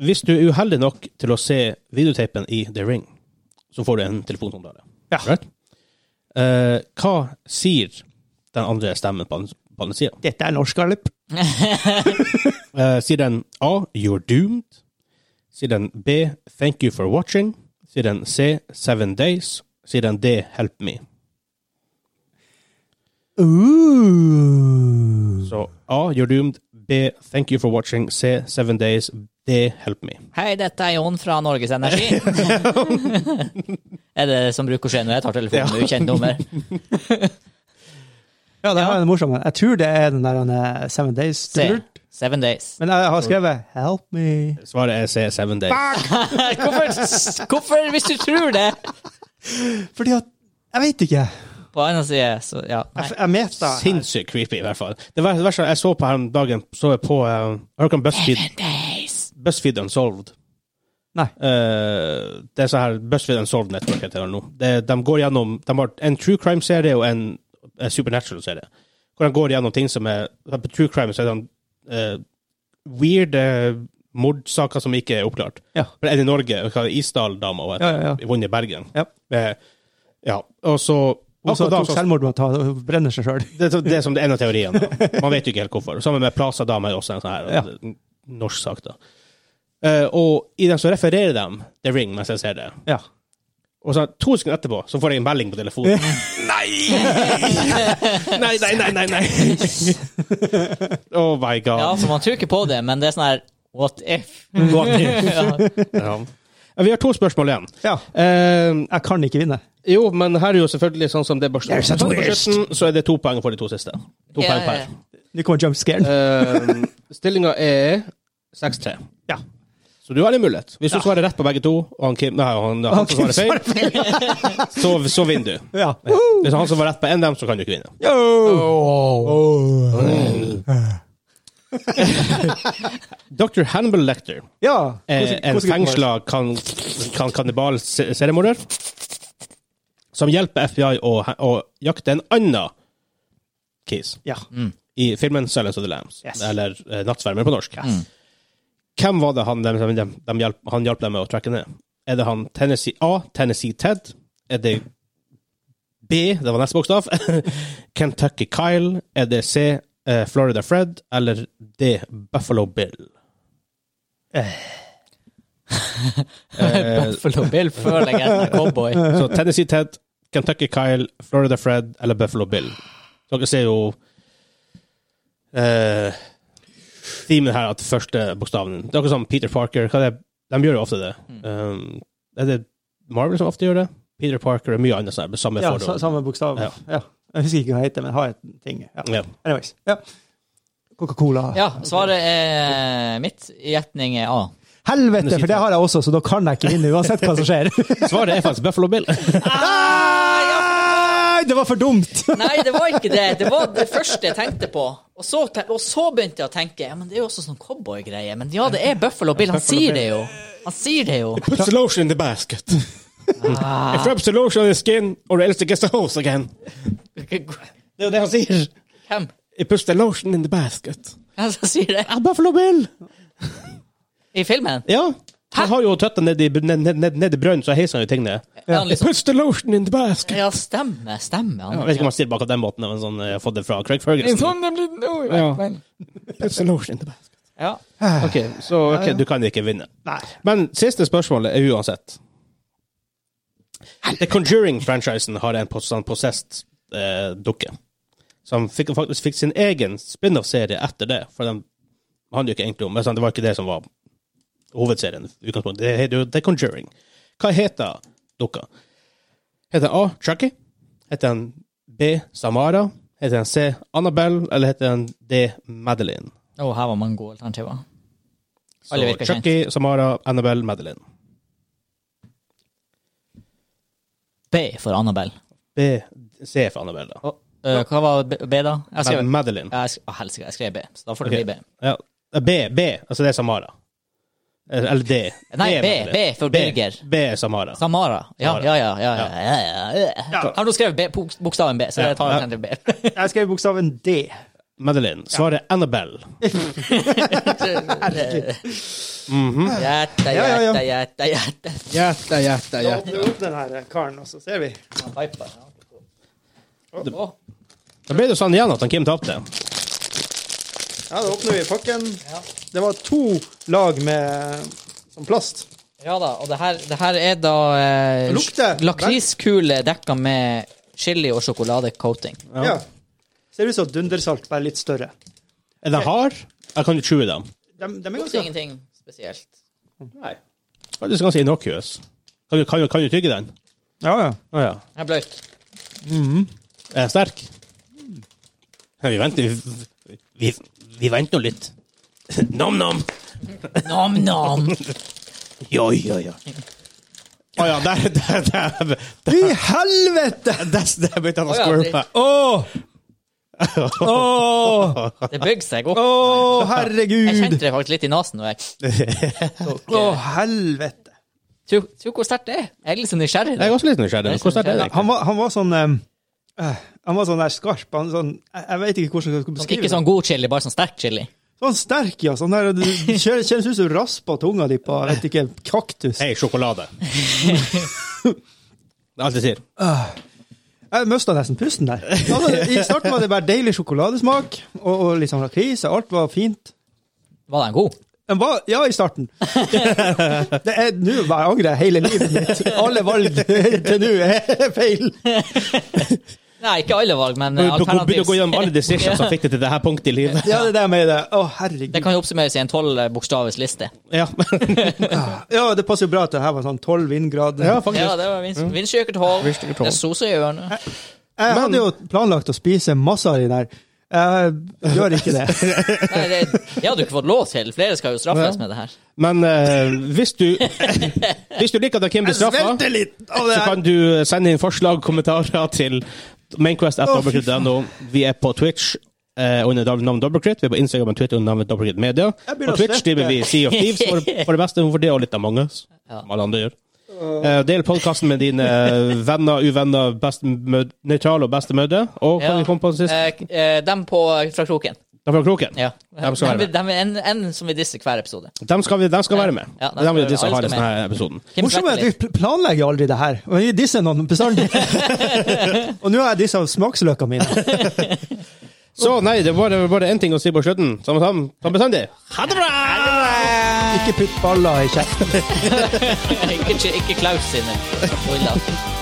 S1: hvis du er uheldig nok til å se videoteipen i The Ring, så får du en telefonsamtale.
S3: Ja.
S1: Right? Eh, hva sier den andre stemmen på den, på den sida?
S3: Dette er norsk gallup.
S1: *laughs* Eh, sier den A. You're doomed. Sier den B. Thank you for watching. Sier den C. Seven days. Sier den D. Help me.
S3: Uh.
S1: Så A. You're doomed. B. Thank you for watching. C. Seven days. D. Help me.
S2: Hei, dette er Jon fra Norges
S1: *laughs*
S2: Energi. *laughs* er det som bruker å skje når jeg tar telefonen med ukjent nummer?
S3: Ja, det var en morsom en. Jeg tror det er den der han er Seven Days.
S2: Se. Seven Days.
S3: Men jeg har skrevet 'Help me'.
S1: Svaret er C. Seven days.
S2: Hvorfor, *laughs* hvorfor, hvis du tror det?
S3: Fordi at Jeg vet ikke.
S2: På annen side, så ja. Nei.
S3: Jeg, jeg meta.
S1: Sinnssykt creepy, i hvert fall. Det ver- det verste jeg så på her om dagen, så jeg på uh, Hørkan BuzzFeed,
S2: Seven Days.
S1: BuzzFeed Unsolved.
S3: Nei.
S1: Eh, det er så her BuzzFeed Unsolved Network heter det nå. Det, de går gjennom De har en true crime-serie og en, eh, supernatural-serie. Hvor de går gjennom ting som er På true crime så er det eh, weird eh, mordsaker som ikke er oppklart.
S3: Ja.
S1: For det er i Norge, hva er det, Isdal-dama og et-
S3: Ja, ja, ja.
S1: vunnet i Bergen.
S3: Ja.
S1: Eh, ja. Og så
S3: Hun som
S1: akkurat da
S3: tok
S1: så-
S3: selvmord med å ta, hun brenner seg sjøl.
S1: det, er- det er som det er en av teoriene. da. Man vet jo ikke helt hvorfor. Sammen med Plaza Dama er også en sånn her
S3: Ja.
S1: norsk sak. da. Eh, og i den så refererer de The Ring mens jeg ser det.
S3: Ja.
S1: Og så to sekunder etterpå så får jeg en melding på telefonen. *laughs* nei! Nei, nei, nei, nei. nei. oh my god.
S2: Ja, for man tror ikke på det, men det er sånn her What if?
S1: What if?
S2: *laughs*
S1: Ja. Ja, Vi har to spørsmål igjen.
S3: ja.
S1: Eh,
S3: Jeg kan ikke vinne.
S1: jo, men her er jo selvfølgelig sånn som det er bare
S3: There's a
S1: Sånn på
S3: twist.
S1: slutten, så er det to poeng for de to siste. To
S2: Ja,
S1: poeng
S2: ja,
S1: per.
S2: ja.
S3: Nå kommer jump scaren.
S1: Ehm,
S4: uh, stillinga er
S1: 6-3.
S3: Ja.
S1: Så du har en mulighet. Hvis du svarer rett på begge to, og han Kim Nei, han, han, som
S3: Kim
S1: svarer feil, *laughs* så, så vinner du.
S3: Ja.
S1: Hvis han som var rett på en av dem, så kan du ikke
S3: *laughs*
S1: vinne.
S3: Yo! Oh.
S1: Dr. Hannibal Lecter
S3: Ja.
S1: er
S3: Hvordan-
S1: en
S3: hvordan gutten var Eh, det?
S1: fengsla kan, kan kannibalseremorder som hjelper FBI å, å jakte en annen kis
S3: Ja.
S1: i filmen 'Silence of the Lambs',
S3: Yes.
S1: eller eh, 'Nattsvermer' på norsk. Hvem var det han, de, de, de hjelp, han hjalp dem med å trekke ned? Er det han Tennessee A, Tennessee Ted? Er det B, det var neste bokstav, *laughs* Kentucky Kyle? Er det C, eh, Florida Fred? Eller D, Buffalo Bill? *laughs* Eh,
S2: Buffalo Bill føler jeg er en cowboy.
S1: så Tennessee Ted, Kentucky Kyle, Florida Fred eller Buffalo Bill. Dere ser jo uh, Themen her at første bokstaven Det er akkurat som Peter Parker. Hva er det? De gjør jo ofte det.
S3: Mm.
S1: Um, er det Marvel som ofte gjør det? Peter Parker og mye annet. sånn her, med Samme
S3: ja
S1: forhold.
S3: sa- samme bokstav.
S1: Ja.
S3: Ja. Jeg husker ikke hva det heter, men har et ting. Ja.
S1: Ja.
S3: Anyways. Ja. Coca-Cola.
S2: Ja, svaret er mitt. Gjetning er A.
S3: Helvete, for det har jeg også, så da kan jeg ikke vinne uansett hva som *laughs* skjer.
S1: Svaret er faktisk Buffalo Bill.
S3: Nei, det var for dumt!
S2: Nei, det var ikke det. Det var det første jeg tenkte på. Og så, te- og så begynte jeg å tenke Ja, men det er jo også sånn cowboygreie. Men ja, det er Buffalo Bill. Han sier det jo. Han sier det jo.
S1: Put the lotion in the basket.
S3: Ah.
S1: It rubs the lotion on the skin, or else it gets the hose again. Det er jo det han sier.
S2: Hvem?
S1: It puts the lotion in the basket.
S2: Hvem som sier det?
S1: Ah, Buffalo Bill!
S2: I filmen?
S1: Ja. Han har jo tøtta ned i, ned, ned, ned i brønnen, så heiser han jo ting ned.
S2: Er han liksom
S1: Puts the lotion in the basket.
S2: Ja, stemmer, stemmer.
S1: Jeg
S2: Han.
S1: vet ikke om han sier det på akkurat den måten, men sånn, jeg har fått det fra Craig Ferguson. Ja. Puts the lotion in the basket.
S2: Ja.
S1: OK, så ok, du kan ikke vinne.
S3: Nei.
S1: Men siste spørsmålet er uansett The Conjuring-franchisen har en pos- sånn possessed-dukke. som fikk, faktisk fikk sin egen spin-off-serie etter det. For de handler jo ikke egentlig om men sånn, Det var ikke det som var hovedserien. i utgangspunktet. Det heter jo The Conjuring. Hva heter dukka? Heter den A. Chucky? Heter den B. Samara? Heter den C. Annabelle? Eller heter den D. Madeline?
S2: Å, her var mange gode alternativer. Alle
S1: Så
S2: virker kjent.
S1: Chucky, Samara, Annabelle, Madeleine.
S2: B for Annabelle.
S1: B, C for Annabelle, da.
S2: Eh, hva var B, B da? Jeg skrev,
S1: Mad- Madeleine.
S2: jeg, sk- å, helsike, jeg skrev B, så da får det
S1: Ok.
S2: bli B.
S1: Ja. B, B, altså det er Samara. Eh, Eller eller D.
S2: Nei,
S1: D,
S2: B,
S1: Madeleine.
S2: B for Birger.
S1: B er Samara.
S2: Samara. Ja,
S1: Samara.
S2: ja, ja. ja, ja, ja, ja, ja. Har du skrevet B, bok- bokstaven B, så jeg tar
S1: Ja.
S2: den til B. *laughs*
S3: Jeg skrev bokstaven D.
S1: Madeleine. Svaret er Annabelle.
S2: Hjerte,
S3: Ja, ja, ja.
S2: hjerte, hjerte, hjerte.
S4: Hjerte, hjerte,
S3: Da
S4: hjerte.
S3: åpner vi opp den her eh, karen, og så ser vi.
S2: Å,
S1: Da ble det sånn igjen at han Kim tapte.
S3: Ja, da åpner vi pakken. Det var to lag med sånn plast.
S2: Ja da, og det her, det her er da eh,
S3: Lukter.
S2: sj- lakriskule dekka med chili og sjokoladecoating.
S3: Ja. Ser ut som dundersalt, bare litt større.
S1: Er den hard? Jeg kan jo chewe dem.
S3: De, de er
S2: Lukter
S3: ganske
S2: ingenting spesielt.
S1: Nei. Faktisk ganske innocuous. Kan du, kan, du- kan du tygge den?
S3: Ja, ja.
S1: Å ja.
S2: Jeg er bløt.
S1: Er den sterk? Nei, vi venter Vi, vi, vi venter nå litt. Nam-nam.
S2: Nam-nam.
S1: Ja, ja, ja. Å ja, der, der, der, der,
S3: I helvete!
S1: der, der begynte han å
S2: Å ja,
S1: squirme.
S3: Å! Å!
S2: Det bygger seg opp.
S3: Å,
S2: Jeg
S3: herregud!
S2: kjente det faktisk litt i nesen. når jeg-
S1: *laughs*
S3: Å, helvete.
S2: Tro tro hvor sterkt det er. Jeg er litt så nysgjerrig.
S1: Jeg er
S2: nå.
S1: også litt nysgjerrig. men Hvor sterkt er det?
S3: Han var, han var sånn eh, eh, Han var sånn der skarp. Han sånn, jeg, jeg vet ikke hvordan jeg skal
S2: Sånn, ikke
S3: beskrive det.
S2: sånn god chili, bare sånn sterk chili.
S3: Sånn sterk, ja. Sånn der, det kjennes- kjennes ut som raspa tunga di på jeg vet ikke, kaktus.
S1: Hei, *laughs* sjokolade. Det er alt jeg sier.
S3: Jeg mista nesten pusten der. Altså, I starten var det bare deilig sjokoladesmak og, og litt sånn lakris. og Alt var fint.
S2: Var den god?
S3: Den var, ja, i starten. *laughs* Det er Nå bare angrer jeg hele livet mitt. Alle valg til nå er feil.
S2: Nei, ikke alle valg, men eh,
S1: Begynn å gå
S2: alternativs.
S1: gjennom alle decisions *laughs* som fikk deg til dette punktet i livet.
S3: Ja, det der med det. Å,
S2: *laughs*
S3: herregud.
S2: Det kan jo oppsummeres i en tolvbokstaves liste.
S1: Ja,
S3: Ja, det passer jo bra at det her var sånn tolv vindgrader.
S1: *laughs* ja faktisk.
S2: Ja, det var vinst- Vindstyrke tolv.
S1: Vindstyrke
S2: Mm. Det
S1: tolv.
S2: er sose i ørene.
S3: Jeg hadde jo planlagt å spise masse av de der. Jeg gjør ikke det.
S2: Nei, det, det hadde du ikke fått lov til. Flere skal jo straffes med det her.
S1: Men eh, hvis, du, *laughs* hvis du liker at Kim blir straffa,
S3: litt av
S1: så kan du eh, sende inn forslag kommentarer til
S3: Å, fy
S1: mainquest.dobbeltkritt.no. Vi er på Twitch. eh, under dobbelt- navn Dobbeltkritt. Vi er på Instagram og Twitter under navnet Dobbeltkritt Media.
S3: Jeg begynner
S1: På
S3: å
S1: Twitch
S3: svette.
S1: driver vi Sea of Thieves for, for det meste, for det og litt av mange, som alle andre gjør. Eh, del podkasten med dine eh, venner, uvenner, best, mød, nøytrale og bestemødre. Og hva
S2: Ja.
S1: vi kom på sist?
S2: Eh, eh, dem på Fra kroken.
S1: Da fra Kroken.
S2: Ja.
S1: Dem skal være med.
S2: Dem- dem er en, en som vi disser hver episode.
S1: De skal, vi, de skal være med.
S2: Ja,
S1: det
S2: de
S1: er
S2: skal
S1: de, de som
S2: være-
S1: har
S2: alle
S1: i
S2: skal
S1: sånne her episoden.
S2: Kim
S3: Morsomt er
S2: Blackley.
S3: at vi planlegger aldri det her. Og vi disser noen
S1: *laughs*
S3: bestandig. og nå har jeg dissa smaksløkene mine.
S1: Så nei, det var det var bare én ting å si på slutten. Samme sam, som bestandig. Ha det bra!
S3: Ikke putt baller i kjeften.
S2: *laughs* eh, ikke, ikke Klaus sine. Oi, da.